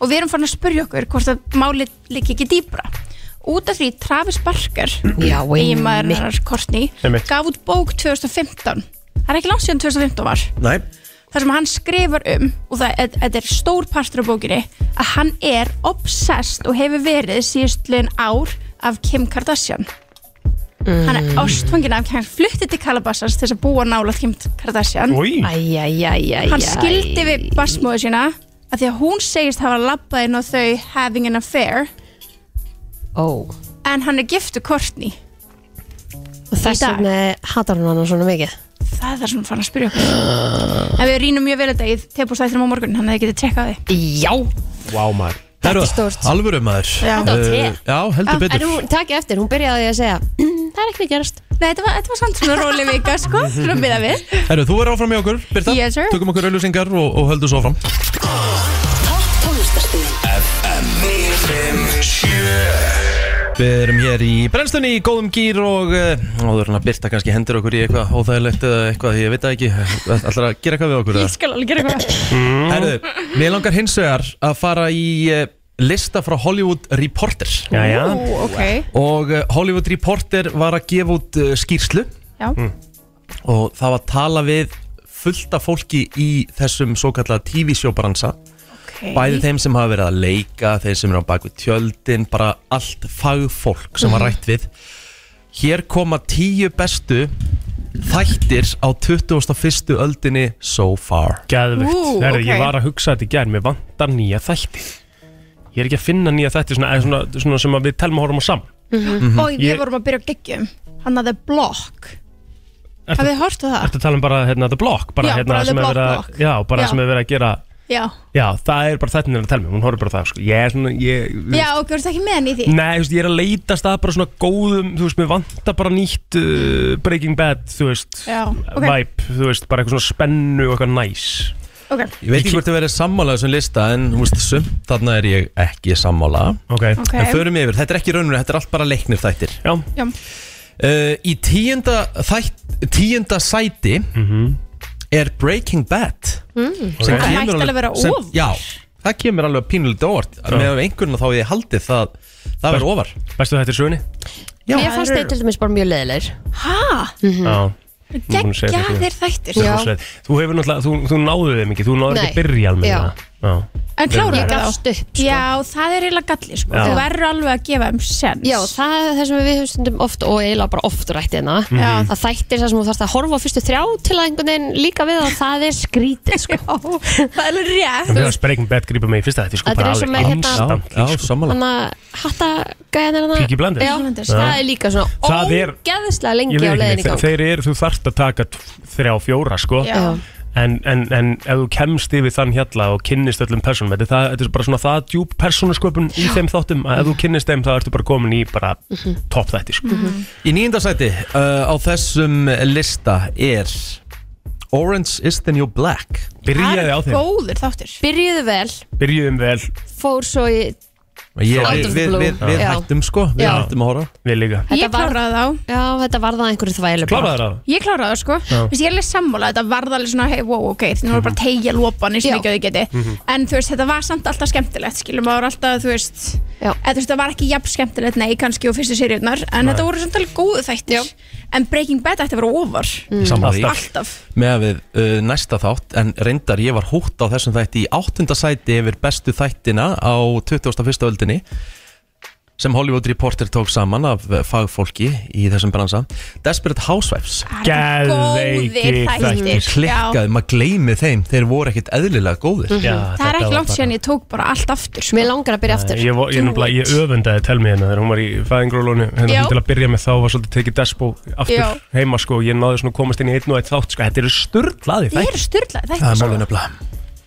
[SPEAKER 8] og við erum farin að spurja okkur hvort að málið liggi ekki dýbra út af því Travis Barker
[SPEAKER 2] já,
[SPEAKER 8] eiginmaður
[SPEAKER 2] einmitt
[SPEAKER 8] hennar Kortni
[SPEAKER 3] Einmitt.
[SPEAKER 8] gaf út bók 2015 það er ekki langt síðan 2015 var
[SPEAKER 9] Nei,
[SPEAKER 8] þar sem hann skrifar um og það þetta- þetta er stór partur af bókinni að hann er obsessed og hefur verið síðustliðin ár af Kim Kardashian hann er ástfangin af hann flutti til Calabasas til þess að búa nála Kim Kardashian
[SPEAKER 3] Új,
[SPEAKER 2] Æjæjæjæjæj
[SPEAKER 8] hann skildi við basmóðu sína að því að hún segist hafa labbað inn á þau having an affair
[SPEAKER 2] Ó,
[SPEAKER 8] en hann er giftu Kortni
[SPEAKER 2] og þess
[SPEAKER 8] Í dag.
[SPEAKER 2] vegna hatar hún hann svona mikið
[SPEAKER 8] Það er það sem hún fann að spyrja okkur En við rínum mjög vel þetta í tebústættinum á morgun Þannig að þið getið tjekkað því
[SPEAKER 2] Já,
[SPEAKER 3] wow maður
[SPEAKER 9] Heru,
[SPEAKER 2] stórt.
[SPEAKER 9] alvöru maður
[SPEAKER 8] Já.
[SPEAKER 2] þetta var te
[SPEAKER 9] Eh, Já, heldur
[SPEAKER 2] En
[SPEAKER 9] betur
[SPEAKER 2] hún, takk eftir, hún byrjaði að segja "Mm, Það er ekki að gerast
[SPEAKER 8] Nei, þetta var, þetta var samt svona róli vika, sko Svona miða við
[SPEAKER 9] Herru, þú er áfram í okkur, Birta
[SPEAKER 8] Yes, sir.
[SPEAKER 9] Tökum okkur auðlýsingar og, og höldum svo áfram
[SPEAKER 1] Við erum hér í brennstunni í góðum gýr og uh, áður en að Birta kannski hendur okkur í eitthvað óþægilegt eða eitthvað, ég veit það ekki Allra að gera eitthvað við okkur
[SPEAKER 8] Ég skal alveg gera eitthvað
[SPEAKER 1] mm. Herðu, mér langar hins vegar að fara í uh, lista frá Hollywood Reporter
[SPEAKER 3] Jæja,
[SPEAKER 8] Ú, ok
[SPEAKER 1] og uh, Hollywood Reporter var að gefa út uh, skýrslu
[SPEAKER 8] Já,
[SPEAKER 1] og það var að tala við fullta fólki í þessum svo kallaða TV-sjóbransa
[SPEAKER 8] ok
[SPEAKER 1] bæði þeim sem hafa verið að leika þeir sem eru á bakvið tjöldin bara allt fagfólk sem
[SPEAKER 8] Mhm.
[SPEAKER 1] var rætt við hér koma tíu bestu þættir á 21. öldinni so far
[SPEAKER 3] geðvögt
[SPEAKER 8] Ú,
[SPEAKER 3] Herru,
[SPEAKER 8] ok.
[SPEAKER 3] ég var að hugsa þetta í gær, mér vantar nýja þætti Ég er ekki að finna nýja þætti svona, eða svona, svona sem að við telma horfum á saman
[SPEAKER 8] Og við
[SPEAKER 3] Ég-
[SPEAKER 8] vorum að byrja á geggjum Hann að The Block Hafið þið hort á það?
[SPEAKER 3] Ertu að tala um bara hérna, The Block bara,
[SPEAKER 8] Já,
[SPEAKER 3] hérna,
[SPEAKER 8] bara The
[SPEAKER 3] sem er
[SPEAKER 8] Block,
[SPEAKER 3] verið að-
[SPEAKER 8] Block.
[SPEAKER 3] Já, bara
[SPEAKER 8] Já.
[SPEAKER 3] sem er verið að gera
[SPEAKER 8] Já,
[SPEAKER 3] Já, það er bara þetta nefnir að tala mig Hún horfir bara á það sko. Ég er svona ég,
[SPEAKER 8] já og gerðist ekki með henni í því
[SPEAKER 3] Nei, þú veist, ég er að leitast að bara svona góðum Þú veist, mér vantar bara nýtt uh, Breaking Bad, þú veist
[SPEAKER 8] Já, ok,
[SPEAKER 3] Vibe, þú veist, bara eitthvað svona spennu og eitthvað næs
[SPEAKER 8] ok,
[SPEAKER 1] Ég veit ekki hvort að vera sammála þessum lista en þú veist, sumt þarna er ég ekki sammála
[SPEAKER 3] Ok,
[SPEAKER 8] ok
[SPEAKER 1] En förum yfir, þetta er ekki raunur, þetta er allt bara leiknir þættir
[SPEAKER 3] já,
[SPEAKER 8] Já,
[SPEAKER 1] uh, Í tíunda, þætt, tíunda sæti er Breaking Bad
[SPEAKER 2] Mm,
[SPEAKER 8] Það hætti alveg að vera
[SPEAKER 1] sem-
[SPEAKER 8] ofar.
[SPEAKER 1] Já, það kemur alveg pínulegt óvart Með einhverjum þá hefði ég haldið það það verður ofar
[SPEAKER 3] bestu þetta er sögunni
[SPEAKER 1] Já.
[SPEAKER 2] Mér fannst þeir til dæmis bara mjög leðilegir
[SPEAKER 8] hæ?
[SPEAKER 3] Já, Mm. Hún segir þetta.
[SPEAKER 8] Mhm. Geggjaðir þættir sko.
[SPEAKER 2] Já.
[SPEAKER 3] þú veist, Þú hefur náttúrulega, þú, þú náðu þeim ekki Þú náður ekki
[SPEAKER 2] Nei.
[SPEAKER 3] að byrja alveg
[SPEAKER 2] Já.
[SPEAKER 3] það Já,
[SPEAKER 8] En klára
[SPEAKER 2] Ég
[SPEAKER 8] það
[SPEAKER 2] gafst upp, sko.
[SPEAKER 8] Já, það er eiginlega galli sko.
[SPEAKER 3] Já.
[SPEAKER 8] Þú verður alveg að gefa þeim sens
[SPEAKER 2] Já, það er það sem við höfum stundum oft og eiginlega bara oft rætt hérna
[SPEAKER 3] Mhm.
[SPEAKER 8] Já.
[SPEAKER 2] að þættir það sem þú þarfst að horfa á fyrstu þrjá til að einhvern veginn líka við að það er skrítið sko.
[SPEAKER 8] það er alveg rétt
[SPEAKER 3] En það er Breaking Bad grípa mig í fyrsta þetta sko,
[SPEAKER 2] Þetta er eins og með hérna-
[SPEAKER 3] instant
[SPEAKER 1] Já, sammála
[SPEAKER 2] Þannig að hatta gæðan er hana
[SPEAKER 3] Peaky Blinders.
[SPEAKER 2] Já,
[SPEAKER 8] Blinders.
[SPEAKER 2] það er líka svona
[SPEAKER 3] Það er-
[SPEAKER 2] ógeðslega
[SPEAKER 3] Ég
[SPEAKER 2] lengi
[SPEAKER 3] veit
[SPEAKER 2] á
[SPEAKER 3] ekki,
[SPEAKER 2] leiðin í
[SPEAKER 3] neitt,
[SPEAKER 2] gang
[SPEAKER 3] þeir eru, þú þarft að taka tv- þrjá, fjóra sko
[SPEAKER 8] Já.
[SPEAKER 3] en, en, en ef þú kemst yfir þann hjalla og kynnist öllum personum þetta, er það, þetta er bara svona það djúp persónasköpun í þeim þáttum að ef þú kynnist þeim þá ertu bara komin í bara
[SPEAKER 8] Mhm.
[SPEAKER 3] topp þætti sko.
[SPEAKER 1] Í nýjunda sæti uh, á þessum lista er Orange is the New Black
[SPEAKER 8] Það
[SPEAKER 3] byrjaði á
[SPEAKER 8] er
[SPEAKER 3] þeim,
[SPEAKER 8] góður þáttir
[SPEAKER 2] Byrjuðu vel,
[SPEAKER 3] byrjuðum vel
[SPEAKER 2] fór svo í
[SPEAKER 1] ég,
[SPEAKER 2] Out of the
[SPEAKER 1] við,
[SPEAKER 2] blue.
[SPEAKER 1] við, við
[SPEAKER 2] Já.
[SPEAKER 1] hættum sko, við
[SPEAKER 2] Já.
[SPEAKER 1] hættum að horfa
[SPEAKER 3] við líka
[SPEAKER 2] Þetta
[SPEAKER 8] Ég
[SPEAKER 2] var-
[SPEAKER 8] kláraði þá
[SPEAKER 2] Já, þetta var það einhverju þvælu bara.
[SPEAKER 3] kláraði það
[SPEAKER 8] Ég kláraði það sko, Vist, ég er alveg sammála þetta varð alveg svona, hey, wow, ok, þetta var bara að tegja lopan eins og
[SPEAKER 2] Já.
[SPEAKER 8] mikið að þið geti en þú veist, þetta var samt alltaf skemmtilegt skilum, það var alltaf, þú veist
[SPEAKER 2] Já.
[SPEAKER 8] eða, þú veist, það var ekki jafn skemmtilegt, nei, kannski og fyrstu seríunar, en þetta voru samt alveg góðu þættir
[SPEAKER 2] Já.
[SPEAKER 8] en Breaking Bad ætti að vera ofar
[SPEAKER 1] Sammála því.
[SPEAKER 8] alltaf,
[SPEAKER 1] með að við uh, næsta þátt en reyndar ég var hótt á þessum þætti í áttunda sæti yfir bestu þættina á 21. öldinni sem Hollywood Reporter tók saman af uh, fagfólki í þessum bransa Desperate Housewives
[SPEAKER 8] Það eru
[SPEAKER 3] Geðveikir
[SPEAKER 8] góðir
[SPEAKER 3] þættir.
[SPEAKER 8] þættir Já.
[SPEAKER 1] klikkaði, maður gleymi þeim þeir voru ekkit eðlilega góðir
[SPEAKER 3] Já,
[SPEAKER 8] Mhm. það er
[SPEAKER 3] þetta
[SPEAKER 8] ekki
[SPEAKER 3] var
[SPEAKER 8] langt
[SPEAKER 3] bara-
[SPEAKER 8] síðan ég tók bara allt aftur sko.
[SPEAKER 2] Mér langar að byrja aftur
[SPEAKER 3] Ég, vo- ég, nefnilega- ég öfundaði telmi hérna þegar hún var í fæðingrólunni
[SPEAKER 8] Já.
[SPEAKER 3] hérna, hún til að byrja með þá var svolítið tekið despo aftur
[SPEAKER 8] Já.
[SPEAKER 3] heima sko og ég náði svona að komast inn í einn og eitt þátt sko, þetta eru sturdlaði
[SPEAKER 8] Þið eru styrlaði
[SPEAKER 1] það er
[SPEAKER 8] þættir sko.
[SPEAKER 1] málið nefnilega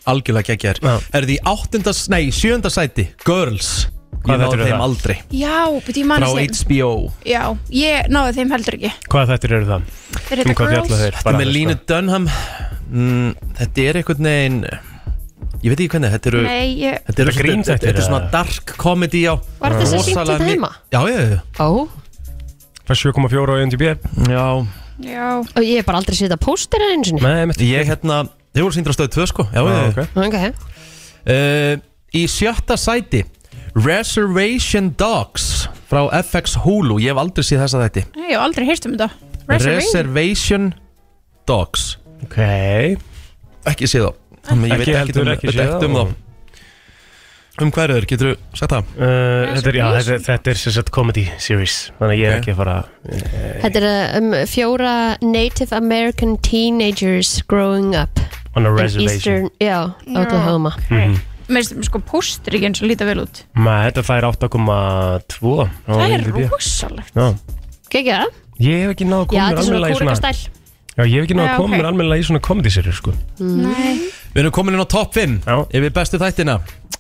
[SPEAKER 1] algjörlega geggjar
[SPEAKER 3] Já.
[SPEAKER 1] er því áttunda, nei, sjönda sæti Girls, ég
[SPEAKER 3] Hvað
[SPEAKER 1] náði
[SPEAKER 3] þættir eru
[SPEAKER 1] þeim
[SPEAKER 3] það?
[SPEAKER 1] aldrei
[SPEAKER 8] Já, betur ég
[SPEAKER 1] frá
[SPEAKER 8] manna sér
[SPEAKER 1] HBO
[SPEAKER 8] Já, ég náði þeim heldur ekki
[SPEAKER 3] Hvað þættir eru það?
[SPEAKER 8] Þeir heita
[SPEAKER 3] Um hvað fjalla
[SPEAKER 8] Girls.
[SPEAKER 3] þeir?
[SPEAKER 1] Þetta með Línu Dunham mm, Þetta er einhvern veginn Ég veit ekki hvernig, þetta eru
[SPEAKER 8] Nei, ég,
[SPEAKER 1] Þetta eru
[SPEAKER 3] Þetta
[SPEAKER 1] svona-
[SPEAKER 3] grínþættir,
[SPEAKER 1] þetta er
[SPEAKER 3] eða?
[SPEAKER 1] svona dark comedy á
[SPEAKER 2] Var þetta sem sýnt
[SPEAKER 1] rosalega
[SPEAKER 2] hérna
[SPEAKER 1] mi-
[SPEAKER 2] heima?
[SPEAKER 1] Já, já, já,
[SPEAKER 2] Ó,
[SPEAKER 3] Fær 7,4 á IMDb
[SPEAKER 1] já
[SPEAKER 8] já,
[SPEAKER 2] og ég hef bara aldrei séð þetta pósterið einu sinni
[SPEAKER 3] Nei, mitt
[SPEAKER 1] Ég hérna, þau voru síndur á stöðu 2 sko Já, já, já
[SPEAKER 3] okay.
[SPEAKER 2] okay.
[SPEAKER 1] uh, Í sjötta sæti Reservation Dogs frá FX Hulu, ég hef aldrei séð þessa þætti
[SPEAKER 8] ég hef aldrei heyrt um þetta Reservation
[SPEAKER 1] Reservation Dogs
[SPEAKER 3] ok
[SPEAKER 1] Ekki séð þá Þannig
[SPEAKER 3] Ekki heldur, ekki séð
[SPEAKER 1] séð
[SPEAKER 3] þá.
[SPEAKER 1] um þá Um hverju er, getur þú sagt það?
[SPEAKER 3] uh, Þetta er, já, þetta, þetta er sem sagt comedy series Þannig að ég er
[SPEAKER 1] Ok.
[SPEAKER 3] ekki að fara
[SPEAKER 2] Þetta er uh, um fjóra Native American teenagers growing up
[SPEAKER 3] on a
[SPEAKER 2] in Eastern,
[SPEAKER 3] reservation
[SPEAKER 2] já, Oklahoma
[SPEAKER 8] Mér finnst sko póster ekki eins og líta vel út
[SPEAKER 3] Mæ, þetta fær 8,2 á
[SPEAKER 8] Það er
[SPEAKER 3] IMDb.
[SPEAKER 8] rosalegt
[SPEAKER 3] Já.
[SPEAKER 2] Gekki það?
[SPEAKER 3] Ég hef ekki náða að
[SPEAKER 2] Já,
[SPEAKER 3] koma mér
[SPEAKER 2] þetta er svona
[SPEAKER 3] almennilega í
[SPEAKER 2] kúrika
[SPEAKER 3] svona
[SPEAKER 2] stæl
[SPEAKER 3] Já, ég hef ekki náða
[SPEAKER 8] Já,
[SPEAKER 3] að koma
[SPEAKER 8] ok.
[SPEAKER 3] mér almennilega í svona comedy series sko.
[SPEAKER 1] Við erum komin inn á topp 5
[SPEAKER 3] Já.
[SPEAKER 1] yfir bestu þættina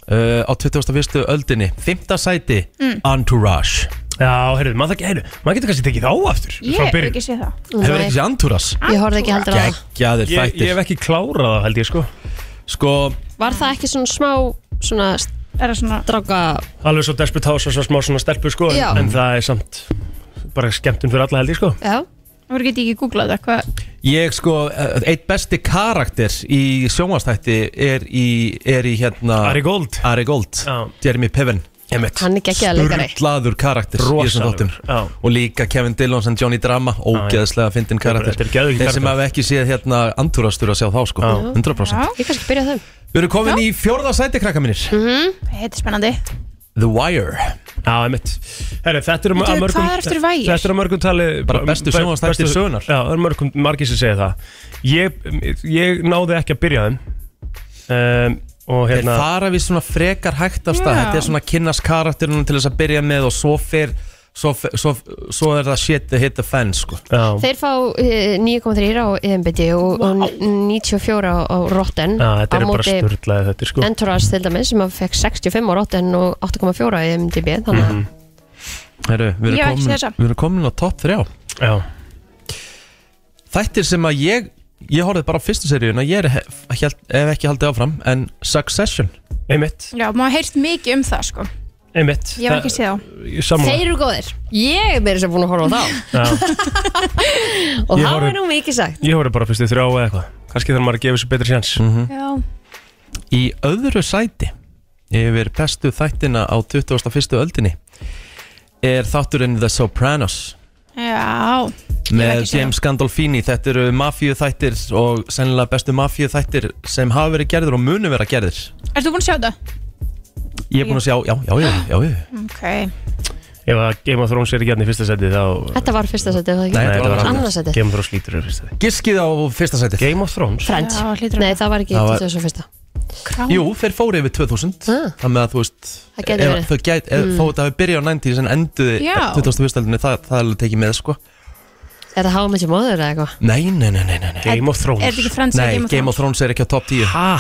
[SPEAKER 1] uh, á 21. öldinni Fymta sæti
[SPEAKER 2] Mm.
[SPEAKER 1] Entourage
[SPEAKER 3] Já, heyrðu, maður, það- heyrðu, maður getur kannski tekið þá aftur
[SPEAKER 8] Ég
[SPEAKER 3] frá
[SPEAKER 8] hef
[SPEAKER 3] byrjun.
[SPEAKER 8] ekki séð það
[SPEAKER 1] Hefur ekki séð Entourage?
[SPEAKER 2] Ég horfði ekki heldur að
[SPEAKER 1] Ah. Geggjaðir
[SPEAKER 3] Ég, ég
[SPEAKER 1] þættir
[SPEAKER 3] hef ekki klárað það held ég sko
[SPEAKER 1] Sko,
[SPEAKER 2] Var það ekki svona smá svona
[SPEAKER 8] Er það svona
[SPEAKER 2] stráka
[SPEAKER 3] Alveg svo Desperate House og svo smá svona stelpu sko en,
[SPEAKER 2] Já.
[SPEAKER 3] en það er samt bara skemmtun fyrir alla held ég sko
[SPEAKER 2] Já,
[SPEAKER 8] Það voru getið ekki googlað þetta hvað
[SPEAKER 1] ég sko uh, Eitt besti karakter í sjónvastætti er í, er í hérna
[SPEAKER 3] Ari Gold
[SPEAKER 1] Ari Gold
[SPEAKER 3] Já.
[SPEAKER 1] Jeremy Piven
[SPEAKER 3] Emmett
[SPEAKER 2] hann er geggjaða leikari
[SPEAKER 1] Sturlaður karakter í þessum
[SPEAKER 3] Rosalegur,
[SPEAKER 1] þáttum
[SPEAKER 3] já.
[SPEAKER 1] Og líka Kevin Dillon sem Johnny Drama Ógeðslega fyndin karakter
[SPEAKER 3] Þetta er geðvikið
[SPEAKER 1] Þeir sem
[SPEAKER 3] karakter.
[SPEAKER 1] hafa ekki séð hérna Entourage þurfa að sjá þá sko 100%
[SPEAKER 2] Ég kannski byrja á þeim
[SPEAKER 1] Við erum komin í fjórða sæti krakka mínir
[SPEAKER 8] Þetta er spennandi
[SPEAKER 1] The Wire
[SPEAKER 3] Já, Emmett Herru, þetta er um
[SPEAKER 8] Veitu,
[SPEAKER 3] að mörgum
[SPEAKER 8] hvað ertu vægir?
[SPEAKER 3] Þetta er um mörgum tali
[SPEAKER 1] Bara bestu sjónvarpsþættir
[SPEAKER 3] bestu-
[SPEAKER 1] sögunnar.
[SPEAKER 3] Já, það er mörgum margir sem segja það Ég, ég náði ekki að byrja þeim um, Og
[SPEAKER 1] Þeir
[SPEAKER 3] hérna
[SPEAKER 1] fara við svona frekar hægt af stað
[SPEAKER 8] Já.
[SPEAKER 1] Þetta er svona að kynnast karakterunum til þess að byrja með og svo fer svo, f- svo, svo er það shit that hit the fan sko.
[SPEAKER 2] Þeir fá eh, 9,3 á IMBD og, og 94 á, á Rotten
[SPEAKER 3] Já, þetta
[SPEAKER 2] á
[SPEAKER 3] eru bara sturdlaði þetta sko
[SPEAKER 2] Entourage til dæmis sem að fekk 65 á Rotten og 8,4 á E IMDb þannig
[SPEAKER 3] Mhm.
[SPEAKER 2] að
[SPEAKER 1] Heru, við, erum
[SPEAKER 8] Ég hef ekki séð
[SPEAKER 1] komin,
[SPEAKER 8] þessa.
[SPEAKER 1] við erum komin á topp þrjá
[SPEAKER 3] Já,
[SPEAKER 1] Þættir sem að ég Ég horfði bara á fyrstu seríuna Ég er hef, held, hef ekki haldið áfram En Succession
[SPEAKER 3] einmitt,
[SPEAKER 8] Já, maður heyrst mikið um það sko
[SPEAKER 3] einmitt
[SPEAKER 8] Ég hef ekki séð þá
[SPEAKER 3] séð Sammála
[SPEAKER 2] Þeir eru góðir Ég er meira sem búin að horfa á þá
[SPEAKER 3] Já,
[SPEAKER 2] og
[SPEAKER 3] Ég
[SPEAKER 2] það
[SPEAKER 3] horfði-
[SPEAKER 2] er nú mikið sagt
[SPEAKER 3] Ég horfði bara fyrstu þrjá eða eitthvað Kannski þarf maður að gefa sér betri sjans
[SPEAKER 1] Mm.
[SPEAKER 8] Já,
[SPEAKER 1] Í öðru sæti Yfir bestu þættina á 21. öldinni Er þátturinn The Sopranos
[SPEAKER 8] já
[SPEAKER 1] Með
[SPEAKER 8] ekki séð
[SPEAKER 1] James Gandolfini Þetta eru mafíu þættir Og sennilega bestu mafíu þættir Sem hafa verið gerðir og munu vera gerðir
[SPEAKER 8] Ertu búin að sjá þetta?
[SPEAKER 1] Ég er búin að sjá, já, já, já, já, já.
[SPEAKER 8] Ok
[SPEAKER 3] Ef að Game of Thrones er ekki hérna í fyrsta seti þá
[SPEAKER 2] Þetta var fyrsta setið, var það
[SPEAKER 1] Nei,
[SPEAKER 2] ekki?
[SPEAKER 1] þetta var annað.
[SPEAKER 2] annað setið
[SPEAKER 3] Game of Thrones lítur er fyrsta seti
[SPEAKER 1] Giskið á fyrsta sæti
[SPEAKER 3] Game of Thrones
[SPEAKER 2] Friends
[SPEAKER 8] Já, hlýtur að
[SPEAKER 2] Nei, það var ekki
[SPEAKER 1] Það var-
[SPEAKER 2] 21.
[SPEAKER 8] Krán
[SPEAKER 1] Jú, þeir fóru yfir 2000
[SPEAKER 2] Ah.
[SPEAKER 1] Þannig að þú veist
[SPEAKER 2] Það gæti
[SPEAKER 1] ef
[SPEAKER 2] verið.
[SPEAKER 1] þau gæt, ef, Þó þetta hafi byrjað á 90s en enduði
[SPEAKER 8] Mm. Já.
[SPEAKER 1] 21. öldinni það, það er alveg tekið með sko
[SPEAKER 2] Er það hámið sem móður eða eitthvað?
[SPEAKER 1] Nei, nei, nei, nei, nei, nei.
[SPEAKER 3] Game of Thrones
[SPEAKER 8] Er þetta ekki Friends
[SPEAKER 1] nei
[SPEAKER 8] eða Game of Thrones?
[SPEAKER 1] Thrones er ekki á top 10 ha?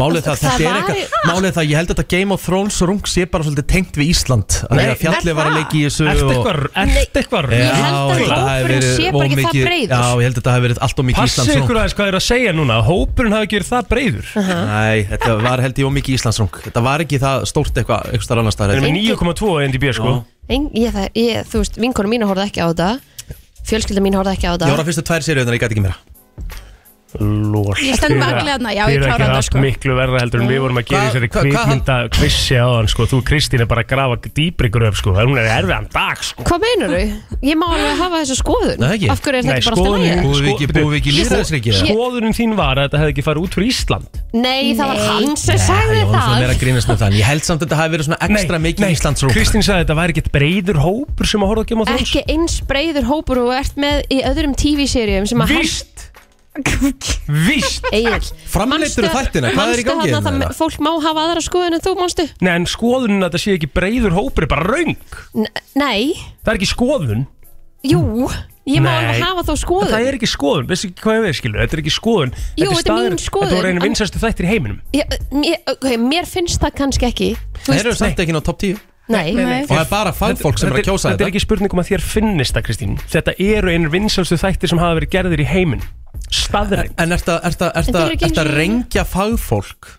[SPEAKER 1] Málið það,
[SPEAKER 2] Það
[SPEAKER 1] þetta er
[SPEAKER 2] var í-
[SPEAKER 1] eitthvað Málið það, ég held að þetta Game of Thrones rung sé bara svolítið tengt við Ísland Nei,
[SPEAKER 3] Nei,
[SPEAKER 1] að fjallið
[SPEAKER 8] er
[SPEAKER 1] var að
[SPEAKER 8] það?
[SPEAKER 1] leiki í þessu
[SPEAKER 3] Ertu
[SPEAKER 1] og-
[SPEAKER 3] eitthvað, ertu eitthvað
[SPEAKER 1] Já, ég
[SPEAKER 2] held að
[SPEAKER 1] það hafi
[SPEAKER 2] hópurinn
[SPEAKER 1] verið
[SPEAKER 2] sé bara ekki það
[SPEAKER 1] ómikið-
[SPEAKER 2] breiður.
[SPEAKER 1] Já, ég held að þetta hafi verið allt og mikið
[SPEAKER 3] Passi
[SPEAKER 1] Íslandsrung
[SPEAKER 3] ykkur aðeins hvað er að segja núna Hópurinn hafi ekki verið það breyður
[SPEAKER 1] Nei, þetta var held ég og mikið Íslandsrung Þetta var ekki það stórt eitthvað, eitthvað starf annars
[SPEAKER 3] Það
[SPEAKER 1] staðar
[SPEAKER 3] er með 9,2 á NDB sko
[SPEAKER 1] Já.
[SPEAKER 2] Eng, ég, það, ég, þú veist, vinkonum mín horfði ekki á þetta Fjölskylda mín horfði ekki á
[SPEAKER 1] Ég var
[SPEAKER 2] þetta
[SPEAKER 1] að fyrstu tvær seríunar, ég gæti ekki meira
[SPEAKER 3] Lól
[SPEAKER 8] Ég stend með allir þarna, já, ég
[SPEAKER 3] Þið er
[SPEAKER 8] klára
[SPEAKER 3] ekki
[SPEAKER 8] þetta,
[SPEAKER 3] haft
[SPEAKER 8] sko.
[SPEAKER 3] miklu verra heldur en við vorum að gera í
[SPEAKER 1] Hvað-
[SPEAKER 3] þessari
[SPEAKER 1] hvað- hvað-
[SPEAKER 3] kvikmynda kvissi á hann sko Þú Kristín er bara að grafa dýbri gröf sko Hún er erfiðan dag sko
[SPEAKER 2] Hvað meinar þau? Ég má alveg hafa þessu skoðun
[SPEAKER 1] Nei, ekki.
[SPEAKER 2] Af hverju er þetta
[SPEAKER 3] Nei,
[SPEAKER 2] bara alltaf
[SPEAKER 3] skoðun-
[SPEAKER 2] lægið?
[SPEAKER 1] Búum við ekki,
[SPEAKER 3] Sko-
[SPEAKER 1] búum við ekki
[SPEAKER 2] Ég-
[SPEAKER 1] líðræðisríkið
[SPEAKER 2] Ég-
[SPEAKER 3] Skoðunin þín var að þetta hefði ekki farið út fyrir Ísland
[SPEAKER 2] Nei, það var hann sem
[SPEAKER 1] Já,
[SPEAKER 2] sagði
[SPEAKER 1] ég var svona
[SPEAKER 2] það
[SPEAKER 1] meira að grínast með þann Ég held samt að þetta hafi verið svona ekstra mikið Íslandsrúm
[SPEAKER 3] Kristín sagði að þetta væri ekkert breyður hópur sem að horfa að gema þrjóns
[SPEAKER 2] Ekki eins breiður hópur og þú ert með í öðrum tv-seríum sem að
[SPEAKER 3] Víst Víst
[SPEAKER 2] Egil,
[SPEAKER 1] Framleittur þættina, hvað er í gangi
[SPEAKER 2] hérna?
[SPEAKER 1] hérna?
[SPEAKER 2] Fólk má hafa aðra skoðun en þú, manstu?
[SPEAKER 3] Nei en skoðunin að þetta sé ekki breyður hópur er bara raung
[SPEAKER 2] N nei,
[SPEAKER 3] Það er ekki skoðun
[SPEAKER 2] jú, ég má
[SPEAKER 3] Nei.
[SPEAKER 2] alveg hafa þá skoðun
[SPEAKER 3] Það er ekki skoðun, veistu ekki hvað ég veið skilu Þetta er ekki skoðun
[SPEAKER 2] Jú,
[SPEAKER 3] er
[SPEAKER 2] þetta er mín
[SPEAKER 3] staðreynd.
[SPEAKER 2] skoðun,
[SPEAKER 3] Þetta voru einu
[SPEAKER 2] en-
[SPEAKER 3] vinsæstu þættir í heiminum
[SPEAKER 2] Já, mér, okay, mér finnst það kannski ekki Þú
[SPEAKER 1] Það eru samt ekki ná top 10 Og
[SPEAKER 2] nei,
[SPEAKER 8] nei.
[SPEAKER 1] það er bara fagfólk sem er að kjósa
[SPEAKER 3] Þetta er
[SPEAKER 1] þetta
[SPEAKER 3] ekki spurning um að þér finnist það Kristín Þetta eru einu vinsælstu þættir sem hafa verið gerðir í heiminum Staðrein
[SPEAKER 1] En ert að- ert að- ert
[SPEAKER 2] Þetta
[SPEAKER 1] að
[SPEAKER 2] er ekki
[SPEAKER 1] ert að
[SPEAKER 2] einu sinni-
[SPEAKER 1] rengja fagfólk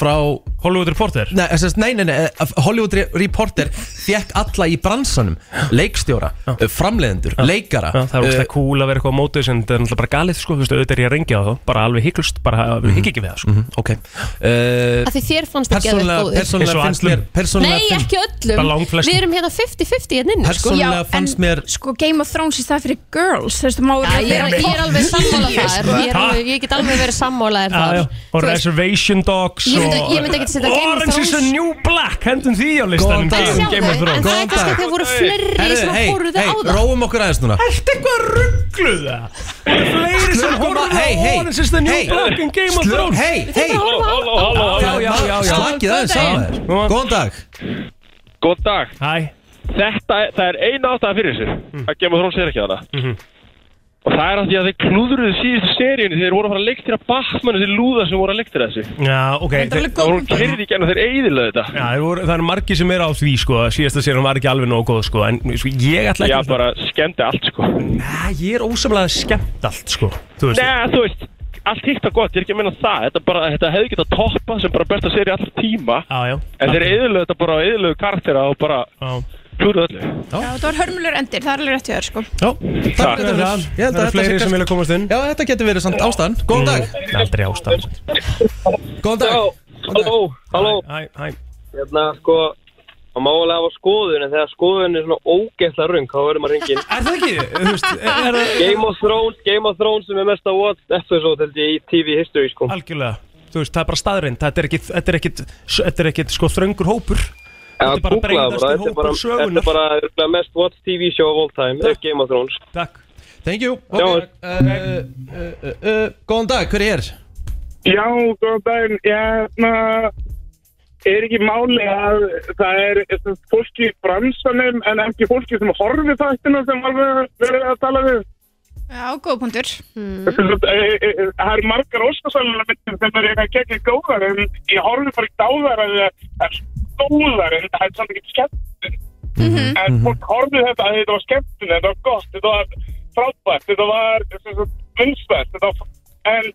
[SPEAKER 1] frá
[SPEAKER 3] Hollywood Reporter
[SPEAKER 1] Nei, sem sagt, nei, nei, nei, eh, Hollywood Re- Reporter fekk alla í bransanum Leikstjóra, eh, framleiðendur, leikara
[SPEAKER 3] Já, það er ógstlega
[SPEAKER 1] eh,
[SPEAKER 3] cool að vera eitthvað á móti þessu en þetta er náttúrulega bara galið sko, þú veist, auðvitað er ég að ringja á það bara alveg hygglust, bara mm hygg ekki við það sko.
[SPEAKER 1] mhm, Ok Eh,
[SPEAKER 2] að því þér fannst ekki að
[SPEAKER 1] Persónulega
[SPEAKER 2] þið góður
[SPEAKER 3] Eins og
[SPEAKER 1] persónulega finnst
[SPEAKER 3] öllum.
[SPEAKER 1] mér Persónulega
[SPEAKER 2] Nei,
[SPEAKER 1] finnst-
[SPEAKER 2] ekki
[SPEAKER 3] Bara
[SPEAKER 2] öllum,
[SPEAKER 3] langflestum.
[SPEAKER 2] við erum hérna 50-50 hérna inni sko.
[SPEAKER 1] Persónulega fannst mér-
[SPEAKER 8] sko Game of Thrones í stað fyrir girls Þú veist, maður
[SPEAKER 2] Já, ég, er, ég er alveg sammála þar ég, er alveg, ég get alveg verið sammála þér
[SPEAKER 3] Já,
[SPEAKER 2] þar
[SPEAKER 3] já, og
[SPEAKER 2] Þú veist,
[SPEAKER 3] Reservation Dogs
[SPEAKER 2] Ég myndi-
[SPEAKER 3] og
[SPEAKER 2] ég myndi ekki setja Game of
[SPEAKER 3] Orange is the
[SPEAKER 2] Thrones.
[SPEAKER 3] New Black hendum því á listanum
[SPEAKER 1] Góðan dag.
[SPEAKER 2] en
[SPEAKER 3] Game-
[SPEAKER 1] Sjáðu,
[SPEAKER 2] sjáðu,
[SPEAKER 3] Game of
[SPEAKER 2] en
[SPEAKER 3] Thrones
[SPEAKER 2] það
[SPEAKER 1] Góðan
[SPEAKER 2] er kannski
[SPEAKER 1] dag.
[SPEAKER 2] að þið voru fleiri
[SPEAKER 1] Herðu,
[SPEAKER 2] sem
[SPEAKER 1] hey,
[SPEAKER 2] fóruðu á
[SPEAKER 1] hey,
[SPEAKER 2] það
[SPEAKER 1] Róum okkur aðeins núna
[SPEAKER 3] Ertu eitthvað ruggluða? Fleiri sem
[SPEAKER 1] Slökum
[SPEAKER 3] horfum
[SPEAKER 1] að- hey, hey,
[SPEAKER 3] á Orange is the New
[SPEAKER 1] hey.
[SPEAKER 3] Black en Game of
[SPEAKER 1] Slö-
[SPEAKER 3] Thrones
[SPEAKER 1] Hey, hey
[SPEAKER 2] Halló, halló
[SPEAKER 3] Já, já, já, já.
[SPEAKER 1] Slakið aðeins á þér
[SPEAKER 3] Góðan dag.
[SPEAKER 1] Góðan dag
[SPEAKER 10] Góð dag,
[SPEAKER 3] Hæ,
[SPEAKER 10] þetta er, það er eina ástæða fyrir þessu að Game of Thrones er ekki þarna og það er að því að þeir klúðruðu síðustu seríunni þegar þeir voru að fara að leiktira Batmanu þeir lúða sem voru að leiktira þessu
[SPEAKER 3] já, ok þeir-
[SPEAKER 10] það voru kyrði í genn og þeir eiðilega þetta
[SPEAKER 3] Já, þeir voru- það eru margir sem er á því sko að síðasta sérum var ekki alveg nógu góð sko en sko, ég ætla ekki
[SPEAKER 10] Já, bara skemmdi allt sko Nei,
[SPEAKER 3] Nei, ég er ósamlega skemmt allt sko Þú veist,
[SPEAKER 10] þú veist, allt hitt að gott, ég er ekki að minna það þetta, bara, þetta hefði getað toppað sem bara besta séri allra tíma
[SPEAKER 3] já, já
[SPEAKER 10] en þeir eiðilega þetta bara eiðilegu karaktera og bara
[SPEAKER 3] Já,
[SPEAKER 10] klúðruðu öllu
[SPEAKER 8] Það var hörmulur endir, það er alveg rétt hjá þér sko
[SPEAKER 3] já
[SPEAKER 10] Takk
[SPEAKER 3] Það
[SPEAKER 1] fyrir
[SPEAKER 3] er
[SPEAKER 1] það.
[SPEAKER 3] það
[SPEAKER 1] Ég held að
[SPEAKER 3] Það
[SPEAKER 1] þetta
[SPEAKER 3] eru
[SPEAKER 1] sé
[SPEAKER 3] fleiri
[SPEAKER 1] kannski-
[SPEAKER 3] sem vilja komast inn
[SPEAKER 1] Já, þetta getur verið samt ástæðan Góðan dag
[SPEAKER 3] Það er aldrei ástæðan
[SPEAKER 1] Góðan dag
[SPEAKER 6] Halló, halló
[SPEAKER 3] Hæ, hæ, hæ
[SPEAKER 6] Hérna, sko Það má alveg hafa skoðun En þegar skoðun er svona ógeðsla rung Þá verður maður hringin
[SPEAKER 3] Er það ekki, þú veist, er er það
[SPEAKER 6] Game of Thrones, Game of Thrones sem er mest að watch episode held ég í TV history sko
[SPEAKER 3] algjörlega Þú veist, það er bara staðrind, þetta er ekkit, þetta er ekkit, þetta er ekkit sko þröngur hópur Þetta er bara
[SPEAKER 6] googlaðu
[SPEAKER 3] breyðasti
[SPEAKER 6] þetta er bara,
[SPEAKER 3] hópur sögunar.
[SPEAKER 6] þetta er bara örugglega mest watch TV show of all time er Game of Thrones
[SPEAKER 3] Takk
[SPEAKER 1] Thank you
[SPEAKER 6] Já.
[SPEAKER 1] Ok, eh, eh, eh, eh, Góðan dag, hver er hér?
[SPEAKER 10] Já, góðan daginn, ég hérna
[SPEAKER 11] er ekki máli að það er sem sagt, fólki í bransanum en ekki fólki sem horfi þættina sem alveg verið að tala við.
[SPEAKER 8] Já, góð punktur
[SPEAKER 11] Sem sagt, e- e- e- Það eru margar óskarsvælunar myndir sem eru eitthvað gegnir góðar en ég horfi bara ekki á þær að það er stóðar en það er samt ekki skemmtun. En fólk horfið þetta að þetta var skemmtun, þetta var gott, þetta var frábært, þetta var eh, munstvært, þetta var... En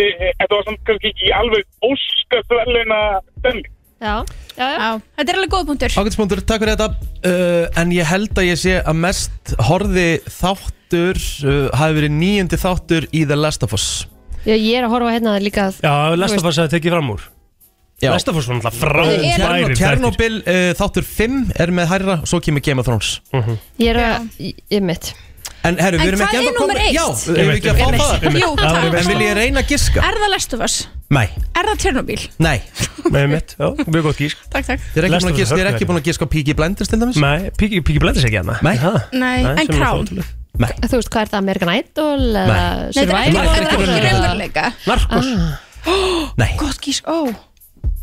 [SPEAKER 11] e, e, þetta var samt kannski ekki alveg óskarsvæluna stemning.
[SPEAKER 8] Já, já, já Þetta er alveg góð punktur
[SPEAKER 1] Ágætspunktur, takk fyrir þetta uh, En ég held að ég sé að mest horði þáttur uh, hafi verið nýjandi þáttur í The Last of Us
[SPEAKER 2] Já, ég er að horfa hérna líka að-
[SPEAKER 3] Já,
[SPEAKER 2] þú
[SPEAKER 3] Lastafors hefði tekið fram úr Lastafors var náttúrulega frábæri
[SPEAKER 1] Tjerno- Tjernobyl uh, þáttur 5 er með hærra og svo kemur Game of Thrones
[SPEAKER 2] Ég er að, ég, ég mitt
[SPEAKER 1] En herru, við
[SPEAKER 2] En
[SPEAKER 1] erum
[SPEAKER 2] hvað
[SPEAKER 1] ekki
[SPEAKER 2] er
[SPEAKER 1] ennþá
[SPEAKER 2] númer
[SPEAKER 1] komin-
[SPEAKER 2] eitt?
[SPEAKER 1] Já,
[SPEAKER 2] Ég
[SPEAKER 1] við erum
[SPEAKER 2] veit,
[SPEAKER 1] ekki
[SPEAKER 2] ég
[SPEAKER 1] að fá
[SPEAKER 2] veit,
[SPEAKER 1] það
[SPEAKER 2] ég veit. Jú, það var
[SPEAKER 1] En
[SPEAKER 2] veist.
[SPEAKER 1] vil ég reyna að giska?
[SPEAKER 8] Er það Lestofas?
[SPEAKER 1] Nei,
[SPEAKER 8] Er það Tjernobyl?
[SPEAKER 1] nei
[SPEAKER 3] Með mitt, já, mjög gott gísk
[SPEAKER 8] Takk, takk
[SPEAKER 1] Þið er ekki búin að giska, þið er ekki búin að giska á Piki Blenders til dæmis?
[SPEAKER 3] Nei, Piki Blenders ekki hérna Nei,
[SPEAKER 2] Nei, en Crown Þú veist hvað er það, American Idol eða
[SPEAKER 1] Nei.
[SPEAKER 8] Nei, þetta
[SPEAKER 2] Survivor
[SPEAKER 8] er ekki- þetta er ekki
[SPEAKER 2] eða-
[SPEAKER 8] raunveruleika
[SPEAKER 3] Narkos
[SPEAKER 2] Ah.
[SPEAKER 3] Nei.
[SPEAKER 8] Gott gís, ó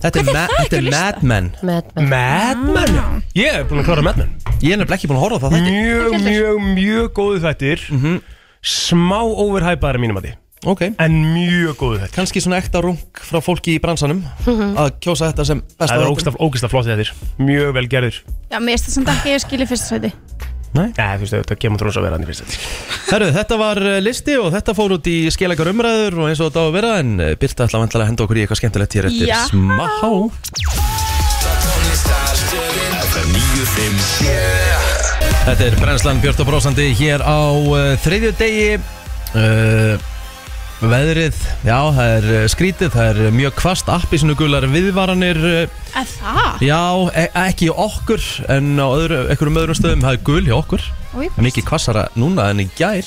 [SPEAKER 1] Þetta er, ma þetta er Mad Men
[SPEAKER 2] Mad
[SPEAKER 1] Men
[SPEAKER 2] Ah.
[SPEAKER 1] Mad Men, já
[SPEAKER 3] Ég hef búin að klára með henn
[SPEAKER 1] Ég er nefnilega ekki búin að horfa á það þætti
[SPEAKER 3] Mjög, mjög, mjög góðu þættir
[SPEAKER 1] Mhm.
[SPEAKER 3] Smá overhypaðar mínum að því
[SPEAKER 1] okay.
[SPEAKER 3] En mjög góðu þættir
[SPEAKER 1] Kanski svona ekta rung frá fólki í bransanum
[SPEAKER 2] Mhm.
[SPEAKER 1] Að kjósa þetta sem besta
[SPEAKER 3] Það er
[SPEAKER 1] þáttinn.
[SPEAKER 3] ógsta, ógsta flott þættir Mjög vel gerður
[SPEAKER 8] Já, mér erst það samt ekki að ég skilja fyrsta sæti
[SPEAKER 3] Nei, þú veist, þetta kemur þrós að vera hann í fyrst þetta
[SPEAKER 1] Herru, þetta var eh, listi og þetta fór út í skilakar umræður og eins og þetta á að vera en eh, Birta ætla vantilega að henda okkur í eitthvað skemmtilegt hér eftir
[SPEAKER 5] Já.
[SPEAKER 1] smá
[SPEAKER 5] FM 957
[SPEAKER 1] Þetta er Brennslan Björn og Brósandi hér á uh, þriðju degi uh, Veðrið, já, það er eh, skrítið, það er mjög kvast appi sinu gular viðvaranir uh,
[SPEAKER 8] Er það?
[SPEAKER 1] Já, e ekki hjá okkur en á öðru, einhverjum öðrum stöðum það er gul hjá okkur
[SPEAKER 8] Oj.
[SPEAKER 1] Það er mikið kvassara núna en í gær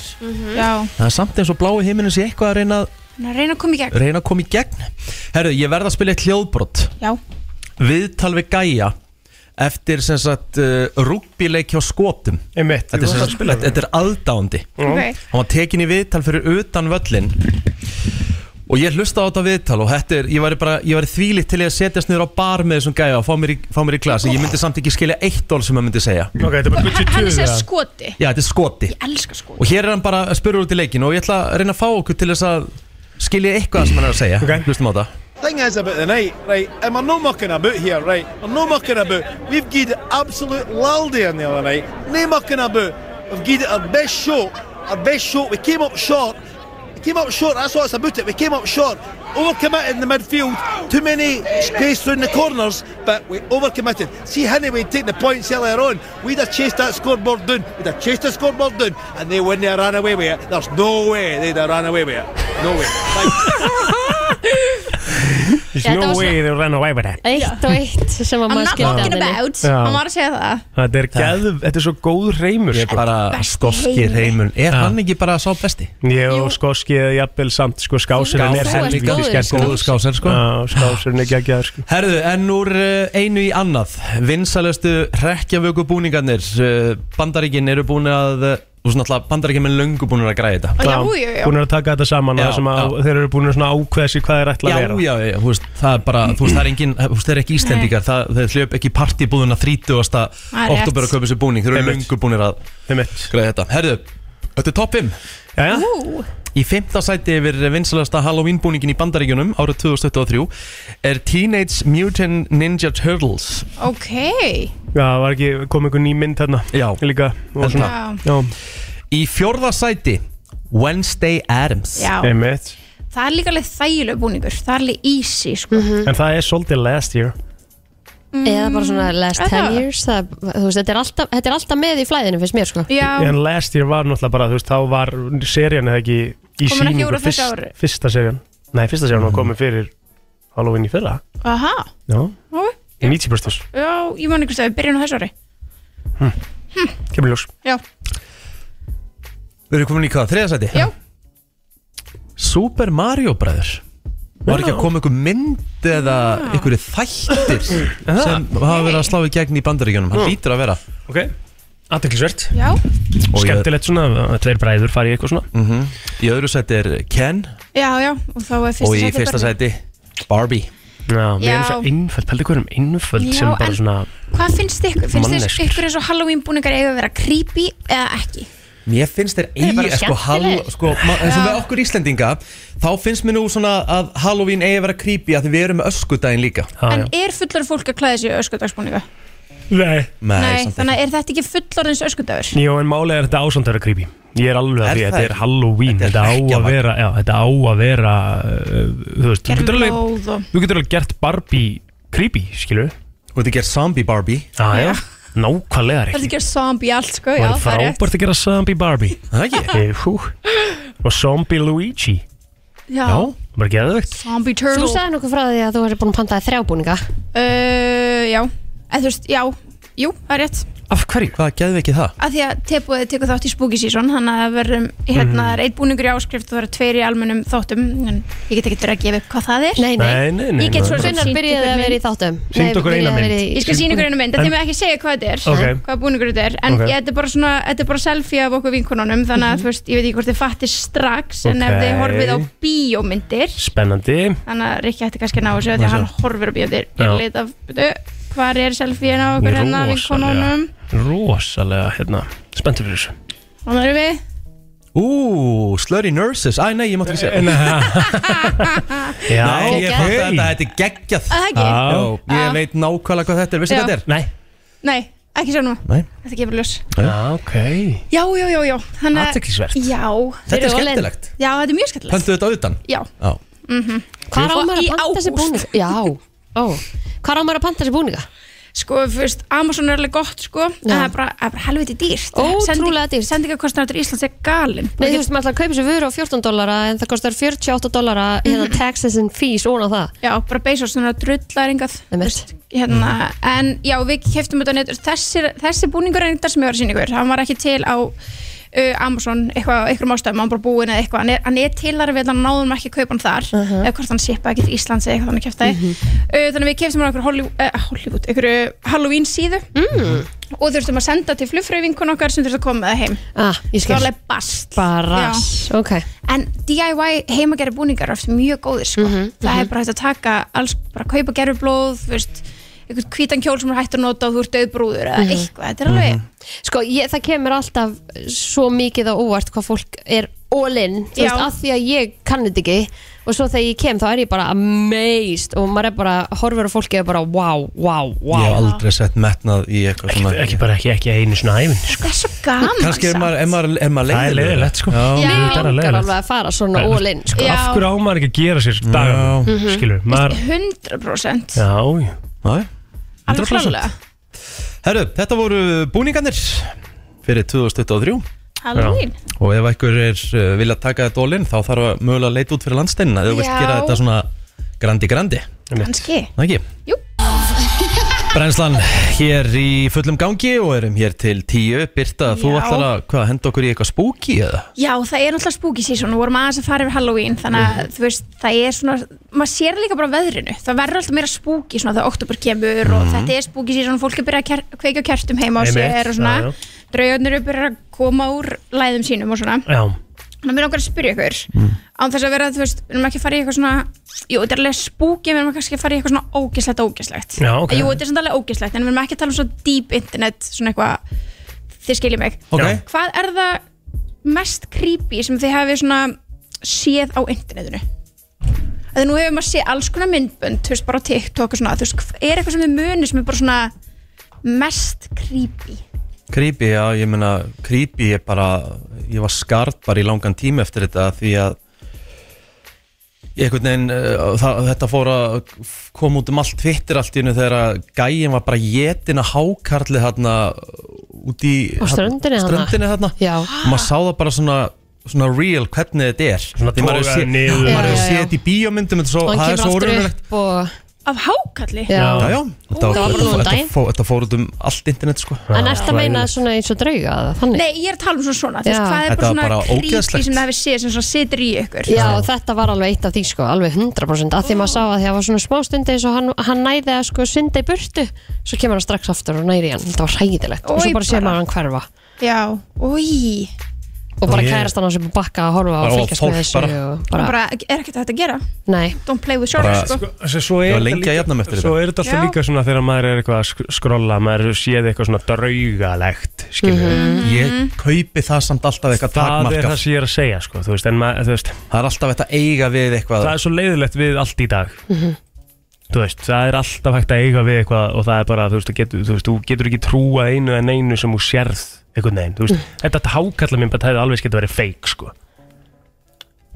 [SPEAKER 8] Já
[SPEAKER 1] Það er samt eins og blái heiminin sé eitthvað að reyna,
[SPEAKER 8] Þannig að reyna að koma í gegn
[SPEAKER 1] reyna að koma í gegn Herru, ég verð að spila eitt hljóðbrott
[SPEAKER 8] Já
[SPEAKER 1] viðtal við gæja eftir sem sagt uh, rúgbíleik hjá skotum
[SPEAKER 3] Einmitt,
[SPEAKER 1] þetta, er sem
[SPEAKER 3] ég var að
[SPEAKER 1] sagt-
[SPEAKER 3] spila
[SPEAKER 1] þetta þetta er aðdáandi
[SPEAKER 3] Ok.
[SPEAKER 1] hann var tekin í viðtal fyrir utan völlin og ég hlusta á þetta viðtal og þetta er, ég væri bara ég væri þvílitt til ég að setjast niður á bar með þessum gæja og fá mér í, fá mér í glas ég myndi samt ekki skilja eitt dól sem hann myndi segja
[SPEAKER 3] Ok, þetta er bara
[SPEAKER 8] Hann hann
[SPEAKER 3] 22
[SPEAKER 8] er sér
[SPEAKER 3] eða?
[SPEAKER 8] skoti
[SPEAKER 1] já, þetta er skoti
[SPEAKER 8] Ég elska skoti
[SPEAKER 1] og hér er hann bara að spyrja út í leikin og ég ætla að reyna að fá okkur til þess að skilja eitthvað sem hann er að segja okay. hlustum á þetta
[SPEAKER 12] Thing is about the night, right? And I'm not mucking about here, right? I'm not mucking about. We've gied absolute laldy on the other night. No mucking about. We've gied it our best shot. Our best shot. We came up short. We came up short. That's what it's about. It. We came up short. Overcommitted in the midfield. Too many space through the corners, but we overcommitted. See Hinneway taking the points earlier on. We'd have chased that scoreboard down. We'd have chased the scoreboard down, and they wouldn't have ran away with it. There's no way they'd have ran away with it. No way.
[SPEAKER 3] There's
[SPEAKER 2] Þetta
[SPEAKER 3] no
[SPEAKER 2] var
[SPEAKER 3] way
[SPEAKER 2] svona-
[SPEAKER 3] they ran away with that
[SPEAKER 2] Eitt og eitt sem að
[SPEAKER 8] I'm
[SPEAKER 2] maður
[SPEAKER 8] not
[SPEAKER 2] skilja
[SPEAKER 8] talking about
[SPEAKER 3] Já.
[SPEAKER 8] Hann var að segja það
[SPEAKER 3] Þetta er gæð, þetta er svo sko. góð reymur Ég er
[SPEAKER 1] bara skoski reymur Er hann ekki bara sá besti?
[SPEAKER 3] Jú, skoski eða jafnvel samt sko skásurinn er
[SPEAKER 1] Þú ert
[SPEAKER 3] helviti
[SPEAKER 1] góður
[SPEAKER 3] skemmtilegur.
[SPEAKER 1] góður skásar, sko.
[SPEAKER 3] Já, Skásurinn er geggjaður sko
[SPEAKER 1] Herðu, en úr eh, einu í annað Vinsalustu rekjavöku búningarnir eh, Bandaríkin eru búin að eh, Þú veist náttúrulega, Bandaríkin er löngu búin að græða þetta
[SPEAKER 3] Já, Búin að taka þetta saman
[SPEAKER 1] Já,
[SPEAKER 3] já, sem að
[SPEAKER 1] já.
[SPEAKER 3] þeir eru búin að svona ákveða sér hvað þeir ætla
[SPEAKER 1] Já,
[SPEAKER 3] að vera
[SPEAKER 1] já, já, þú veist, það er bara, þú veist, það er engin, þú veist, það er ekki Íslendingar, það, þeir hljöp ekki partibúðuna 30.
[SPEAKER 3] Það er rétt.
[SPEAKER 1] oktober að kaupa sér búning, þeir eru
[SPEAKER 3] Einmitt.
[SPEAKER 1] löngu búinir að græða þetta. Herðu, þetta er toppim.
[SPEAKER 3] Já, já.
[SPEAKER 1] Í fymta sæti yfir vinsalasta Halloween búningin í bandaríkjunum árið 2023 er Teenage Mutant Ninja Turtles.
[SPEAKER 8] Ok
[SPEAKER 3] Já, var ekki komið einhver ný mynd hérna
[SPEAKER 1] Já
[SPEAKER 3] Líka og
[SPEAKER 1] Heldur
[SPEAKER 3] svona
[SPEAKER 1] það.
[SPEAKER 3] Já,
[SPEAKER 1] Í fjórða sæti Wednesday Adams
[SPEAKER 8] Já.
[SPEAKER 3] einmitt
[SPEAKER 8] Það er líka alveg þægileg búningur Það er alveg easy sko
[SPEAKER 3] En það er svolítið last year
[SPEAKER 2] Eða bara svona last
[SPEAKER 8] Mm,
[SPEAKER 2] 10
[SPEAKER 8] eða-
[SPEAKER 2] years það, Þú veist, þetta er, alltaf, þetta er alltaf með í flæðinu finnst mér sko
[SPEAKER 3] En last year var náttúrulega bara, þú veist, þá var serían eða ekki í
[SPEAKER 8] Kom hún ekki út
[SPEAKER 3] síningu
[SPEAKER 8] á þessu ári?
[SPEAKER 3] fyrsta serían Nei, fyrsta serían var komið fyrir Halloween í fyrra
[SPEAKER 8] Aha
[SPEAKER 3] Mhm. Já,
[SPEAKER 8] Ó,
[SPEAKER 3] í 90%
[SPEAKER 8] Já, ég man ykkur stæði Byrjun á þessu ári
[SPEAKER 3] Kemur ljós
[SPEAKER 8] Já
[SPEAKER 1] Við erum komin í hvað, þriða sæti?
[SPEAKER 8] Já
[SPEAKER 1] Super Mario bræður Var ekki að koma einhver mynd eða einhverju þættir sem hafa verið að slá í gegn í bandaríkjunum Hann
[SPEAKER 3] Mm.
[SPEAKER 1] lítur að vera
[SPEAKER 3] Ok, aðteklisvert
[SPEAKER 8] Já
[SPEAKER 3] Skemmtilegt svona, að tveir bræður fari í eitthvað svona
[SPEAKER 1] mm Í öðru sæti er Ken
[SPEAKER 8] Já, já Og þá er fyrsta
[SPEAKER 1] og í
[SPEAKER 8] sæti
[SPEAKER 1] fyrsta
[SPEAKER 8] Barbie.
[SPEAKER 1] sæti Barbie
[SPEAKER 3] Já, við erum
[SPEAKER 8] Já.
[SPEAKER 3] svo einföld, pældi hverjum einföld sem
[SPEAKER 8] Já, en-
[SPEAKER 3] bara svona
[SPEAKER 8] Hvað finnst ykkur? Finnst
[SPEAKER 3] Manneskjur.
[SPEAKER 8] þið ykkur eins og Halloween búningar eiga að vera creepy eða ekki?
[SPEAKER 1] Mér finnst þeir
[SPEAKER 8] Þeir
[SPEAKER 1] eigi
[SPEAKER 8] eru bara
[SPEAKER 1] sko, hal,
[SPEAKER 8] skemmtilegir.
[SPEAKER 1] sko, ma- eins og
[SPEAKER 8] Já.
[SPEAKER 1] með okkur Íslendinga þá finnst mér nú svona að Halloween eigi að vera creepy að því við erum með öskudaginn líka
[SPEAKER 8] En er fullar fólk að klæða sér öskudagsbúninga?
[SPEAKER 3] Nei,
[SPEAKER 8] Nei, þannig að er þetta ekki fullorðins öskudagur?
[SPEAKER 3] Jó, en málega er þetta ásamt að vera creepy Ég er
[SPEAKER 1] Er
[SPEAKER 3] alveg að því, þetta
[SPEAKER 1] það
[SPEAKER 3] er
[SPEAKER 1] ekki?
[SPEAKER 3] Halloween Þetta á að vera, já, þetta á að vera uh, Þú veist, þú getur alveg
[SPEAKER 8] Blóð og...
[SPEAKER 3] Þú getur alveg gert Barbie creepy, skilur Og þetta gert zombie Barbie Já, já, nákvæmlega
[SPEAKER 8] Það er
[SPEAKER 3] ekki
[SPEAKER 8] ekki að zombie í allt, sko,
[SPEAKER 3] Það
[SPEAKER 8] já,
[SPEAKER 3] er
[SPEAKER 8] það er rétt.
[SPEAKER 3] frábært að gera zombie Barbie Það ekki Eh, Og zombie Luigi
[SPEAKER 2] Já.
[SPEAKER 3] Já, bara geðvegt
[SPEAKER 8] Zombie Turtle
[SPEAKER 2] Þú sagði nokkuð frá því að þú hefði búin að pantaði þrjábúninga
[SPEAKER 8] Uh, já, eða þú veist, já, jú, það er rétt
[SPEAKER 3] Af hverju?
[SPEAKER 1] Hvað geðum við ekki það?
[SPEAKER 8] Af því að tebúið tekur þátt í Spooky Season Þannig að það verðum,
[SPEAKER 3] Mhm.
[SPEAKER 8] hérna, það er einn búningur í áskrift og það eru tveir í almennum þáttum En ég get ekki verið að gefa upp hvað það er
[SPEAKER 2] Nei,
[SPEAKER 3] Nei, nei, nei,
[SPEAKER 8] Ég get
[SPEAKER 3] nei,
[SPEAKER 8] svo
[SPEAKER 3] nei.
[SPEAKER 8] sem
[SPEAKER 3] Hvenær
[SPEAKER 8] sýnt
[SPEAKER 2] byrjaði að
[SPEAKER 8] ykkur mynd.
[SPEAKER 2] vera í þáttum?
[SPEAKER 3] Sýndu okkur eina mynd.
[SPEAKER 8] Ég skal sína ykkur einu mynd, þetta er
[SPEAKER 3] En-
[SPEAKER 8] mig ekki segja hvað þetta er
[SPEAKER 3] Ok.
[SPEAKER 8] Hvað búningur þetta er En
[SPEAKER 3] Ok.
[SPEAKER 8] ég, þetta, er bara svona, þetta er bara selfie af okkur vinkonunum Þannig að þú veist, ég veit ekki hvort þið fattir strax En ef þið
[SPEAKER 3] Ok.
[SPEAKER 8] horfið á bíómyndir
[SPEAKER 3] Spennandi
[SPEAKER 8] Þannig að Rikki ætti kannski að ná þessu af Því að
[SPEAKER 3] Mjög
[SPEAKER 8] hann
[SPEAKER 3] svo.
[SPEAKER 8] horfir á bíómyndir
[SPEAKER 3] Já.
[SPEAKER 8] Ég leit af, byrju, hvar er selfie á okkur hennar vinkonunum
[SPEAKER 3] Rosalega, hérna, spenntur fyrir þessu
[SPEAKER 8] Þannig erum við
[SPEAKER 1] Ú, Slurry Nurses, æ nei, ég mátti ekki segja
[SPEAKER 3] Já,
[SPEAKER 1] Nei, ég fatt að þetta þetta er geggjað
[SPEAKER 8] Að það ekki?
[SPEAKER 1] Já,
[SPEAKER 8] Já.
[SPEAKER 1] Ég veit nákvæmlega hvað þetta er, veistu
[SPEAKER 8] Já.
[SPEAKER 1] hvað þetta er? Nei
[SPEAKER 8] Nei, ekki sjá nú
[SPEAKER 1] Nei.
[SPEAKER 8] Þetta gefur ljós
[SPEAKER 3] Já, ok
[SPEAKER 8] Já, já, já, já Þannig að-
[SPEAKER 1] Athyglisvert.
[SPEAKER 8] Já
[SPEAKER 1] Þetta er
[SPEAKER 8] Þeir eru orðin-
[SPEAKER 1] skemmtilegt.
[SPEAKER 8] Já, þetta er mjög skemmtilegt
[SPEAKER 1] Pöntu þetta utan?
[SPEAKER 8] Já
[SPEAKER 1] Já
[SPEAKER 8] mm -hmm.
[SPEAKER 2] Hvar á maður að panta þessi búninga? Já, ó Hvar á maður að panta þessi búninga?
[SPEAKER 8] Sko, fyrst, Amazon er alveg gott, sko En það er bara, það er bara helviti dýrt
[SPEAKER 2] Ótrúlega
[SPEAKER 8] dýrt Sendingakostnar til Íslands er galinn
[SPEAKER 2] Nei, þú veist, maður ætlar að kaupa sér vöru á 14 dollara en það kostar 48 dollara hérna
[SPEAKER 3] Mm.
[SPEAKER 2] taxes and fees ón á það
[SPEAKER 8] Já, bara beisa svona drullæringað hérna, En já, við keftum þetta á netur Þessi, þessi búningur er þetta sem ég var að sína ykkur Hann var ekki til á uh, Amazon eitthvað, einhverjum ástæðum, hann var bara búinn eða eitthvað hann er, hann er til þar við hann náðum ekki að kaupa hann þar eða hvort hann sépa ekki til Íslands eða eitthvað hann keftaði
[SPEAKER 2] Mhm.
[SPEAKER 8] uh Þannig að við keftum hann okkur Hollywood, uh, Hollywood einhverju Halloween síðu mm. og þurftum að senda til flugfröfingun okkar sem þurftum að koma með það heim
[SPEAKER 2] Ah, ég
[SPEAKER 8] Það
[SPEAKER 2] skil
[SPEAKER 8] var alveg bast
[SPEAKER 2] Bara, ok
[SPEAKER 8] En DIY heimagerði búningar er oft mjög góðir sko.
[SPEAKER 2] Mhm,
[SPEAKER 8] Það er bara hægt að taka alls, bara kaupa gerfublóð, þú veist, einhvern hvítan kjól sem er hægt að nota og þú ert döðbrúður eða
[SPEAKER 2] Mhm.
[SPEAKER 8] eitthvað, þetta er alveg
[SPEAKER 2] Sko, ég, það kemur alltaf svo mikið á óvart hvað fólk er all in, þú
[SPEAKER 8] Já.
[SPEAKER 2] veist, af því að ég kann þetta ekki og svo þegar ég kem þá er ég bara amazed og maður er bara horfur á fólki og bara wow, wow, wow
[SPEAKER 1] Ég hef aldrei sett metnað í eitthvað svona
[SPEAKER 3] Ekki bara ekki, ekki einu svona æfin sko.
[SPEAKER 8] Það er svo gaman
[SPEAKER 1] Kanski er maður, er maður, er maður
[SPEAKER 3] Það er leiðilegt, sko.
[SPEAKER 1] Já.
[SPEAKER 3] Já.
[SPEAKER 2] Ég
[SPEAKER 3] Þetta er alveg
[SPEAKER 2] langar
[SPEAKER 3] leiðilegt.
[SPEAKER 2] alveg að fara svona all in sko.
[SPEAKER 3] Af hverju á maður ekki að gera sér dagan
[SPEAKER 2] Mhm.
[SPEAKER 3] Skilur, maður
[SPEAKER 8] 100%
[SPEAKER 3] Já, já
[SPEAKER 1] Nei,
[SPEAKER 8] Alveg
[SPEAKER 1] 100%.
[SPEAKER 8] klárlega.
[SPEAKER 1] Herru, þetta voru búningarnir fyrir 2023
[SPEAKER 8] Halloween.
[SPEAKER 1] Já. Og ef einhver er uh, vilja taka þetta ólinn þá þarf að mögulega að leita út fyrir landsteinina eða þú vilt
[SPEAKER 8] Já.
[SPEAKER 1] gera þetta svona grandi grandi
[SPEAKER 8] Kannski
[SPEAKER 1] Það ekki?
[SPEAKER 8] Jú.
[SPEAKER 1] Brænslan hér í fullum gangi og erum hér til tíu Birta, þú
[SPEAKER 8] Já.
[SPEAKER 1] ætlar að hvað, henda okkur í eitthvað spooky eða?
[SPEAKER 8] Já, það er náttúrulega spooky season og vorum aðeins að fara yfir Halloween þannig að
[SPEAKER 13] Mhm.
[SPEAKER 8] þú veist, það er svona maður sér líka bara á veðrinu, það verður alltaf meira spooky svona þegar oktober kemur og
[SPEAKER 13] Mhm.
[SPEAKER 8] þetta er spooky season, fólk er byrjað að ker- kveikja á kertum heima á
[SPEAKER 13] Einmitt,
[SPEAKER 8] sér og svona
[SPEAKER 13] já, já.
[SPEAKER 8] draugarnir eru byrjað að koma úr læðum sínum og svona
[SPEAKER 3] Já
[SPEAKER 8] Þannig að mér langar að spyrja ykkur
[SPEAKER 13] Mhm.
[SPEAKER 8] án þess að vera, þú veist, við erum ekki að fara í eitthvað svona jú, þetta er alveg spooky, en við erum kannski að fara í eitthvað svona ógeslegt, ógeslegt
[SPEAKER 3] Já, ok.
[SPEAKER 8] Jú, þetta er samt alveg ógeslegt, en við erum ekki að tala um svo deep internet, svona eitthvað þið skiljið mig
[SPEAKER 3] Ok.
[SPEAKER 8] Hvað er það mest creepy sem þið hafið svona séð á internetinu? Þegar nú hefur maður séð alls konar myndbönd, þú veist, bara á TikTok og svona, þú veist, er eitthvað sem þið munið sem er bara svona mest creepy?
[SPEAKER 1] Creepy, já, ég meina creepy er bara, ég var skart bara í langan tíma eftir þetta því að einhvern veginn, uh, það, þetta fór að koma út um allt Twitter allt í hennu þegar að gæin var bara jetin að hákarli þarna út í
[SPEAKER 2] Á ströndinni
[SPEAKER 1] þarna,
[SPEAKER 2] þarna.
[SPEAKER 1] ströndinni þarna.
[SPEAKER 2] Já.
[SPEAKER 1] og maður sá það bara svona svona real hvernig þetta er svona
[SPEAKER 3] toga niður.
[SPEAKER 1] maður
[SPEAKER 2] Já,
[SPEAKER 1] hefur
[SPEAKER 2] já,
[SPEAKER 1] séð
[SPEAKER 2] já.
[SPEAKER 1] þetta í bíómyndum þetta er svo,
[SPEAKER 2] og hann
[SPEAKER 1] það er
[SPEAKER 2] kemur
[SPEAKER 1] svo
[SPEAKER 2] aftur
[SPEAKER 1] orðunulegt
[SPEAKER 2] upp og
[SPEAKER 8] Af hákalli?
[SPEAKER 2] Já.
[SPEAKER 1] já, já, þetta,
[SPEAKER 2] Það var
[SPEAKER 1] þetta,
[SPEAKER 2] bara núna um
[SPEAKER 1] þetta,
[SPEAKER 2] daginn.
[SPEAKER 1] fó, þetta fór út um allt internet sko.
[SPEAKER 2] En eftir að meina svona eins og drauga eða þannig
[SPEAKER 8] Nei, ég er að tala um svona svona, þú veist,
[SPEAKER 2] Já.
[SPEAKER 8] hvað er
[SPEAKER 1] Þetta var
[SPEAKER 8] bara svona
[SPEAKER 1] bara
[SPEAKER 8] creepy
[SPEAKER 1] ógeðslegt.
[SPEAKER 8] sem það hefur séð sem svona situr í ykkur?
[SPEAKER 2] Já, þetta var alveg eitt af því sko, alveg 100% af því maður sá að því að það var svona smá stundi eins og hann, hann næði að sko synda í burtu svo kemur hann strax aftur og næri hann þetta var hræðilegt og
[SPEAKER 8] Oj,
[SPEAKER 2] svo bara sé
[SPEAKER 8] bara.
[SPEAKER 2] maður hann hverfa
[SPEAKER 8] Já, ói
[SPEAKER 2] og bara
[SPEAKER 1] Ég-
[SPEAKER 2] kærast hann á sem bakka að horfa
[SPEAKER 1] Bara
[SPEAKER 2] og fylgjast með
[SPEAKER 1] fólk
[SPEAKER 2] þessu
[SPEAKER 1] bara.
[SPEAKER 2] og
[SPEAKER 8] bara,
[SPEAKER 2] bara,
[SPEAKER 8] er ekkert hægt að gera
[SPEAKER 2] nei,
[SPEAKER 8] don't play with genre
[SPEAKER 3] Bara-
[SPEAKER 8] sko.
[SPEAKER 3] Svo, svo
[SPEAKER 1] Ég
[SPEAKER 3] er
[SPEAKER 1] var
[SPEAKER 3] þetta
[SPEAKER 1] lengi að jafna mig eftir
[SPEAKER 3] Svo
[SPEAKER 1] þetta.
[SPEAKER 3] er þetta alltaf
[SPEAKER 8] Já.
[SPEAKER 3] líka svona þegar maður er eitthvað að sk- skrolla Maður séð eitthvað svona draugalegt Skilur
[SPEAKER 1] Mhm. Ég kaupi það samt alltaf eitthvað
[SPEAKER 3] Það er það
[SPEAKER 1] takmarkað
[SPEAKER 3] sem ég er að segja sko, þú veist, en maður, þú veist,
[SPEAKER 1] Það er alltaf þetta eiga við eitthvað
[SPEAKER 3] Það er svo leiðilegt við allt í dag
[SPEAKER 1] Mhm.
[SPEAKER 3] Þú veist, það er alltaf hægt að eiga við eitthvað og það er bara, þú veist, þú getur, þú veist, þú getur ekki trúa einu en einu sem þú sérð einhvern veginn, þú veist,
[SPEAKER 8] Mhm.
[SPEAKER 3] þetta hákalla minn bara hefði alveg skemmt að vera feik, sko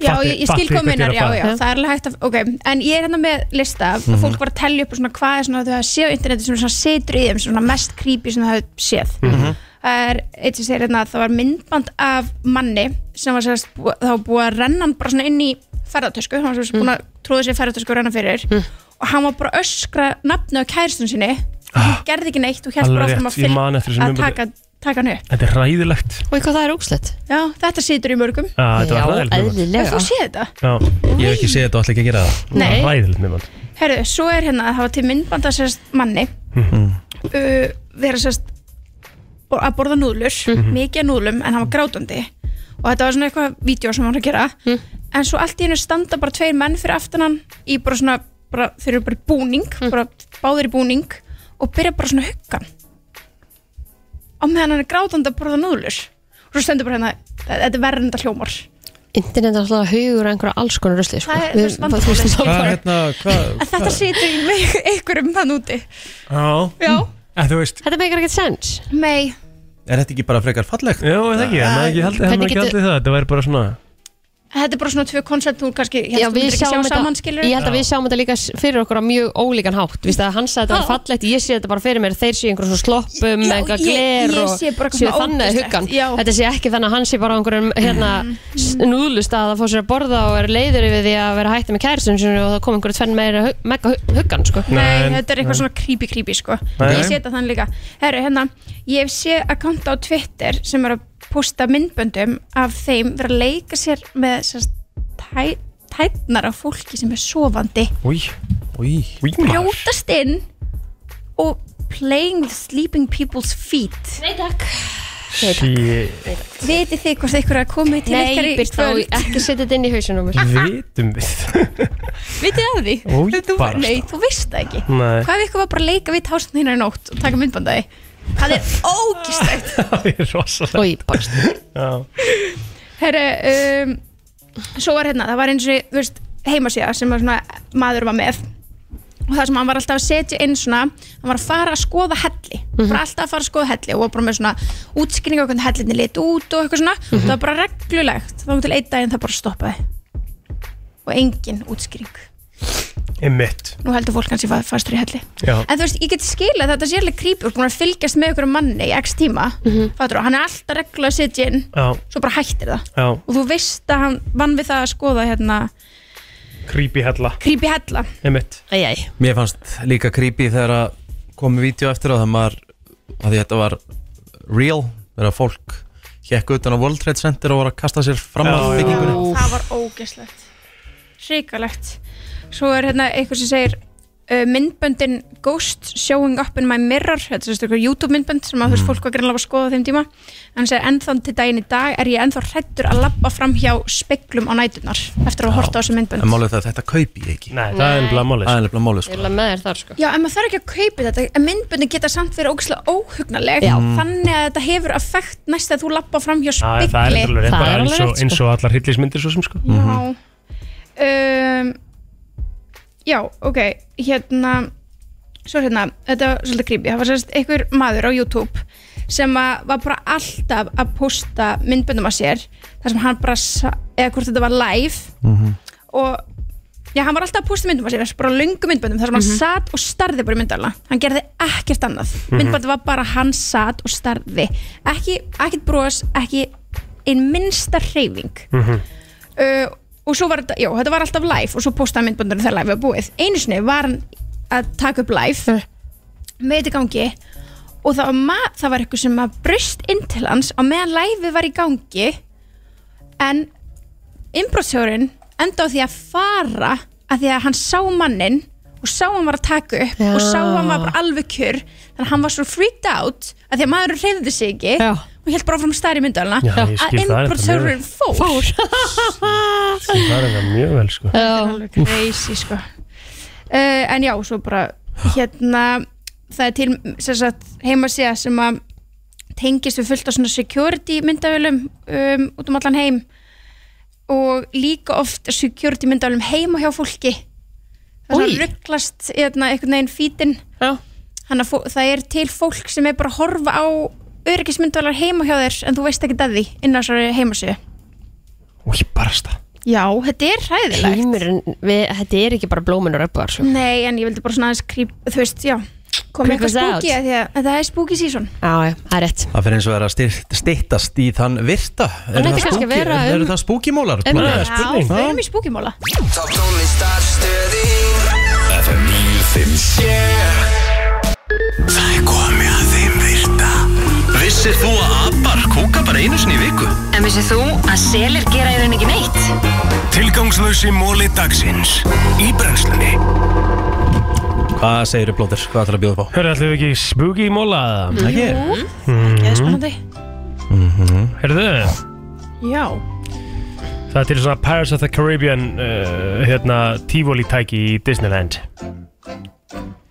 [SPEAKER 8] já,
[SPEAKER 3] Fatti-
[SPEAKER 8] ég, ég skil
[SPEAKER 3] fatti hvert
[SPEAKER 8] kominar,
[SPEAKER 3] ég er
[SPEAKER 8] já,
[SPEAKER 3] að
[SPEAKER 8] já,
[SPEAKER 3] fara.
[SPEAKER 8] það er alveg hægt að ok, en ég er hérna með lista mm
[SPEAKER 3] Mhm.
[SPEAKER 8] fólk var að tellja upp og svona hvað er svona þau hafa séð á interneti sem svona setur í þeim, svona mest creepy sem þau hafa séð
[SPEAKER 3] Mhm.
[SPEAKER 8] það er eitt sem segir hérna að það var myndband af manni sem var sérst, þá var búið að renna hann bara svona inn í ferðartösku hann var sérst
[SPEAKER 3] Mhm.
[SPEAKER 8] búin að tróða sér í ferðartösku og renna fyrir og hann var bara að öskra nafnu á kæristun sinni hann gerði ekki neitt og
[SPEAKER 3] Ah.
[SPEAKER 8] hérst
[SPEAKER 3] Alveg
[SPEAKER 8] bara áfram
[SPEAKER 3] rétt,
[SPEAKER 8] að,
[SPEAKER 3] ég man eftir
[SPEAKER 8] fylg,
[SPEAKER 3] þessum
[SPEAKER 8] að
[SPEAKER 3] myndbandi.
[SPEAKER 8] taka, taka hann upp
[SPEAKER 3] Þetta er ræðilegt
[SPEAKER 2] og eitthvað það er ógslætt
[SPEAKER 8] já, þetta situr í mörgum
[SPEAKER 3] Já, Ah, þetta var Já, hræðilegt myndband. eðlilega.
[SPEAKER 8] Hefur þú séð þetta?
[SPEAKER 3] Já,
[SPEAKER 1] Ég hef ekki segið þetta og ætla ekki að gera það
[SPEAKER 8] Nei.
[SPEAKER 3] Ræðilegt mjög vant
[SPEAKER 8] Herru, svo er hérna að það var til myndbanda sérst manni uh, vera sérst bo- að borða núðlur, mikið af núðlum en hann var grátandi og þetta var svona eitthvað vídeo sem hann var að gera en svo allt í hennu standa bara tveir menn fyrir aftan hann í bara svona, bara, þeir eru bara í búning bara báðir í búning og byrja bara svona að hugga hann á meðan hann er grátandi að borða núðlur og svo stendur bara hérna þetta er verðin þetta hljómar
[SPEAKER 2] internet er alltaf hugur einhverja alls konar rusli sko.
[SPEAKER 8] Það er-
[SPEAKER 2] Við-
[SPEAKER 8] það er
[SPEAKER 2] þú veist,
[SPEAKER 8] vandamálið.
[SPEAKER 2] það er bara-
[SPEAKER 1] hérna, hvað
[SPEAKER 8] en þetta situr í mig einhverjum þann úti
[SPEAKER 3] Já,
[SPEAKER 8] já,
[SPEAKER 3] en þú veist,
[SPEAKER 2] þetta meikar ekkert sens
[SPEAKER 8] mei
[SPEAKER 1] Er þetta ekki bara frekar fallegt?
[SPEAKER 3] já, er það ekki, en maður ekki haldið, hefði
[SPEAKER 2] Hvernig
[SPEAKER 3] maður ekki
[SPEAKER 2] getur-
[SPEAKER 3] haldið það, þetta væri bara svona
[SPEAKER 8] Þetta er bara svona tvö koncept þú kannski, ég
[SPEAKER 2] Já,
[SPEAKER 8] held að þú
[SPEAKER 2] við
[SPEAKER 8] myndir ekki
[SPEAKER 2] sjáum
[SPEAKER 8] sjá
[SPEAKER 2] þetta,
[SPEAKER 8] saman skilur
[SPEAKER 2] ég held að við sjáum þetta líka s- fyrir okkur á mjög ólíkan hátt Vist að hann sagði þetta var fallegt, ég sé þetta bara fyrir mér Þeir séu einhverjum svo sloppum,
[SPEAKER 8] Já,
[SPEAKER 2] eitthvað
[SPEAKER 8] ég-
[SPEAKER 2] gler
[SPEAKER 8] ég
[SPEAKER 2] og
[SPEAKER 8] sé bara eitthvað
[SPEAKER 2] séu
[SPEAKER 8] svona
[SPEAKER 2] þannig
[SPEAKER 8] ógeðslegt,
[SPEAKER 2] huggan
[SPEAKER 8] já.
[SPEAKER 2] Þetta sé ekki þannig að hann sé bara á einhverjum hérna, mm. núðlustað að fá sér að borða og er leiður yfir því að vera hætti með kæristin sinni og það kom einhverju tvenn meira hu- mega hu- huggan sko.
[SPEAKER 8] Nei, þetta er eitthvað svona creepy creepy sko
[SPEAKER 2] Nei.
[SPEAKER 8] Ég sé þetta þannig líka Herru, hérna, ég sé akkanta á Twitter sem er að posta myndböndum af þeim vera að leika sér með sérst, tæ, tætnar á fólki sem er sofandi
[SPEAKER 3] Új, új, új
[SPEAKER 8] brjótast inn og playing with sleeping people's feet
[SPEAKER 2] Nei takk
[SPEAKER 3] Shit,
[SPEAKER 8] Vitið þið hvort eitthvað er að koma til
[SPEAKER 2] Nei,
[SPEAKER 8] ykkar í
[SPEAKER 2] Birta,
[SPEAKER 8] kvöld?
[SPEAKER 2] og ekki setja þetta inn í hausinu
[SPEAKER 3] vitum við
[SPEAKER 8] Vitið þið að því?
[SPEAKER 3] Ói,
[SPEAKER 8] Þú-
[SPEAKER 3] barasta.
[SPEAKER 8] Nei, þú veist það ekki
[SPEAKER 3] Nei.
[SPEAKER 8] Hvað ef ykkur var bara að leika við tásan hérna í nótt og taka myndbandaði? Það er ógistægt
[SPEAKER 3] Það er rosalega
[SPEAKER 2] Új, barst
[SPEAKER 3] Já,
[SPEAKER 8] Herru, um, svo var hérna, það var eins og, þú veist, heimasíða sem var svona, maður var með og það sem hann var alltaf að setja inn svona hann var að fara að skoða helli bara alltaf að fara að skoða helli og var bara með svona útskýringa hvernig hellinni lit út og eitthvað svona það var bara reglulegt, þá var til einn daginn það bara stoppaði og engin útskýring
[SPEAKER 3] einmitt
[SPEAKER 8] nú heldur fólk kannski fa- fastur í helli
[SPEAKER 3] Já,
[SPEAKER 8] En þú veist, ég get skilað þetta sérlega creepy og búin að fylgjast með ykkur manni í x tíma mm hann er alltaf reglulega að setja inn
[SPEAKER 3] já,
[SPEAKER 8] svo bara hættir það
[SPEAKER 3] já,
[SPEAKER 8] og þú veist að hann vann við það að skoða hérna
[SPEAKER 3] creepy hella
[SPEAKER 8] creepy hella
[SPEAKER 3] Einmitt
[SPEAKER 2] Æjæj
[SPEAKER 1] Mér fannst líka creepy þegar að komið vídeo eftir að það maður að því þetta var real þegar að fólk hjekk utan á World Trade Center og var að kasta sér fram að byggingunni
[SPEAKER 8] það var ógeslegt hrikalegt svo er hérna eitthvað sem segir uh, myndböndin Ghost Showing Up in My Mirror þetta er eitthvað YouTube myndbönd sem að þú veist fólk var greinlega að skoða á þeim tíma en hann segir ennþann til daginn í dag er ég ennþá hrættur að lappa fram hjá speglum á nætunar eftir að horta á þessu myndbönd
[SPEAKER 1] En málið er það að þetta kaupi ég ekki
[SPEAKER 3] Nei, það er ennlega málið
[SPEAKER 1] Það er nefnilega málið
[SPEAKER 2] Ég
[SPEAKER 1] sko
[SPEAKER 2] er alveg með þér þar sko
[SPEAKER 8] Já, en maður þarf ekki að kaupa þetta en myndböndin geta samt verið ógæslega óhugnaleg
[SPEAKER 2] Já.
[SPEAKER 8] þannig að þetta hefur effekt næst að þú lappa fram hjá
[SPEAKER 3] Já, það er
[SPEAKER 8] spegli
[SPEAKER 3] alveg rétt,
[SPEAKER 2] Það
[SPEAKER 3] bara
[SPEAKER 2] er alveg
[SPEAKER 3] eins og,
[SPEAKER 2] rétt, sko.
[SPEAKER 3] eins og allar hillismyndir svo sem sko
[SPEAKER 8] Já um, Já, ok hérna svo hérna, þetta var svolítið creepy það var sérst einhver maður á YouTube sem að var bara alltaf að posta myndböndum að sér þar sem hann bara, sa- eða hvort þetta var live og já, hann var alltaf að posta myndum að sér bara löngu myndböndum þar sem hann satt og starði bara í myndalina hann gerði ekkert annað mm
[SPEAKER 3] Mhm.
[SPEAKER 8] var bara hann satt og starði ekki, ekkert bros, ekki ein minnsta hreyfing uh, og svo var þetta, já, þetta var alltaf live og svo postaði myndböndunum þegar live var búið einu sinni var hann að taka upp live með þetta í gangi og það var, ma- það var eitthvað sem að brust inn til hans á meðan live var í gangi en innbrottshjórun enda á því að fara að því að hann sá mannin og sá hann var að taka upp og
[SPEAKER 2] Já.
[SPEAKER 8] sá hann var bara alveg kjur þannig að hann var svo freaked out að því að maðurinn reyði sig ekki
[SPEAKER 2] Já.
[SPEAKER 8] og og held bara áfram að stæri myndalina
[SPEAKER 3] Já, ég
[SPEAKER 8] að
[SPEAKER 3] skil það,
[SPEAKER 8] innbrotsörurinn fór fór
[SPEAKER 3] Það er þetta mjög vel sko
[SPEAKER 8] þetta er alveg crazy sko uh, en já, svo bara hérna, það er til sem sagt, heimasíða sem að tengist við fullt á svona security myndavölum um, út um allan heim og líka oft security myndavölum heima hjá fólki það
[SPEAKER 2] Oj.
[SPEAKER 8] er svona rugglast hérna, einhvern veginn fítinn þannig að fó- það er til fólk sem er bara að horfa á öryggismyndavælar heima hjá þér en þú veist ekki að því inn á þessari heimasíðu
[SPEAKER 3] Úi, barasta
[SPEAKER 8] Já, þetta er hræðilegt
[SPEAKER 2] Heimurinn, við, þetta er ekki bara blómin og röpbar sko.
[SPEAKER 8] Nei, en ég vildi bara svona aðeins creep, þú veist, já komið
[SPEAKER 2] Creep
[SPEAKER 8] eitthvað
[SPEAKER 2] us out.
[SPEAKER 8] spooky að því að en það er spooky season
[SPEAKER 2] Já, já, það er rétt
[SPEAKER 1] Það fyrir eins og vera að stýttast í þann virta
[SPEAKER 2] Hann ætti kannski að vera
[SPEAKER 1] Eru
[SPEAKER 2] um-
[SPEAKER 1] það Ah. spúkimólar?
[SPEAKER 2] um-
[SPEAKER 8] Já, þau erum í spooky móla
[SPEAKER 3] Mhm.
[SPEAKER 5] Top tónlistar stöðin FM 957 Það er komið að þeim virta Vissir þú að abar kúka bara einu sinni í viku?
[SPEAKER 7] En vissið þú að selir gera í rauninni ekki neitt?
[SPEAKER 5] Tilgangslösi móli dagsins Í brennslunni
[SPEAKER 1] Hvað segir þú blóður? Hvað ætlar að bjóða upp á?
[SPEAKER 3] Hörru, ætlum við ekki í spooky móla það?
[SPEAKER 1] Ekki?
[SPEAKER 8] Það er spennandi
[SPEAKER 3] Hörru,
[SPEAKER 8] Já
[SPEAKER 3] það er til svona Pirates of the Caribbean uh, hérna, tífóli tæki í Disneyland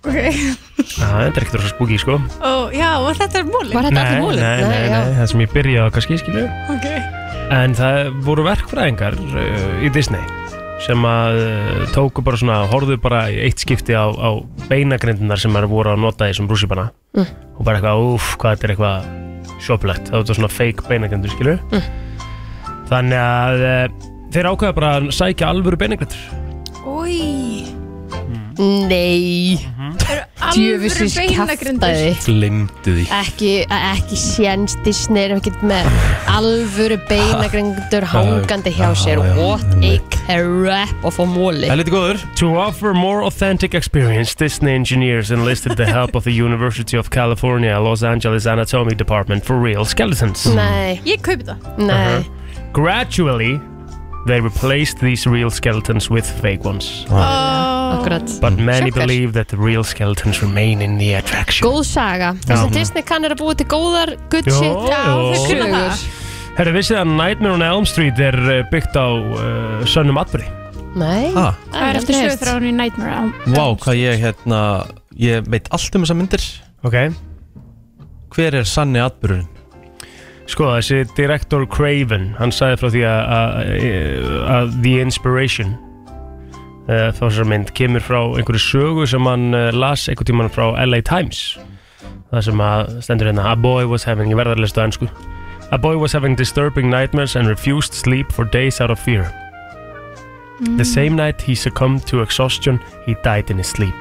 [SPEAKER 8] Ok,
[SPEAKER 3] Það er ekkert rosa spooky sko
[SPEAKER 8] ó, já, og þetta er móli
[SPEAKER 2] Var
[SPEAKER 3] Nei, nei, nei, nei, það sem ég byrjaði á kannski, skilju
[SPEAKER 8] Ok
[SPEAKER 3] En það voru verkfræðingar uh, í Disney sem að uh, tóku bara svona, horfðu bara í eitt skipti á, á beinagrindunar sem er voru að nota þessum rússipanna
[SPEAKER 2] Mm.
[SPEAKER 3] og bara eitthvað, uff, hvað þetta er eitthvað sjoplegt, það var svona fake beinagrindur, skilur
[SPEAKER 2] Mm.
[SPEAKER 3] Þannig að uh, þeir ákveða bara að sækja alvöru beinagrindur
[SPEAKER 8] Új,
[SPEAKER 2] Nei Djöfisins
[SPEAKER 8] alvöru beinagrindur
[SPEAKER 2] kjaftaði
[SPEAKER 1] Glimdu því
[SPEAKER 2] Ekki, ekki séns Disney er ekkert með alvöru beinagrindur hangandi hjá sér What a crap og fór móli
[SPEAKER 3] liti góður To offer more authentic experience Disney engineers enlisted the help of the University of California Los Angeles Anatomy Department for real skeletons
[SPEAKER 2] Nei
[SPEAKER 8] Ég kaupi það
[SPEAKER 2] Nei
[SPEAKER 3] Gradually, they replaced these real skeletons with fake ones.
[SPEAKER 2] Akkurat
[SPEAKER 3] But many
[SPEAKER 2] Shocker.
[SPEAKER 3] believe that the real skeletons remain in the attraction.
[SPEAKER 2] Góð saga Það sem Disney kann er að búa til góðar good
[SPEAKER 3] Jó,
[SPEAKER 2] shit
[SPEAKER 3] jó.
[SPEAKER 2] og
[SPEAKER 3] kunna það.
[SPEAKER 2] sögur.
[SPEAKER 3] Herra, vissið að Nightmare on Elm Street er uh, byggt á uh, sönnum atbyrði?
[SPEAKER 2] Nei
[SPEAKER 1] Ah.
[SPEAKER 8] Það er eftir sögur þráðan í Nightmare Elm.
[SPEAKER 1] Vá, hvað ég hérna Ég veit allt um þessar myndir
[SPEAKER 3] Ok
[SPEAKER 1] Hver er sanni atbyrðurinn?
[SPEAKER 3] Sko, þessi direktor Craven, hann sagði frá því að- að að The Inspiration uh, þá þessar mynd kemur frá einhverju sögu sem hann uh, las einhvern tímann frá LA Times það sem að stendur hérna A boy was having, ég verðar að lesta ennsku A boy was having disturbing nightmares and refused sleep for days out of fear The same night he succumbed to exhaustion, he died in his sleep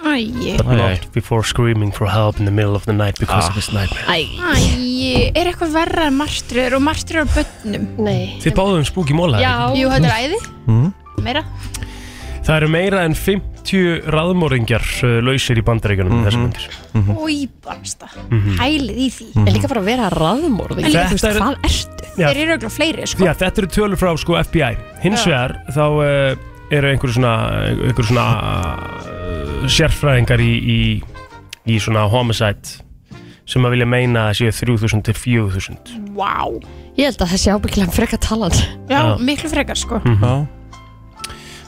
[SPEAKER 8] Æi
[SPEAKER 3] but not before screaming for help in the middle of the night because of his nightmare
[SPEAKER 8] Æi, er eitthvað verra en martröður og martröður á börnum?
[SPEAKER 2] Nei
[SPEAKER 3] Þið um báðum spúki móla
[SPEAKER 8] Jú, þetta er æði
[SPEAKER 1] Mm,
[SPEAKER 3] Mhm.
[SPEAKER 8] Meira
[SPEAKER 3] Það eru meira en 50 raðmóringjar uh, lausir í bandaríkjunum mm
[SPEAKER 8] Mhm.
[SPEAKER 3] þessum myndir.
[SPEAKER 8] Új, barsta
[SPEAKER 3] Mhm.
[SPEAKER 8] Hælið í því
[SPEAKER 1] mm.
[SPEAKER 3] Mhm. En
[SPEAKER 2] líka bara að vera raðmorði
[SPEAKER 3] Þetta er-
[SPEAKER 2] Hvað ertu?
[SPEAKER 3] Já.
[SPEAKER 8] Þeir eru auðvitað fleiri, sko
[SPEAKER 3] Já, þetta eru tölur frá sko, FBI. Hins
[SPEAKER 8] Já.
[SPEAKER 3] vegar þá uh, eru einhverju svona, einhverju svona uh, sérfræðingar í, í, í svona homicide sem að vilja meina að séu 3000 til 4000.
[SPEAKER 8] Vá
[SPEAKER 2] Ég held að það sé ábyggilega frekar talan
[SPEAKER 8] Já,
[SPEAKER 3] Já.
[SPEAKER 8] miklu frekar, sko
[SPEAKER 3] Mm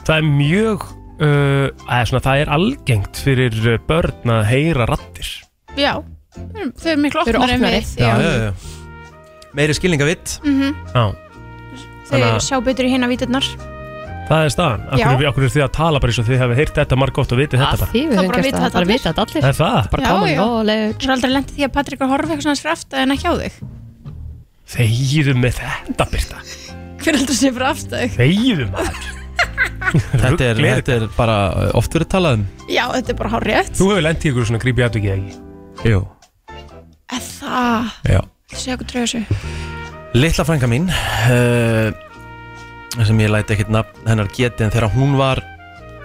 [SPEAKER 3] Það er mjög, uh, að, svona, það er algengt fyrir uh, börn að heyra rattir.
[SPEAKER 8] Já, þau eru- þau eru miklu
[SPEAKER 2] Þau eru
[SPEAKER 8] opnari en
[SPEAKER 2] opnari.
[SPEAKER 8] við
[SPEAKER 1] Meiri skilningavitt
[SPEAKER 8] Mhm.
[SPEAKER 3] Já.
[SPEAKER 8] Þau
[SPEAKER 3] Þannig
[SPEAKER 8] eru
[SPEAKER 3] að-
[SPEAKER 8] sjá betur í hinna víturnar
[SPEAKER 3] Það er staðan.
[SPEAKER 8] Já.
[SPEAKER 3] Akkur, akkur eru þið að tala bara eins og þið hefur heyrt þetta margótt og vitið þetta bara.
[SPEAKER 2] Því við
[SPEAKER 8] Það
[SPEAKER 2] höfum
[SPEAKER 8] bara
[SPEAKER 2] gert
[SPEAKER 8] vita
[SPEAKER 2] það
[SPEAKER 8] þetta
[SPEAKER 2] bara vita þetta allir
[SPEAKER 3] Það er það?
[SPEAKER 2] Bara
[SPEAKER 8] Já,
[SPEAKER 2] common
[SPEAKER 8] já.
[SPEAKER 2] knowledge
[SPEAKER 8] Svo er aldrei lendið því að Patrik er að horfa eitthvað svona skrafta en ekki á þig
[SPEAKER 3] Þegiðu með þetta, Birta
[SPEAKER 8] Hver heldur sé fyrir afstæð
[SPEAKER 3] Þegiðu maður
[SPEAKER 1] þetta, er, þetta er bara uh, oft verið talað um
[SPEAKER 8] Já, þetta er bara hár rétt
[SPEAKER 3] Þú hefur lendið ykkur svona grípi atvikið ekki
[SPEAKER 1] Jú
[SPEAKER 8] Það,
[SPEAKER 1] Já
[SPEAKER 8] þú sé eitthvað dröðu þessu
[SPEAKER 1] Lilla frænka mín uh, sem ég læti ekkert nafn hennar geti en þegar hún var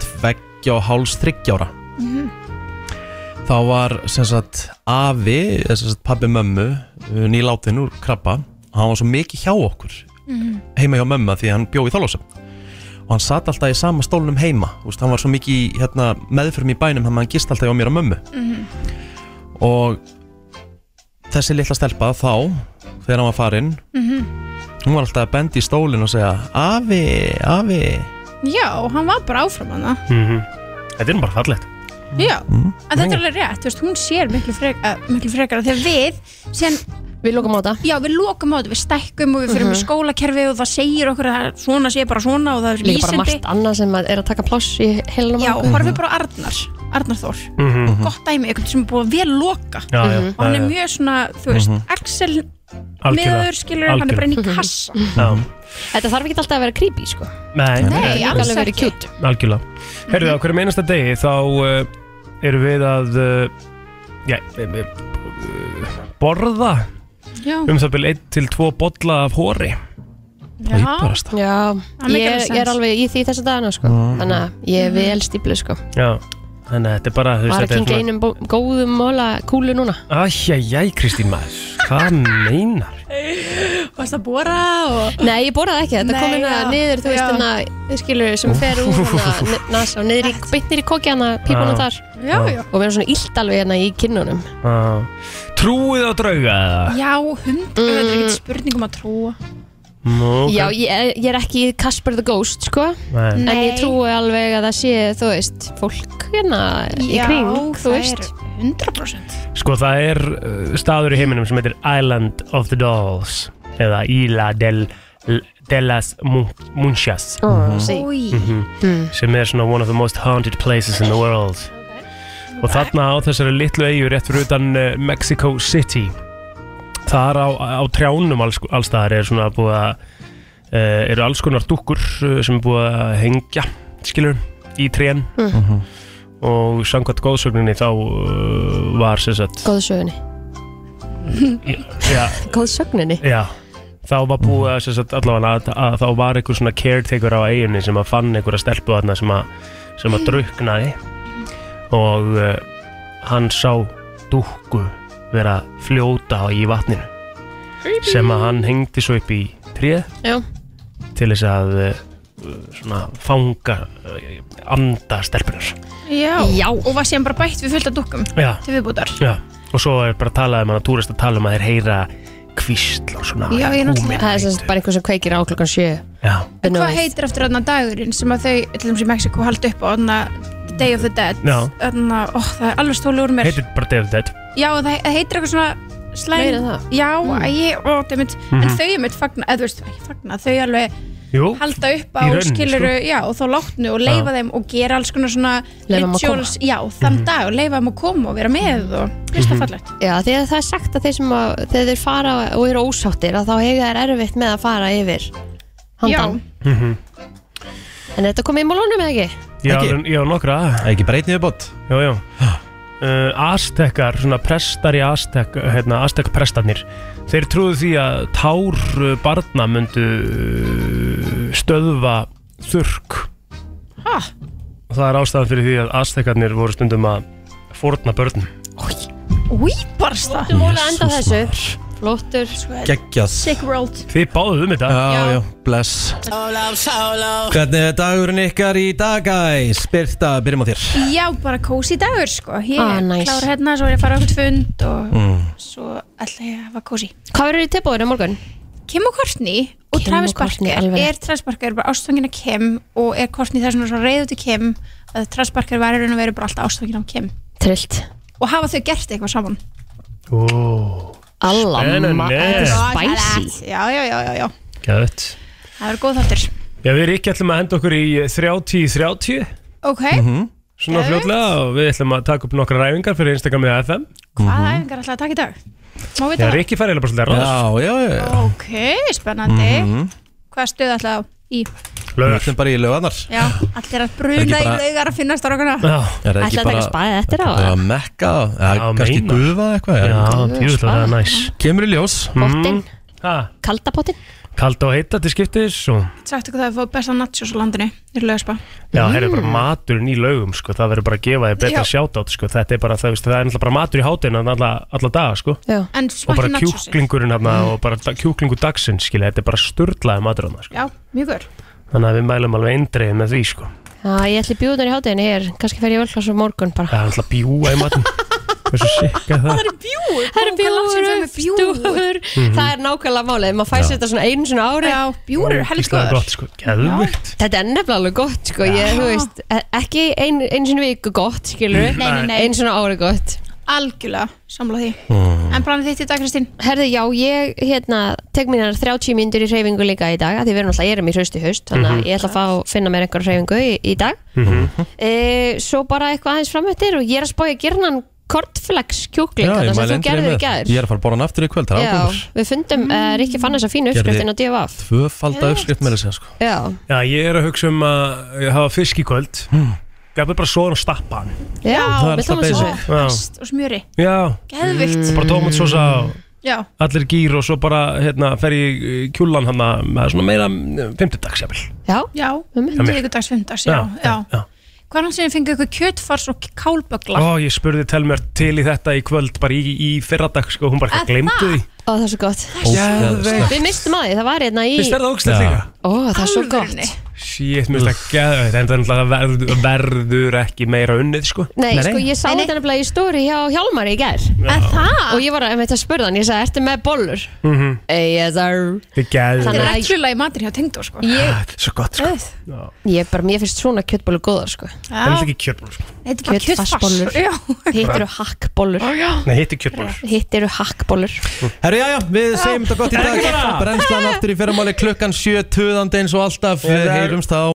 [SPEAKER 1] tveggja og háls þryggjára
[SPEAKER 5] Mhm.
[SPEAKER 1] þá var sem sagt afi, eða sem sagt pabbi mömmu nýláttinn úr krabba hann var svo mikið hjá okkur
[SPEAKER 5] Mhm.
[SPEAKER 1] heima hjá mömmu af því að hann bjó í þálásum og hann satt alltaf í sama stólnum heima Úst, hann var svo mikið í, hérna, meðförum í bænum þannig að hann gist alltaf hjá mér
[SPEAKER 5] Mhm.
[SPEAKER 1] og mömmu og þessi litla stelpa þá þegar hann var farinn
[SPEAKER 8] Mhm.
[SPEAKER 1] Hún var alltaf að benda í stólinn og segja Afi, afi
[SPEAKER 8] Já, hann var bara áfram hana
[SPEAKER 1] Mhm.
[SPEAKER 3] Þetta er nú bara fallegt
[SPEAKER 8] Já, en þetta er alveg rétt, þú veist, hún sér miklu, frek, uh, miklu frekar þegar við sem,
[SPEAKER 2] Við lokum á þetta
[SPEAKER 8] Já, við lokum á þetta, við stækkum og við fyrir með
[SPEAKER 2] Mhm.
[SPEAKER 8] skólakerfi og það segir okkur að það er svona sé bara svona og það er
[SPEAKER 2] Líka bara
[SPEAKER 8] lýsandi
[SPEAKER 2] margt annað sem að er að taka pláss í heilanum
[SPEAKER 8] Já,
[SPEAKER 2] okkur.
[SPEAKER 8] horfið bara á Arnar, Arnar Þór
[SPEAKER 3] Mhm.
[SPEAKER 8] Gott dæmi, eitthvað sem er búið að vel loka
[SPEAKER 3] Já, já,
[SPEAKER 8] Og hann
[SPEAKER 3] já,
[SPEAKER 8] er
[SPEAKER 3] já.
[SPEAKER 8] mjög svona, þú veist,
[SPEAKER 3] Eh, Mhm.
[SPEAKER 8] Axel
[SPEAKER 3] Algjörlega,
[SPEAKER 8] miður skilur, hann er bara inn í
[SPEAKER 2] algjörlega.
[SPEAKER 8] kassa
[SPEAKER 3] Já,
[SPEAKER 1] Mhm.
[SPEAKER 2] Þetta þarf ekki alltaf að vera creepy sko
[SPEAKER 3] nei
[SPEAKER 2] Nei, alls alveg verið kjút
[SPEAKER 3] Algjörlega. Herðu, á hverjum einasta degi þá uh, erum við að uh, já, eh, eh, borða
[SPEAKER 2] Já.
[SPEAKER 3] um það byrja 1 til 2 bolla af hóri. Píparast.
[SPEAKER 2] Já,
[SPEAKER 8] Það
[SPEAKER 2] ég, ég
[SPEAKER 8] make alveg
[SPEAKER 2] er
[SPEAKER 8] sens. Mhm.
[SPEAKER 2] alveg í því þessa dagana sko
[SPEAKER 3] Mm.
[SPEAKER 2] Þannig að ég er vel stíplu sko
[SPEAKER 3] Já, þannig að þetta er bara, þú
[SPEAKER 2] Var að
[SPEAKER 3] þetta er
[SPEAKER 2] kinga einum bó- góðum móla kúlu núna
[SPEAKER 3] Æjæjæ, Kristín maður, hvað meinar?
[SPEAKER 8] Varst að bóra og
[SPEAKER 2] Nei, ég borðaði ekki, þetta
[SPEAKER 8] Nei,
[SPEAKER 2] kom hérna
[SPEAKER 8] já,
[SPEAKER 2] niður, þú veist,
[SPEAKER 8] já.
[SPEAKER 2] hérna, skilur, sem fer úr hérna, n- nasa og niður í, beint niður í kokki hana, pípunum
[SPEAKER 3] Já.
[SPEAKER 2] þar.
[SPEAKER 3] Já, já.
[SPEAKER 2] Og við erum svona illt alveg hérna í kinnunum.
[SPEAKER 3] Uh, trúið á drauga eða?
[SPEAKER 8] Já, hund, þetta er
[SPEAKER 2] Mm.
[SPEAKER 8] ekkert spurning um að trúa
[SPEAKER 3] Nú, ok.
[SPEAKER 2] Já, ég, er- ég er ekki Casper the Ghost, sko.
[SPEAKER 3] Nei.
[SPEAKER 2] En
[SPEAKER 8] Nei.
[SPEAKER 2] ég trúi alveg að það sé, þú veist, fólk hérna í
[SPEAKER 8] Já,
[SPEAKER 2] kring, þú
[SPEAKER 8] það
[SPEAKER 2] veist.
[SPEAKER 8] er 100%
[SPEAKER 3] Sko það er uh, staður í heiminum sem heitir Island of the Dolls eða Isla del, de las Mun- Munchas
[SPEAKER 2] Oh, sí. Új.
[SPEAKER 3] Mhm.
[SPEAKER 2] Mm.
[SPEAKER 3] sem er svona one of the most haunted places in the world og þarna á þessari litlu eigu rétt fyrir utan uh, Mexico City þar á, á trjánum alls, allstaðar er svona búið að uh, eru alls konar dúkkur eh, sem er búið að hengja skilur í trén
[SPEAKER 2] Mhm.
[SPEAKER 3] og samkvæmt góðsögninni þá uh, var sem sagt
[SPEAKER 2] Góðsögunni.
[SPEAKER 3] Já,
[SPEAKER 2] Góðsögninni?
[SPEAKER 3] já Þá var búið að, sem sagt, allavega, að, að þá var einhver svona caretaker á eiginni sem að fann einhverja stelpu þarna sem að, sem að druknaði og uh, hann sá dúkku vera að fljóta í vatninu sem að hann hengdi svo upp í tréð
[SPEAKER 2] Já.
[SPEAKER 3] til þess að uh, svona fanga uh, anda stelpunar
[SPEAKER 2] Mm.
[SPEAKER 8] Já. Já, og var síðan bara bætt við fullt af dukkum
[SPEAKER 3] Já.
[SPEAKER 8] til viðbútar
[SPEAKER 3] Já, og svo er bara að tala um hann að túrist að tala um að þeir heyra kvísl og svona húminn.
[SPEAKER 2] Það er sem sagt bara einhver sem kveikir á klokkan sjö.
[SPEAKER 3] Já.
[SPEAKER 8] En hvað heitir eftir þarna dagurinn sem að þau, til dæmis í Mexiko, haldi upp á þarna Day of the Dead
[SPEAKER 3] Já.
[SPEAKER 8] þarna, ó, það er alveg stóli úr mér
[SPEAKER 3] Heitir bara Day of the Dead
[SPEAKER 8] Já, það, það heitir eitthvað svona slæm
[SPEAKER 2] Meira það? Mm.
[SPEAKER 8] Já, ég, ó, dæmit, en
[SPEAKER 3] Mhm.
[SPEAKER 8] þau er mitt fagna, eða þú veist, ekki fagna þau alveg
[SPEAKER 3] Jú.
[SPEAKER 8] halda upp á
[SPEAKER 3] Í rauninni,
[SPEAKER 8] skiluru,
[SPEAKER 3] sko.
[SPEAKER 8] já, og þá látnu og leifa
[SPEAKER 3] Já.
[SPEAKER 8] þeim og gera alls konar svona
[SPEAKER 2] Leyfa þeim að
[SPEAKER 8] rituals, já, þann
[SPEAKER 2] Mhm.
[SPEAKER 8] dag og leifa þeim að koma og vera með og veist það
[SPEAKER 2] Mhm.
[SPEAKER 8] fallegt
[SPEAKER 2] Já, því að það er sagt að þeir sem að, þegar þeir fara og eru ósáttir að þá hega þeir erfitt með að fara yfir handan.
[SPEAKER 3] Mhm.
[SPEAKER 2] En þetta kom í málunum eða ekki?
[SPEAKER 3] Já,
[SPEAKER 1] Ekki?
[SPEAKER 3] alveg- já, nokkra
[SPEAKER 1] Ekki bara einn yfirbót
[SPEAKER 3] Jú, jú uh, Aztekar, svona prestar í Aztek hérna, Aztek prestarnir Þeir trúðu því að tár uh, barna myndu uh, stöðva þurrk
[SPEAKER 8] Ha?
[SPEAKER 3] Og það er ástæðan fyrir því að Aztekarnir voru stundum að fórna börnum
[SPEAKER 8] Új, barst það
[SPEAKER 2] Flottur múli að enda á þessu Flottur
[SPEAKER 1] Geggjað.
[SPEAKER 8] Sick world
[SPEAKER 3] Þið báðuð um þetta
[SPEAKER 1] Já, já, bless Hvernig er dagurinn ykkar í dag, guys? Birta, byrjum á þér
[SPEAKER 8] Já, bara kósi dagur sko Ég
[SPEAKER 2] Ah,
[SPEAKER 8] ah,
[SPEAKER 2] nice.
[SPEAKER 8] klára hérna, svo er ég að fara á okkur fund og
[SPEAKER 1] mm.
[SPEAKER 8] svo ætla ég að hafa kósi
[SPEAKER 2] Hvað verður í tilbúinu morgun?
[SPEAKER 8] Kim og Courtney og
[SPEAKER 2] Kim
[SPEAKER 8] Travis
[SPEAKER 2] og Courtney,
[SPEAKER 8] Barker
[SPEAKER 2] alveg
[SPEAKER 8] er Travis Barker bara ástfangin af Kim og er Courtney það er svona svo reyðu til Kim að Travis Barker var í raun og veru bara alltaf ástfangin af Kim
[SPEAKER 2] Trillt
[SPEAKER 8] og hafa þau gert eitthvað saman
[SPEAKER 3] Ó,
[SPEAKER 2] Alla ma- þetta er
[SPEAKER 8] Spicy Já, já, já, já, já
[SPEAKER 3] Gæðut
[SPEAKER 8] Það er góð þáttur
[SPEAKER 3] Já, við erum ekki ætlum að henda okkur í 30-30
[SPEAKER 8] Ok,
[SPEAKER 3] Svona
[SPEAKER 8] Geðveikt.
[SPEAKER 3] fljótlega og við ætlum að taka upp nokkra ræfingar fyrir Instagram eða FM
[SPEAKER 8] hvaða æfingar ætlaði að taka í dag? Má
[SPEAKER 3] Já,
[SPEAKER 8] við það?
[SPEAKER 3] Rikki fær eiginlega bara svolítið
[SPEAKER 1] ráðast Já, já, já
[SPEAKER 8] Ok, spennandi Hvaða stöð ætlaði á? Í
[SPEAKER 1] Lögur Þetta er bara í lögarnar
[SPEAKER 8] Já, allir að bruna
[SPEAKER 1] Ekki
[SPEAKER 8] í
[SPEAKER 1] bara-
[SPEAKER 8] laugar að finna strákana
[SPEAKER 1] Er það ekki bara
[SPEAKER 2] eftir
[SPEAKER 1] Það er að mekka Það er kannski
[SPEAKER 3] meinar.
[SPEAKER 1] gufa eitthvað
[SPEAKER 3] Já, djúvill var það
[SPEAKER 1] er
[SPEAKER 3] næs
[SPEAKER 1] Kemur í ljós
[SPEAKER 2] Pottin
[SPEAKER 3] mm.
[SPEAKER 2] Kaldapottin
[SPEAKER 3] Kalda og heita til skiptis og
[SPEAKER 8] Sagt okkur það að fá besta nachos á landinu í laugarspa
[SPEAKER 3] Já, það er bara maturinn í laugum sko. Það verður bara að gefa þér betra
[SPEAKER 8] Já.
[SPEAKER 3] sjátátt sko. Þetta er bara, það, veist, það er náttúrulega bara matur í hátinn alla, alla daga sko.
[SPEAKER 2] Já.
[SPEAKER 8] En
[SPEAKER 3] Og
[SPEAKER 8] smakki
[SPEAKER 3] bara
[SPEAKER 8] nachosi
[SPEAKER 3] kjúklingurinn hana, og bara da- kjúklingur dagsins skilja, Þetta er bara sturlaði matur hana, sko.
[SPEAKER 8] Já, mjög góður
[SPEAKER 3] Þannig að við mælum alveg eindreið með því sko.
[SPEAKER 2] Já, ég ætli bjúðunar í hátæðinu hér Kannski fer ég völkla svo morgun bara
[SPEAKER 3] Það er alltaf bjúa í matinn Hversu sikka er það?
[SPEAKER 2] eru bjúur Það eru bjúur, bjúur
[SPEAKER 3] Mhm.
[SPEAKER 2] Það er nákvæmlega málið, maður fær
[SPEAKER 3] Já.
[SPEAKER 2] sér þetta svona einu svona ári Já, bjúur eru helst
[SPEAKER 3] Ísland er
[SPEAKER 2] góðar
[SPEAKER 3] gott sko, geðvikt
[SPEAKER 2] Þetta er nefnilega alveg gott sko, ég, þú veist, e- ekki ein, einu sinni viku gott, skilur við,
[SPEAKER 8] Nei, nei, nei.
[SPEAKER 2] einu sinni ári gott.
[SPEAKER 8] Algjörlega, samla því
[SPEAKER 2] Mm.
[SPEAKER 8] En brann þitt í dag, Kristín?
[SPEAKER 2] Herðu, já, ég hérna, tek mínar 30 myndur í hreyfingu líka í dag, af því við erum alltaf, ég er mér hausti haust, þannig að
[SPEAKER 8] Mhm.
[SPEAKER 2] ég ætla að fá, finna mér einhver hreyfingu í, í dag.
[SPEAKER 3] Mhm.
[SPEAKER 2] E, svo bara eitthvað aðeins framöttir og ég er að spája að gera hann kortflex kjúkling, þarna sem þú gerðir í gær.
[SPEAKER 9] Ég er að fara að bora hann aftur í kvöld, það er
[SPEAKER 2] Já,
[SPEAKER 9] ákveður
[SPEAKER 2] við fundum, mm. uh, Rikki fann þessa fínu
[SPEAKER 9] Gerði-
[SPEAKER 2] uppskrift inn á DFF.
[SPEAKER 9] Tvöfalda uppskrift með þess að sko
[SPEAKER 2] Já,
[SPEAKER 3] Já, ég er að hugsa um að hafa fisk í kvöld
[SPEAKER 9] Hmm.
[SPEAKER 3] Gafið bara soðan og stappa hann
[SPEAKER 2] já,
[SPEAKER 3] Það er
[SPEAKER 2] með
[SPEAKER 3] alltaf
[SPEAKER 2] tómatsósu.
[SPEAKER 3] basic. Já.
[SPEAKER 8] Ost og smjöri
[SPEAKER 3] Já,
[SPEAKER 8] Geðvikt.
[SPEAKER 2] Mm.
[SPEAKER 3] Og bara tómatsósa og
[SPEAKER 8] Já,
[SPEAKER 3] allir gýr og svo bara hérna, fer ég í kjúlan hann með svona meira eh, fimmtudags jafnvel
[SPEAKER 2] já,
[SPEAKER 8] já
[SPEAKER 3] Hjá mér.
[SPEAKER 8] Miðvikudags, fimmdags, já,
[SPEAKER 3] Já,
[SPEAKER 8] já, já. Hvað hann sem fengið ykkur kjötfars og kálbögla?
[SPEAKER 3] Ó, ég spurði Telmer til í þetta í kvöld bara í, í fyrradag sko, hún bara
[SPEAKER 8] Er
[SPEAKER 3] eitthvað glemdi því
[SPEAKER 2] Ó, það er svo gott.
[SPEAKER 3] Ógeðslegt.
[SPEAKER 2] Við mistum að því, það var hérna í...
[SPEAKER 3] Finnst þér það ógeðslegt
[SPEAKER 9] Já.
[SPEAKER 3] líka?
[SPEAKER 2] Ó, það er svo gott.
[SPEAKER 3] Shit, mér finnst það geðveikt, en það er náttúrulega verður, verður ekki meira unnið sko
[SPEAKER 2] Nei, Ah. sko, ég sá þetta nefnilega í stóri hjá Hjálmari í gær. En það? Og ég var að, að spurða hann, ég sagði, ertu með bollur?
[SPEAKER 3] mm -hmm.
[SPEAKER 2] Mhm. Yes, sir.
[SPEAKER 3] Það er geðveikt.
[SPEAKER 8] Það er
[SPEAKER 2] Þannig að-
[SPEAKER 8] reglulega í matur hjá Tengdó, sko
[SPEAKER 2] Ég,
[SPEAKER 3] Þetta er svo gott sko Já.
[SPEAKER 2] ég bara, mér finnst svona kjötbollur góðar, sko.
[SPEAKER 3] Það er náttúrulega ekki kjötból sko
[SPEAKER 8] Þetta er bara kjötfarsbollur. Já.
[SPEAKER 2] Hitt eru hakkbollur.
[SPEAKER 3] Nei, hitt er kjötból
[SPEAKER 2] Hitt eru hakkbollur.
[SPEAKER 9] Herru, já, já, við segjum þetta gott í
[SPEAKER 2] Takk
[SPEAKER 9] dag
[SPEAKER 2] fyrir það.
[SPEAKER 9] Brennslan aftur í fyrramáli klukkan 7, tuðandi eins og alltaf Við heyrumst þá